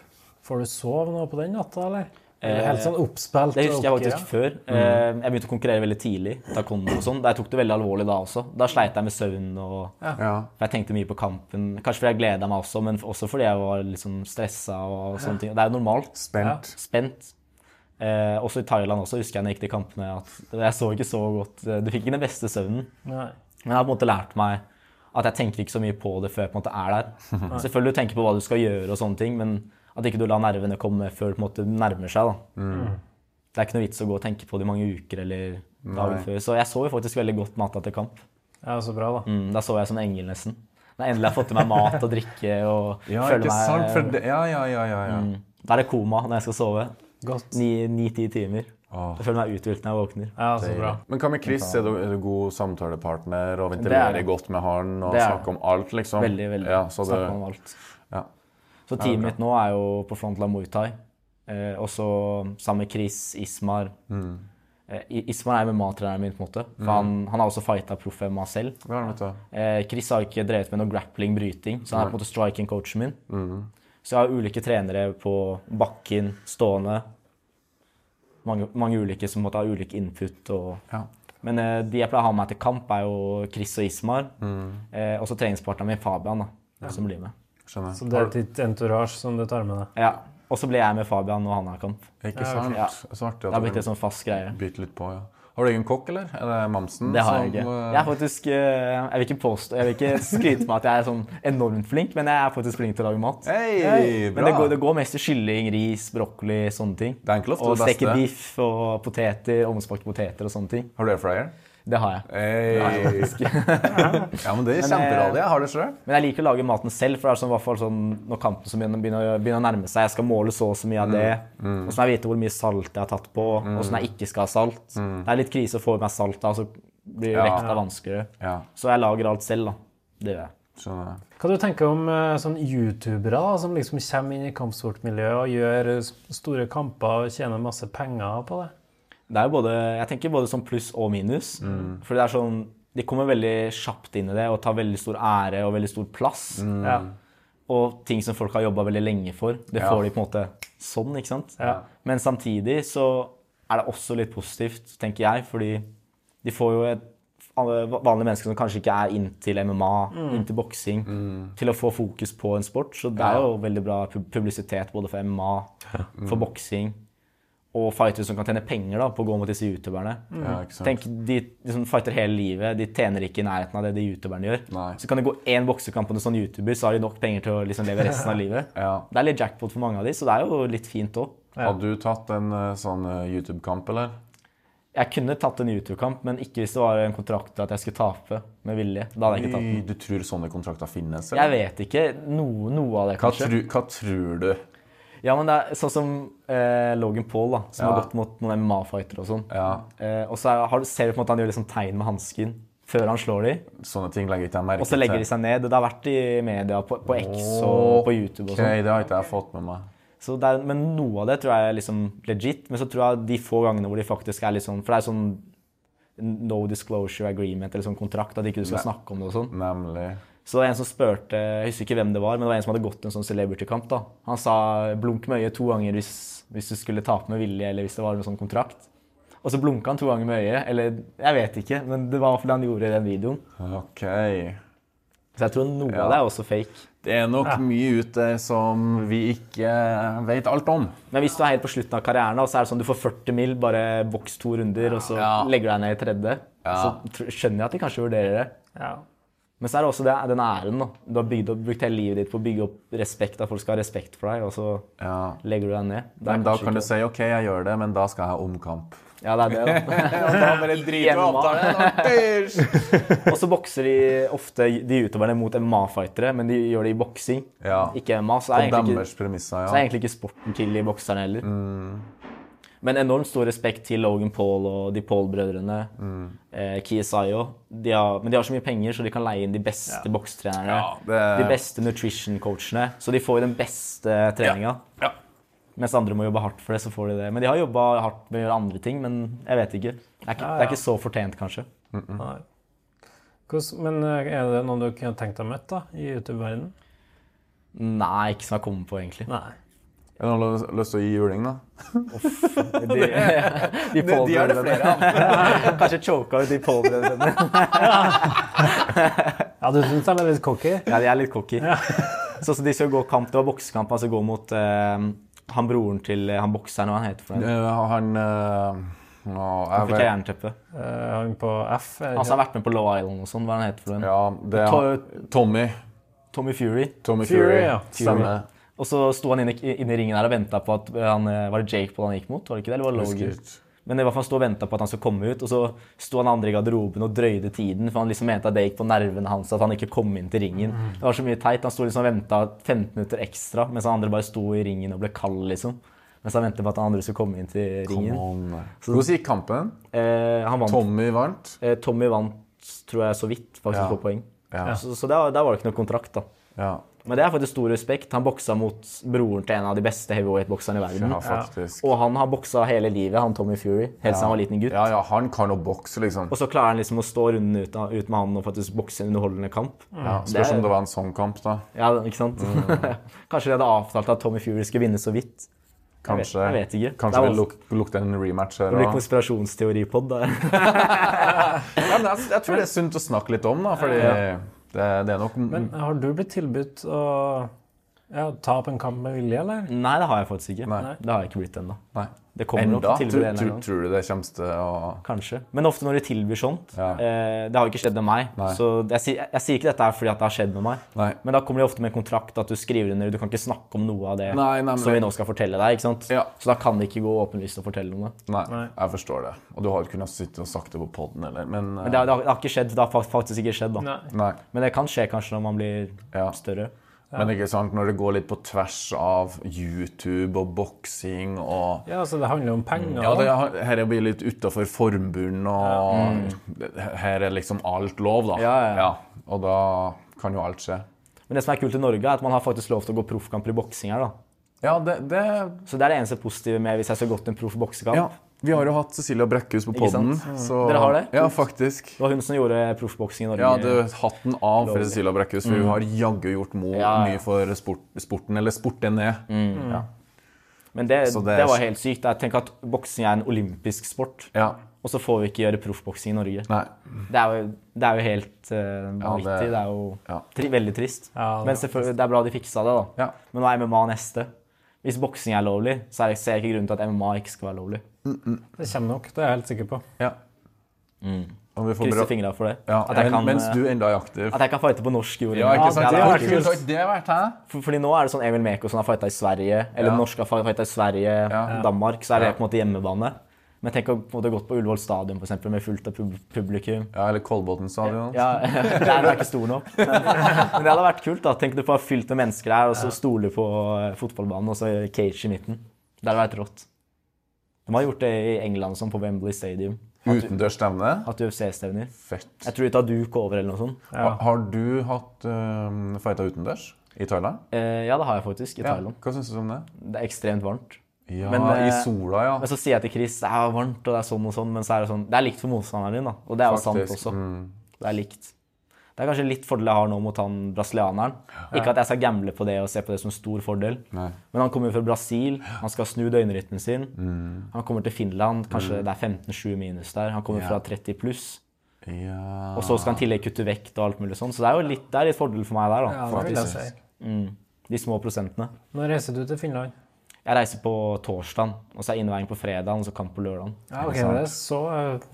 [SPEAKER 2] Får du sove nå på den natta, eller? Eller helt sånn oppspilt?
[SPEAKER 3] Eh, Det
[SPEAKER 2] og
[SPEAKER 3] husker jeg faktisk
[SPEAKER 2] oppgira?
[SPEAKER 3] før. Eh, Jeg begynte å konkurrere veldig tidlig. Taekwondo og sånn. Jeg tok det veldig alvorlig da også. Da sleit jeg med søvn og
[SPEAKER 4] Ja.
[SPEAKER 3] For jeg tenkte mye på kampen. Kanskje fordi jeg gleda meg også, men også fordi jeg var litt sånn stressa og sånne ting. Det er jo normalt.
[SPEAKER 4] Spent.
[SPEAKER 3] Spent. Eh, også i Thailand også, husker jeg når jeg gikk til kampene at jeg så ikke så godt. Eh, Du fikk ikke den beste søvnen.
[SPEAKER 2] Nei.
[SPEAKER 3] Men jeg har på en måte lært meg at jeg tenker ikke så mye på det før jeg på en måte er der. Selvfølgelig du tenker på hva du skal gjøre og sånne ting, men at ikke du lar nervene komme før det på en måte nærmer seg. da.
[SPEAKER 4] Mm.
[SPEAKER 3] Det er ikke noe vits å gå og tenke på det i mange uker eller dagen før. Så jeg sov jo faktisk veldig godt natta til kamp.
[SPEAKER 2] Ja, så bra, da.
[SPEAKER 3] Mm, da sov jeg som en engel nesten. Når jeg endelig har fått i meg mat og drikke og
[SPEAKER 4] Ja, ikke
[SPEAKER 3] føler meg- Mm.
[SPEAKER 4] sant? Mm. For det. Ja, ja, ja. ja, ja.
[SPEAKER 3] Da er det koma når jeg skal sove.
[SPEAKER 2] Godt.
[SPEAKER 3] Ni-ti timer.
[SPEAKER 4] Åh.
[SPEAKER 3] Jeg føler meg uthvilt når jeg våkner.
[SPEAKER 2] Ja, så bra.
[SPEAKER 4] Men hva med Chris? Er du, er du god samtalepartner og
[SPEAKER 3] Det
[SPEAKER 4] ventilerer
[SPEAKER 3] er-
[SPEAKER 4] godt med han og
[SPEAKER 3] Det er-
[SPEAKER 4] snakker om alt, liksom?
[SPEAKER 3] Veldig, veldig.
[SPEAKER 4] Ja, så det,
[SPEAKER 3] Snakker om alt.
[SPEAKER 4] ja.
[SPEAKER 3] Så teamet mitt nå er jo på Frontline Muay Thai. Eh, og så sammen med Chris, Ismar
[SPEAKER 4] Mm.
[SPEAKER 3] eh, I- Ismar er MMA-treneren min, på en måte. For han, han har også fighta proff-MMA selv.
[SPEAKER 4] Det har han, vet du.
[SPEAKER 3] Eh, Chris har ikke drevet med noe grappling-bryting, så han er på en måte striking-coachen min.
[SPEAKER 4] Mm.
[SPEAKER 3] Så jeg har ulike trenere på bakken, stående. Mange, mange ulike som måtte ha ulik input. Og...
[SPEAKER 4] Ja.
[SPEAKER 3] Men eh, de jeg pleier å ha med meg til kamp, er jo Chris og Ismar.
[SPEAKER 1] Mm.
[SPEAKER 3] Eh, og så treningspartneren min Fabian, da, som blir med.
[SPEAKER 4] Skjønner.
[SPEAKER 2] Så det er ditt entourage som du tar med deg.
[SPEAKER 3] Ja. Og så ble jeg med Fabian og han har kamp.
[SPEAKER 1] Ikke sant?
[SPEAKER 3] Ja.
[SPEAKER 1] Så artig
[SPEAKER 3] Det har
[SPEAKER 1] at
[SPEAKER 3] blitt en
[SPEAKER 1] du
[SPEAKER 3] sånn fast greie.
[SPEAKER 1] bytter litt på, ja. Har du egen kokk, eller? Er det Mamsen?
[SPEAKER 3] Det har jeg
[SPEAKER 1] som,
[SPEAKER 3] ikke.
[SPEAKER 1] eh,
[SPEAKER 3] Jeg er faktisk eh, Jeg vil ikke påstå Jeg vil ikke skryte med at jeg er sånn enormt flink, men jeg er faktisk flink til å lage mat.
[SPEAKER 1] Hei, bra!
[SPEAKER 3] Men det går, det går mest i kylling, ris, brokkoli, sånne ting.
[SPEAKER 1] Det er egentlig ofte
[SPEAKER 3] og
[SPEAKER 1] det beste.
[SPEAKER 3] steke biff og poteter, ovnsbakte poteter og sånne ting.
[SPEAKER 1] Har du airfryer?
[SPEAKER 3] Det har jeg.
[SPEAKER 1] Hei! ja, men det er
[SPEAKER 3] eh,
[SPEAKER 1] kjemperadig. Jeg har det sjøl.
[SPEAKER 3] Men jeg liker å lage maten selv, for det er sånn, i hvert fall sånn når kampen som begynner, begynner, å- begynner å nærme seg, jeg skal måle så og så mye av det, og så må jeg vite hvor mye salt jeg har tatt på, og sånn jeg ikke skal ha salt. Det er litt krise å få i meg salt da, så blir
[SPEAKER 1] Ja.
[SPEAKER 3] vekta vanskeligere.
[SPEAKER 1] Ja,
[SPEAKER 3] Så jeg lager alt selv, da. Det gjør jeg.
[SPEAKER 1] skjønner jeg.
[SPEAKER 2] Hva du tenker om eh, sånne youtubere da, som liksom kommer inn i kampsportmiljøet og gjør eh, s- store kamper og tjener masse penger på det?
[SPEAKER 3] Det er jo både, jeg tenker både som pluss og minus. For det er sånn, de kommer veldig kjapt inn i det og tar veldig stor ære og veldig stor plass.
[SPEAKER 2] Ja.
[SPEAKER 3] Og ting som folk har jobba veldig lenge for. Det
[SPEAKER 1] Ja.
[SPEAKER 3] får de på en måte sånn, ikke sant?
[SPEAKER 2] Ja.
[SPEAKER 3] Men samtidig så er det også litt positivt, tenker jeg, fordi de får jo et alle vanlige mennesker som kanskje ikke er inntil MMA, inntil boksing, til å få fokus på en sport. Så det er jo veldig bra pu- publisitet både for MMA, for boksing, og fightere som kan tjene penger da, på å gå mot disse youtuberne.
[SPEAKER 1] Ja, ikke sant?
[SPEAKER 3] Tenk, De liksom fighter hele livet, de tjener ikke i nærheten av det de youtuberne gjør.
[SPEAKER 1] Nei.
[SPEAKER 3] Så kan det gå én boksekamp mot en sånn youtuber, så har de nok penger til å liksom leve resten av livet.
[SPEAKER 1] Ja.
[SPEAKER 3] Det er litt jackpot for mange av de, så det er jo litt fint òg.
[SPEAKER 1] Hadde du tatt en eh, sånn eh, YouTube-kamp, eller?
[SPEAKER 3] Jeg kunne tatt en YouTube-kamp, men ikke hvis det var en kontrakt til at jeg skulle tape med vilje. Da hadde jeg ikke tatt den.
[SPEAKER 1] Du tror sånne kontrakter finnes?
[SPEAKER 3] Jeg
[SPEAKER 1] Eller?
[SPEAKER 3] vet ikke. Noe, noe av det,
[SPEAKER 1] Hva,
[SPEAKER 3] kanskje.
[SPEAKER 1] tru, hva tror du?
[SPEAKER 3] Ja, men det er sånn som eh, Logan Paul, da, som
[SPEAKER 1] Ja.
[SPEAKER 3] har gått mot noen MMA-fightere og sånn.
[SPEAKER 1] Ja.
[SPEAKER 3] Eh, og så er- har, ser du på en måte han gjør liksom tegn med hansken før han slår dem.
[SPEAKER 1] Sånne ting legger ikke jeg merke
[SPEAKER 3] Og så legger de seg ned. og Det har vært i media, på, på X og på YouTube og
[SPEAKER 1] Ok,
[SPEAKER 3] sånn.
[SPEAKER 1] det har ikke jeg fått med meg.
[SPEAKER 3] Så det er, men noe av det tror jeg er liksom legit. Men så tror jeg de få gangene hvor de faktisk er litt sånn For det er sånn no disclosure agreement eller sånn kontrakt, at ikke du skal snakke om det og sånn.
[SPEAKER 1] Nemlig.
[SPEAKER 3] Så det var en som spurte, jeg husker ikke hvem det var, men det var en som hadde gått en sånn celebrity-kamp. da. Han sa 'blunk med øyet to ganger hvis, hvis du skulle tape med vilje', eller hvis det var en sånn kontrakt. Og så blunka han to ganger med øyet, eller jeg vet ikke, men det var i hvert fall det han gjorde i den videoen.
[SPEAKER 1] Ok.
[SPEAKER 3] Så jeg tror noe
[SPEAKER 1] Ja.
[SPEAKER 3] av det er også fake.
[SPEAKER 1] Det er nok mye ut der som vi ikke vet alt om.
[SPEAKER 3] Men hvis du er helt på slutten av karrieren, da, så er det sånn du får 40 mil, bare boks to runder, og så
[SPEAKER 1] Ja.
[SPEAKER 3] legger du deg ned i tredje.
[SPEAKER 1] Ja.
[SPEAKER 3] Så tr- skjønner jeg at de kanskje vurderer det.
[SPEAKER 2] Ja.
[SPEAKER 3] Men så er det også det, den æren. da. Du har bygd opp, brukt hele livet ditt på å bygge opp respekt, at folk skal ha respekt for deg, og så
[SPEAKER 1] Ja.
[SPEAKER 3] legger du deg ned. Det er
[SPEAKER 1] Men da
[SPEAKER 3] kanskje
[SPEAKER 1] kan du
[SPEAKER 3] ikke-
[SPEAKER 1] si OK, jeg gjør det, men da skal jeg ha omkamp.
[SPEAKER 3] Ja, det er det, da.
[SPEAKER 1] Bare
[SPEAKER 3] i avtalen, og så bokser de ofte de utøverne mot MMA-fightere, men de gjør det i boksing,
[SPEAKER 1] Ja.
[SPEAKER 3] ikke MMA. Så det er
[SPEAKER 1] På
[SPEAKER 3] egentlig ikke
[SPEAKER 1] deres premisser,
[SPEAKER 3] Så er
[SPEAKER 1] ja.
[SPEAKER 3] egentlig ikke sporten til de bokserne heller.
[SPEAKER 1] Mm.
[SPEAKER 3] Men enormt stor respekt til Logan Paul og de Paul-brødrene.
[SPEAKER 1] Mm.
[SPEAKER 3] Eh, Kiyosayo. De har, men de har så mye penger, så de kan leie inn de beste bokstrenerne.
[SPEAKER 1] Ja, det-
[SPEAKER 3] De beste nutrition-coachene. Så de får jo den beste treninga.
[SPEAKER 1] Ja.
[SPEAKER 3] Mens andre må jobbe hardt for det, så får de det. Men de har jobba hardt med å gjøre andre ting, men jeg vet ikke. Det er ikke, Det er ikke så fortjent, kanskje.
[SPEAKER 2] Nei. Hvordan, men eh, er det noen du kunne tenkt deg å møte da, i YouTube-verdenen?
[SPEAKER 3] Nei, ikke som jeg kommer på, egentlig.
[SPEAKER 2] Nei.
[SPEAKER 1] Er det noen som har lyst til å gi juling, da?
[SPEAKER 3] De, de, Paul-brødrene.
[SPEAKER 1] flere av.
[SPEAKER 3] Kanskje choka ut de Paul-brødrene.
[SPEAKER 2] Ja, du syns de er litt cocky? Eh,
[SPEAKER 3] Ja, de er litt cocky. Så, så de skal gå kamp, det var boksekamp, altså gå mot eh, han broren til eh, han bokseren, hva han heter for noe.
[SPEAKER 1] Han eh, nå, jeg
[SPEAKER 3] Han fikk
[SPEAKER 1] vet-
[SPEAKER 3] jeg jernteppe. Altså,
[SPEAKER 2] Eh, han på F? er det
[SPEAKER 3] Han
[SPEAKER 2] ikke?
[SPEAKER 3] som har vært med på Low Island og sånn, hva er han heter for noe.
[SPEAKER 1] Ja, det er han. Tommy.
[SPEAKER 3] Tommy Fury.
[SPEAKER 1] Tommy
[SPEAKER 2] Fury,
[SPEAKER 1] Fury.
[SPEAKER 2] ja.
[SPEAKER 1] Stemmer.
[SPEAKER 3] Og så sto han inne, inne i ringen der og venta på at eh, han, eh, Var det Jake Paul han gikk mot? Var det ikke det? Eller var det Logan?
[SPEAKER 1] Husker.
[SPEAKER 3] Men i hvert fall han sto og venta på at han skulle komme ut, og så sto han andre i garderoben og drøyde tiden, for han liksom mente at det gikk på nervene hans at han ikke kom inn til ringen.
[SPEAKER 1] Mm.
[SPEAKER 3] Det var så mye teit. Han sto liksom og venta 15 minutter ekstra, mens han andre bare sto i ringen og ble kald, liksom. Mens han ventet på at han andre skulle komme inn til ringen.
[SPEAKER 1] Hvordan gikk kampen?
[SPEAKER 3] Eh, han vant.
[SPEAKER 1] Tommy vant.
[SPEAKER 3] eh, Tommy vant, tror jeg, så vidt, faktisk,
[SPEAKER 1] Ja.
[SPEAKER 3] på poeng.
[SPEAKER 1] Ja.
[SPEAKER 3] Så, så der, der var det ikke noe kontrakt, da.
[SPEAKER 1] Ja,
[SPEAKER 3] Men det er faktisk stor respekt. Han boksa mot broren til en av de beste heavyweight-bokserne i verden.
[SPEAKER 1] ja faktisk.
[SPEAKER 3] Og han har boksa hele livet, han Tommy Fury, helt siden han var liten gutt.
[SPEAKER 1] Ja, ja, han kan jo bokse, liksom.
[SPEAKER 3] Og så klarer han liksom å stå runden ut, av- ut med han og faktisk bokse en underholdende kamp.
[SPEAKER 1] Ja, spørs om det var en sånn kamp, da.
[SPEAKER 3] Ja, ikke sant? Kanskje de hadde avtalt at Tommy Fury skulle vinne så vidt.
[SPEAKER 1] Kanskje,
[SPEAKER 3] Jeg vet, jeg vet ikke.
[SPEAKER 1] kanskje det,
[SPEAKER 3] er vanskelig.
[SPEAKER 1] luk lukter en rematch her
[SPEAKER 3] det blir
[SPEAKER 1] også.
[SPEAKER 3] konspirasjonsteoripod der.
[SPEAKER 1] Ja, men jeg, jeg tror det er sunt å snakke litt om, da, fordi det, det er nok
[SPEAKER 2] Men har du blitt tilbudt å Ja, Tap en kamp med vilje, eller?
[SPEAKER 3] Nei, det har jeg faktisk ikke.
[SPEAKER 1] Nei.
[SPEAKER 3] Det har jeg ikke blitt ennå.
[SPEAKER 1] Nei.
[SPEAKER 3] Det kommer
[SPEAKER 1] Enda?
[SPEAKER 3] nok
[SPEAKER 1] Tror,
[SPEAKER 3] til tilbud en eller
[SPEAKER 1] tror,
[SPEAKER 3] annen gang.
[SPEAKER 1] tror du det kommer til å
[SPEAKER 3] Kanskje. Men ofte når de tilbyr sånt
[SPEAKER 1] Ja.
[SPEAKER 3] eh, Det har jo ikke skjedd med meg.
[SPEAKER 1] Nei.
[SPEAKER 3] Så jeg, sier- jeg, jeg sier ikke dette her fordi at det har skjedd med meg.
[SPEAKER 1] Nei.
[SPEAKER 3] Men da kommer de ofte med en kontrakt at du skriver under. Du kan ikke snakke om noe av det
[SPEAKER 1] Nei, nei, men-
[SPEAKER 3] som vi nå skal fortelle deg. ikke sant?
[SPEAKER 1] Ja.
[SPEAKER 3] Så da kan de ikke gå åpenlyst og fortelle om det.
[SPEAKER 1] Nei, jeg forstår det. Og du har jo kunnet sitte og sagt det på poden, eller Men, eh,
[SPEAKER 3] Men det, har- det, har, det har ikke skjedd. Det har fak- faktisk ikke skjedd, da.
[SPEAKER 1] Nei.
[SPEAKER 3] Men det kan skje kanskje når man blir
[SPEAKER 1] Ja.
[SPEAKER 3] større.
[SPEAKER 1] Men ikke sant, når det går litt på tvers av YouTube og boksing og
[SPEAKER 2] Ja, så det handler om penger.
[SPEAKER 1] ja, det, Her blir litt utafor formunden, og her er liksom alt lov, da.
[SPEAKER 3] Mm. Ja, ja, ja.
[SPEAKER 1] Og da kan jo alt skje.
[SPEAKER 3] Men det som er kult i Norge, er at man har faktisk lov til å gå proffkamper i boksing her. da.
[SPEAKER 1] Ja, det, det
[SPEAKER 3] Så det er det eneste positive med hvis jeg skulle gått en proff boksekamp.
[SPEAKER 1] ja. Vi har jo hatt Cecilia Brekkhus på
[SPEAKER 3] Ikke
[SPEAKER 1] poden.
[SPEAKER 3] sant? Mm. Dere har det?
[SPEAKER 1] Ja, faktisk.
[SPEAKER 3] Det var hun som gjorde proffboksing i Norge.
[SPEAKER 1] Ja, du, hatten av for Cecilia Brekkhus, for hun har jaggu gjort mo
[SPEAKER 3] Mm. Ja, Mm. ja.
[SPEAKER 1] mye for sport, sporten, eller sporten ned.
[SPEAKER 3] Men det,
[SPEAKER 1] Så
[SPEAKER 3] det,
[SPEAKER 1] det er-
[SPEAKER 3] var helt sykt. Jeg tenker at boksing er en olympisk sport,
[SPEAKER 1] Ja.
[SPEAKER 3] og så får vi ikke gjøre proffboksing i Norge.
[SPEAKER 1] Nei.
[SPEAKER 3] Det er jo, det er jo helt eh, vanvittig. det... er jo
[SPEAKER 1] ja.
[SPEAKER 3] tri veldig trist.
[SPEAKER 2] Ja, det
[SPEAKER 3] Men selvfølgelig, det er bra de fiksa det, da.
[SPEAKER 1] Ja.
[SPEAKER 3] Men nå er MMA neste. Hvis boksing er lovlig, så er det- ser jeg ikke grunnen til at MMA ikke skal være lovlig.
[SPEAKER 2] Det kommer nok, det er jeg helt sikker på.
[SPEAKER 1] Ja. Og vi får
[SPEAKER 3] Mm. Krysser
[SPEAKER 1] bra-
[SPEAKER 3] fingra for det.
[SPEAKER 1] Ja,
[SPEAKER 3] at,
[SPEAKER 1] men,
[SPEAKER 3] jeg kan,
[SPEAKER 1] mens
[SPEAKER 3] eh,
[SPEAKER 1] du enda er aktiv.
[SPEAKER 3] at jeg kan fighte på norsk jord.
[SPEAKER 1] Ja, ikke sant?
[SPEAKER 2] det
[SPEAKER 1] Det
[SPEAKER 2] er
[SPEAKER 1] har
[SPEAKER 2] kult.
[SPEAKER 1] ikke sagt det har vært, hæ?
[SPEAKER 3] For, fordi nå er det sånn Emil Mekosson har fighta i Sverige, eller
[SPEAKER 1] Ja.
[SPEAKER 3] norske har fighta i Sverige,
[SPEAKER 1] Ja.
[SPEAKER 3] Danmark, så er det
[SPEAKER 1] Ja.
[SPEAKER 3] på en måte hjemmebane. Men tenk å på en måte gått på Ullevål stadion, for eksempel, med fullt av pub publikum.
[SPEAKER 1] Ja, eller Kolbotn stadion.
[SPEAKER 3] Ja, Den er ikke stor nok. Men men det hadde vært kult. da. Tenk du får fylt med mennesker her, og så stoler på eh, fotballbanen, og så cage i midten. Det hadde vært rått. De har gjort det i England, sånn på Wembley Stadium.
[SPEAKER 1] Utendørs stevne.
[SPEAKER 3] Hatt UFC-stevner.
[SPEAKER 1] Fett.
[SPEAKER 3] Jeg tror de tar duk over eller noe sånt.
[SPEAKER 1] Ha, har du hatt um, fighta utendørs i Thailand?
[SPEAKER 3] Eh, Ja, det har jeg faktisk, i Thailand.
[SPEAKER 1] Hva syns du om det?
[SPEAKER 3] Det er ekstremt varmt.
[SPEAKER 1] Ja,
[SPEAKER 3] Men, eh,
[SPEAKER 1] i sola, ja.
[SPEAKER 3] Men så sier jeg til Chris det er varmt og det er sånn og sånn, men så er det sånn Det er likt for motstanderen din, da. Og det er jo sant
[SPEAKER 1] Faktisk,
[SPEAKER 3] også. Det er likt. Det er kanskje litt fordel jeg har nå mot han brasilianeren. Ikke at jeg skal gamble på det og se på det som stor fordel,
[SPEAKER 1] Nei.
[SPEAKER 3] men han kommer jo fra Brasil. Han skal snu døgnrytmen sin. Han kommer til Finland, kanskje det er 15-7 minus der. Han kommer fra 30 pluss.
[SPEAKER 1] ja.
[SPEAKER 3] Og så skal han i tillegg kutte vekt og alt mulig sånn. Så det er jo litt, det er litt fordel for meg der, da. Mm.
[SPEAKER 2] Ja, det vil jeg si.
[SPEAKER 3] De små prosentene.
[SPEAKER 2] Nå reiser du til Finland.
[SPEAKER 3] Jeg reiser på torsdag, og så er innveiing på fredag, og så kamp på lørdag.
[SPEAKER 2] Ja, ok, Det er så eh,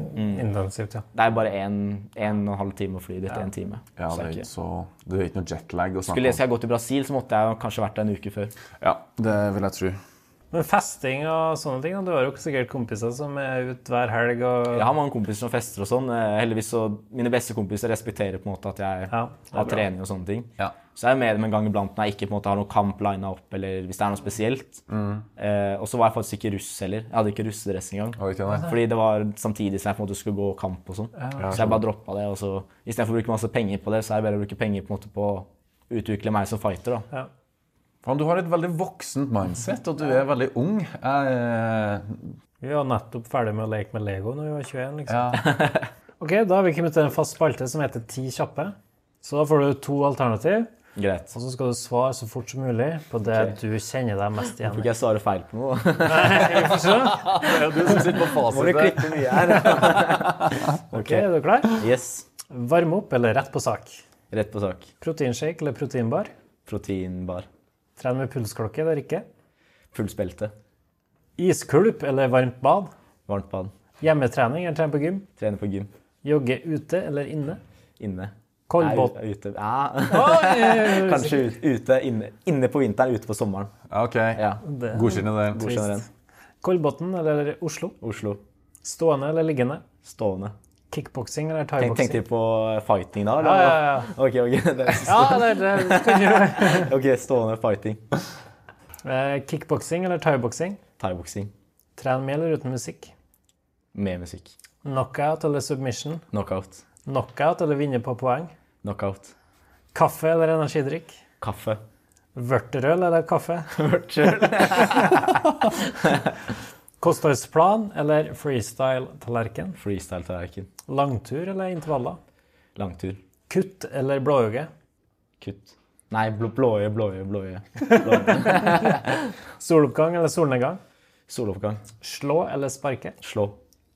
[SPEAKER 2] intensivt, ja.
[SPEAKER 3] Det er bare en, en og en halv time å fly dit. En time.
[SPEAKER 1] ja, det
[SPEAKER 3] Så det
[SPEAKER 1] er
[SPEAKER 3] er
[SPEAKER 1] ikke
[SPEAKER 3] ikke-
[SPEAKER 1] så Det er ikke noe jetlag å
[SPEAKER 3] Skulle
[SPEAKER 1] snakke
[SPEAKER 3] jeg, skal jeg gå til Brasil, så måtte jeg jo kanskje vært der en uke før.
[SPEAKER 1] om. Ja, det vil jeg tro.
[SPEAKER 2] Men festing og sånne ting, da. du har jo sikkert kompiser som er ute hver helg og
[SPEAKER 3] Jeg har mange kompiser som fester og sånn. eh, Heldigvis så Mine beste kompiser respekterer på en måte at jeg
[SPEAKER 2] Ja, det
[SPEAKER 3] har trening og sånne ting.
[SPEAKER 1] Ja.
[SPEAKER 3] Så jeg er med dem en gang iblant når jeg ikke på en måte har noen kamp lina opp, eller hvis det er noe spesielt. Eh, og så var jeg faktisk ikke russ heller. Jeg hadde ikke russedress engang.
[SPEAKER 1] Oi, ikke det?
[SPEAKER 3] Fordi det var samtidig som jeg på en måte skulle gå kamp og sånn. Så jeg bare droppa det. og så Istedenfor å bruke masse penger på det, så er det bedre å bruke penger på en måte på å utvikle meg som fighter. da.
[SPEAKER 1] Faen, du har et veldig voksent mindset, og du er veldig ung. Jeg, eh,
[SPEAKER 2] Vi var nettopp ferdig med å leke med Lego når vi var 21. liksom.
[SPEAKER 1] ja.
[SPEAKER 2] Ok, Da har vi kommet til en fast spalte som heter Ti kjappe. Så da får du to alternativ,
[SPEAKER 3] Greit.
[SPEAKER 2] og så skal du svare så fort som mulig på det du kjenner deg mest igjen
[SPEAKER 3] Fikk
[SPEAKER 2] i.
[SPEAKER 3] jeg svare feil på noe? da?
[SPEAKER 1] Det er du som sitter på
[SPEAKER 3] Må du
[SPEAKER 1] fasit.
[SPEAKER 3] klippe mye her?
[SPEAKER 2] Ok, Er du klar?
[SPEAKER 3] Yes.
[SPEAKER 2] Varme opp eller rett på sak?
[SPEAKER 3] Rett på sak.
[SPEAKER 2] Proteinshake eller proteinbar?
[SPEAKER 3] Proteinbar.
[SPEAKER 2] Tren med pulsklokke eller ikke?
[SPEAKER 3] Fullt belte.
[SPEAKER 2] Iskulp eller varmt bad?
[SPEAKER 3] Varmt bad.
[SPEAKER 2] Hjemmetrening eller trene på gym?
[SPEAKER 3] Trene på gym.
[SPEAKER 2] Jogge ute eller inne?
[SPEAKER 3] Inne.
[SPEAKER 2] Kolbotn.
[SPEAKER 3] Nei, ute. Ja. Kanskje ut- ute. Inne. inne på vinteren, ute på sommeren.
[SPEAKER 1] OK.
[SPEAKER 3] Ja.
[SPEAKER 1] Godkjenner den.
[SPEAKER 3] Hvor skjønner den?
[SPEAKER 2] Kolbotn eller Oslo?
[SPEAKER 3] Oslo.
[SPEAKER 2] Stående eller liggende?
[SPEAKER 3] Stående.
[SPEAKER 2] Kickboksing eller
[SPEAKER 3] Tenk,
[SPEAKER 2] thaiboksing?
[SPEAKER 3] tenkte de på fighting da?
[SPEAKER 2] Ja,
[SPEAKER 3] Eller?
[SPEAKER 2] ja, ja.
[SPEAKER 3] Ok, ok. Det er-
[SPEAKER 2] Ja, det, det, det kan du gjøre.
[SPEAKER 3] Ok, stående fighting.
[SPEAKER 2] Eh, Kickboksing eller thaiboksing?
[SPEAKER 3] Thaiboksing.
[SPEAKER 2] Tren med eller uten musikk?
[SPEAKER 3] Med musikk.
[SPEAKER 2] Knockout eller submission?
[SPEAKER 3] Knockout.
[SPEAKER 2] Knockout eller vinne på poeng?
[SPEAKER 3] Knockout.
[SPEAKER 2] Kaffe eller energidrikk?
[SPEAKER 3] Kaffe.
[SPEAKER 2] Vørterøl eller kaffe? Kostholdsplan eller freestyle-tallerken?
[SPEAKER 3] Freestyle-tallerken.
[SPEAKER 2] Langtur eller intervaller?
[SPEAKER 3] Langtur.
[SPEAKER 2] Kutt eller blåøye?
[SPEAKER 3] Kutt. Nei, blå- blåøye, blåøye, blåøye.
[SPEAKER 2] Soloppgang eller solnedgang?
[SPEAKER 3] Soloppgang.
[SPEAKER 2] Slå eller sparke?
[SPEAKER 3] Slå.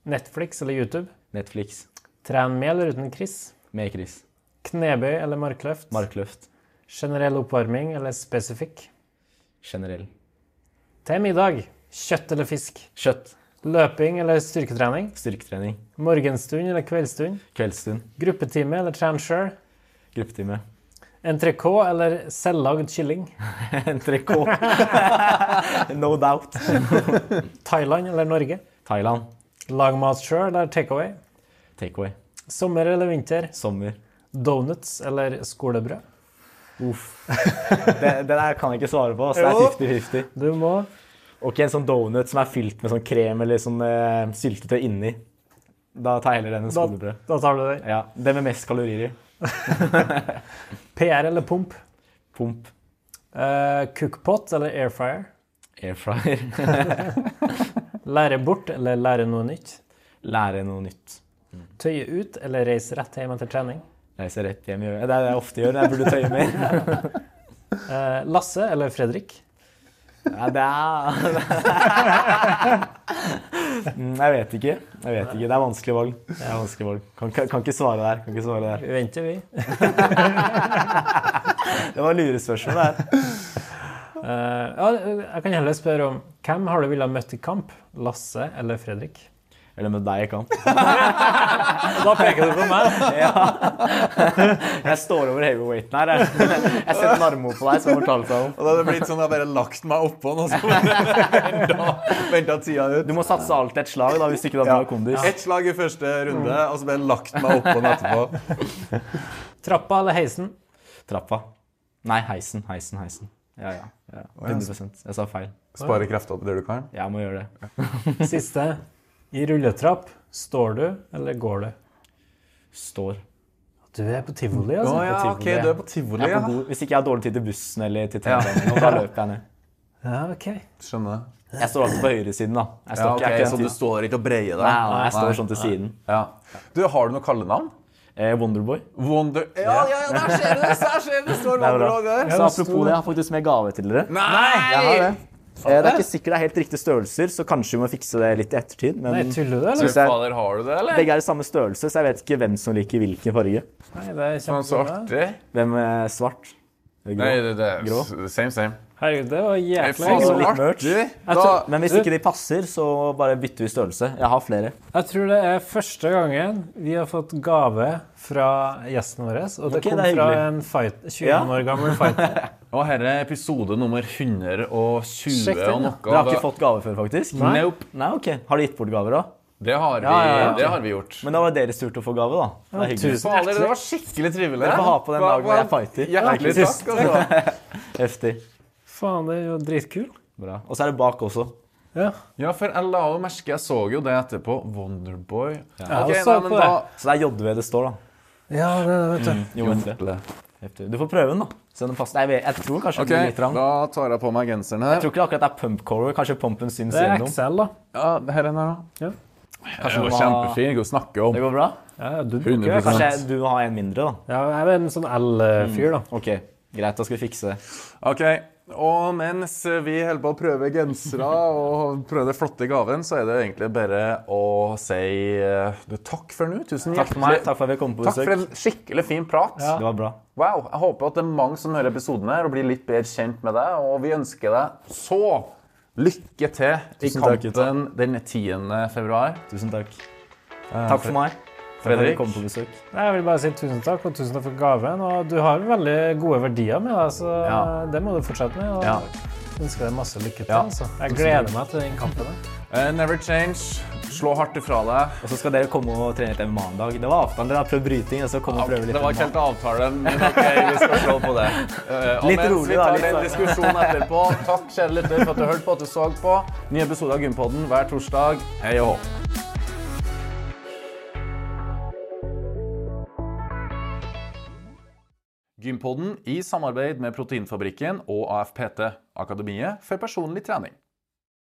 [SPEAKER 2] Netflix eller YouTube?
[SPEAKER 3] Netflix.
[SPEAKER 2] Tren med eller uten Chris?
[SPEAKER 3] Med Chris.
[SPEAKER 2] Knebøy eller markløft?
[SPEAKER 3] Markløft.
[SPEAKER 2] Generell oppvarming eller spesifikk?
[SPEAKER 3] Generell.
[SPEAKER 2] Til middag. Kjøtt eller fisk?
[SPEAKER 3] Kjøtt.
[SPEAKER 2] Løping eller styrketrening?
[SPEAKER 3] Styrketrening.
[SPEAKER 2] Morgenstund eller kveldsstund?
[SPEAKER 3] Kveldsstund.
[SPEAKER 2] Gruppetime eller tren sjøl?
[SPEAKER 3] Gruppetime.
[SPEAKER 2] Entrecôte eller selvlagd kylling?
[SPEAKER 3] Entrecôte. no doubt.
[SPEAKER 2] Thailand eller Norge?
[SPEAKER 3] Thailand.
[SPEAKER 2] Lag mat sjøl eller takeaway?
[SPEAKER 3] Takeaway.
[SPEAKER 2] Sommer eller vinter?
[SPEAKER 3] Sommer.
[SPEAKER 2] Donuts eller skolebrød?
[SPEAKER 3] Uff. Det, det der kan jeg ikke svare på. Så
[SPEAKER 2] Jo.
[SPEAKER 3] det er 50-50.
[SPEAKER 2] Du må
[SPEAKER 3] Ok, en sånn donut som er fylt med sånn krem eller sånn eh, syltetøy inni. Da tar jeg heller den enn
[SPEAKER 2] da,
[SPEAKER 3] skolebrød.
[SPEAKER 2] da tar du den.
[SPEAKER 3] Ja, Det med mest kalorier i.
[SPEAKER 2] PR eller pump?
[SPEAKER 3] Pump.
[SPEAKER 2] Eh, cookpot eller airfryer?
[SPEAKER 3] Air fryer.
[SPEAKER 2] Lære bort eller lære noe nytt?
[SPEAKER 3] Lære noe nytt.
[SPEAKER 2] Tøye ut eller reise rett hjem etter trening?
[SPEAKER 3] Reise rett hjem. gjør- Det er det jeg ofte gjør. Jeg burde tøye mer.
[SPEAKER 2] Eh, Lasse eller Fredrik?
[SPEAKER 3] Ja, det er Mm, Jeg vet ikke. Jeg vet ikke. Det er vanskelig valg. Det er vanskelig valg. Kan, kan, kan ikke svare der. Kan ikke svare der.
[SPEAKER 2] Vi venter, vi.
[SPEAKER 3] Det var lurespørsmål, det her.
[SPEAKER 2] Eh, ja, jeg kan heller spørre om hvem har du villet møtt i kamp? Lasse eller Fredrik?
[SPEAKER 3] Eller med deg i kamp.
[SPEAKER 2] Da peker du på meg.
[SPEAKER 3] Jeg står over heavyweighten her. Jeg, jeg setter en armhode på deg, som fortalte seg om.
[SPEAKER 1] Og da hadde det blitt sånn at jeg bare lagt meg oppå den og så venta tida ut.
[SPEAKER 3] Du må satse alt et slag da, hvis ikke du har
[SPEAKER 1] Ja.
[SPEAKER 3] bra kondis.
[SPEAKER 1] Ett slag i første runde, og så bare lagt meg oppå den etterpå.
[SPEAKER 2] Trappa eller heisen?
[SPEAKER 3] Trappa. Nei, heisen. Heisen, heisen. Ja, ja. ja. 100 Jeg sa feil.
[SPEAKER 1] Spare krefter der du kan.
[SPEAKER 3] Jeg må gjøre det.
[SPEAKER 2] Siste. I rulletrapp. Står du, eller går du?
[SPEAKER 3] Står.
[SPEAKER 2] Du er på tivoli, altså.
[SPEAKER 1] Å ja,
[SPEAKER 3] på
[SPEAKER 1] OK,
[SPEAKER 3] tivoli.
[SPEAKER 1] du er på tivoli,
[SPEAKER 3] Jeg er
[SPEAKER 1] ja.
[SPEAKER 3] på god. Hvis ikke jeg har dårlig tid til bussen eller til T-banen, da løper jeg ned.
[SPEAKER 2] Ja, ok.
[SPEAKER 1] Skjønner.
[SPEAKER 3] Jeg står alltid på høyresiden, da. Jeg står
[SPEAKER 1] Ja,
[SPEAKER 3] ikke- jeg
[SPEAKER 1] ok,
[SPEAKER 3] er ikke
[SPEAKER 1] så
[SPEAKER 3] den
[SPEAKER 1] du
[SPEAKER 3] typen-
[SPEAKER 1] står ikke og breier
[SPEAKER 3] Nei,
[SPEAKER 1] deg?
[SPEAKER 3] nei, jeg står sånn til siden.
[SPEAKER 1] Ja. Du, har du noe kallenavn?
[SPEAKER 3] Eh, Wonderboy.
[SPEAKER 1] Wonder... Ja, ja, ja, der ser du det! Der ser du det står
[SPEAKER 3] Det er bra.
[SPEAKER 1] Wonderboy der.
[SPEAKER 3] Så apropos det, jeg har faktisk med gave til dere. Jeg har det. Eh, det er ikke sikkert det er helt riktige størrelser, så kanskje vi må fikse det litt i ettertid.
[SPEAKER 2] Nei,
[SPEAKER 3] Men
[SPEAKER 2] tuller
[SPEAKER 1] Fy
[SPEAKER 2] du, eller?
[SPEAKER 3] Synes jeg-
[SPEAKER 1] Fader, har du det, eller?
[SPEAKER 3] begge er i samme størrelse, så jeg vet ikke hvem som liker hvilken farge.
[SPEAKER 2] Nei, det er
[SPEAKER 1] Faen, så
[SPEAKER 2] kjempebra.
[SPEAKER 1] artig.
[SPEAKER 3] Hvem er svart? Grå.
[SPEAKER 1] Nei, det, det
[SPEAKER 3] Grå.
[SPEAKER 1] er same, same.
[SPEAKER 2] Herregud, det var
[SPEAKER 1] Nei, faen,
[SPEAKER 2] jækla
[SPEAKER 1] så
[SPEAKER 3] litt
[SPEAKER 1] artig!
[SPEAKER 3] Jeg
[SPEAKER 1] Da,
[SPEAKER 3] tror- Men hvis ikke de passer, så bare bytter vi størrelse. Jeg har flere.
[SPEAKER 2] Jeg tror det er første gangen vi har fått gave fra gjesten vår, og det
[SPEAKER 3] Ok,
[SPEAKER 2] kom
[SPEAKER 3] det er
[SPEAKER 2] fra
[SPEAKER 3] hyggelig.
[SPEAKER 2] en fight, 20
[SPEAKER 3] Ja.
[SPEAKER 2] år gammel fighter.
[SPEAKER 1] og her er episode nummer 120
[SPEAKER 2] Sjekk den,
[SPEAKER 1] og
[SPEAKER 2] da.
[SPEAKER 1] noe.
[SPEAKER 3] Dere har ikke
[SPEAKER 1] da-
[SPEAKER 3] fått gave før, faktisk?
[SPEAKER 2] Nei.
[SPEAKER 1] Nope.
[SPEAKER 3] Nei, ok. Har de gitt bort gaver, da?
[SPEAKER 1] Det har vi,
[SPEAKER 3] Ja, ja, ja.
[SPEAKER 1] Det har vi gjort.
[SPEAKER 3] Men da var det deres tur til å få gave, da. Det er hyggelig.
[SPEAKER 2] Tusen
[SPEAKER 1] Fader, det
[SPEAKER 2] hjertelig.
[SPEAKER 1] var skikkelig trivelig.
[SPEAKER 3] Dere får ha på den
[SPEAKER 1] Hva-
[SPEAKER 3] dagen hvor jeg
[SPEAKER 1] hva-
[SPEAKER 3] fighter.
[SPEAKER 1] Hjertelig
[SPEAKER 3] Ja,
[SPEAKER 1] takk. Altså.
[SPEAKER 3] Heftig.
[SPEAKER 2] Faen, det er jo dritkul.
[SPEAKER 3] Bra. Og så er det bak også.
[SPEAKER 2] Ja.
[SPEAKER 1] Ja, for jeg la jo merke Jeg så jo det etterpå. Wonderboy.
[SPEAKER 2] Ja,
[SPEAKER 1] Ok,
[SPEAKER 2] jeg så
[SPEAKER 1] nei,
[SPEAKER 2] på
[SPEAKER 1] men da
[SPEAKER 3] Så det er JV det står, da.
[SPEAKER 2] Ja, det er det, vet du.
[SPEAKER 3] Jo, vent det. Heftig. Du får prøve den, da. Se om den passer. Jeg, vet, jeg tror kanskje
[SPEAKER 1] Ok,
[SPEAKER 3] den blir litt trang.
[SPEAKER 1] da tar jeg på meg genseren
[SPEAKER 3] Jeg
[SPEAKER 1] her.
[SPEAKER 3] tror ikke det akkurat det er pump cover. Kanskje pumpen syns
[SPEAKER 2] Det er
[SPEAKER 3] gjennom.
[SPEAKER 2] XL, da.
[SPEAKER 1] Ja, her er den her, da.
[SPEAKER 2] Ja.
[SPEAKER 1] Kanskje den var
[SPEAKER 3] den var-
[SPEAKER 1] kjempefin. Ikke å snakke om.
[SPEAKER 3] Det går bra?
[SPEAKER 2] Ja, ja, du bruker
[SPEAKER 1] 100
[SPEAKER 2] jo
[SPEAKER 3] Kanskje jeg- du må ha en mindre, da.
[SPEAKER 2] Ja, jeg er en sånn L-fyr, da.
[SPEAKER 3] Ok, greit. Da skal vi fikse det.
[SPEAKER 1] Ok, og mens vi holder på å prøve gensere og prøve den flotte gaven, så er det egentlig bare å si eh, du, takk for nå. Tusen
[SPEAKER 3] Takk for meg. Takk for at vi kom på
[SPEAKER 1] Takk for
[SPEAKER 3] besøk.
[SPEAKER 1] en skikkelig fin prat.
[SPEAKER 3] Det var bra.
[SPEAKER 1] Wow, Jeg håper at det er mange som hører episoden her og blir litt bedre kjent med deg. Og vi ønsker deg så lykke til i
[SPEAKER 3] Tusen takk, gutta.
[SPEAKER 1] kampen den 10. februar.
[SPEAKER 3] Tusen takk. Takk for meg. Takk for at vi
[SPEAKER 1] Eh, Fredrik.
[SPEAKER 3] kom på besøk.
[SPEAKER 2] Nei, Jeg vil bare si tusen takk, og tusen takk for gaven. Og du har veldig gode verdier med deg, så
[SPEAKER 1] Ja.
[SPEAKER 2] det må du fortsette med. Og
[SPEAKER 1] Ja.
[SPEAKER 2] ønsker deg masse lykke til.
[SPEAKER 1] Ja.
[SPEAKER 2] Altså. Jeg gleder meg til den kampen. der.
[SPEAKER 1] Eh, never change. Slå hardt ifra deg.
[SPEAKER 3] Og så skal dere komme og trene litt MMA en dag. Det var avtalen. Dere har prøvd bryting, og så komme og prøve litt
[SPEAKER 1] Det var ikke
[SPEAKER 3] MMA.
[SPEAKER 1] helt avtalen, men ok, vi skal slå på det. Eh, Og
[SPEAKER 3] Litt
[SPEAKER 1] mens
[SPEAKER 3] rolig,
[SPEAKER 1] vi
[SPEAKER 3] da,
[SPEAKER 1] tar
[SPEAKER 3] litt
[SPEAKER 1] den
[SPEAKER 3] sånn.
[SPEAKER 1] diskusjonen etterpå, takk kjære lytter for at du hørte på, at du så på. Ny episode av Gympodden hver torsdag. Hei og hå. Gympodden i samarbeid med Proteinfabrikken og AFPT, Akademiet for personlig trening.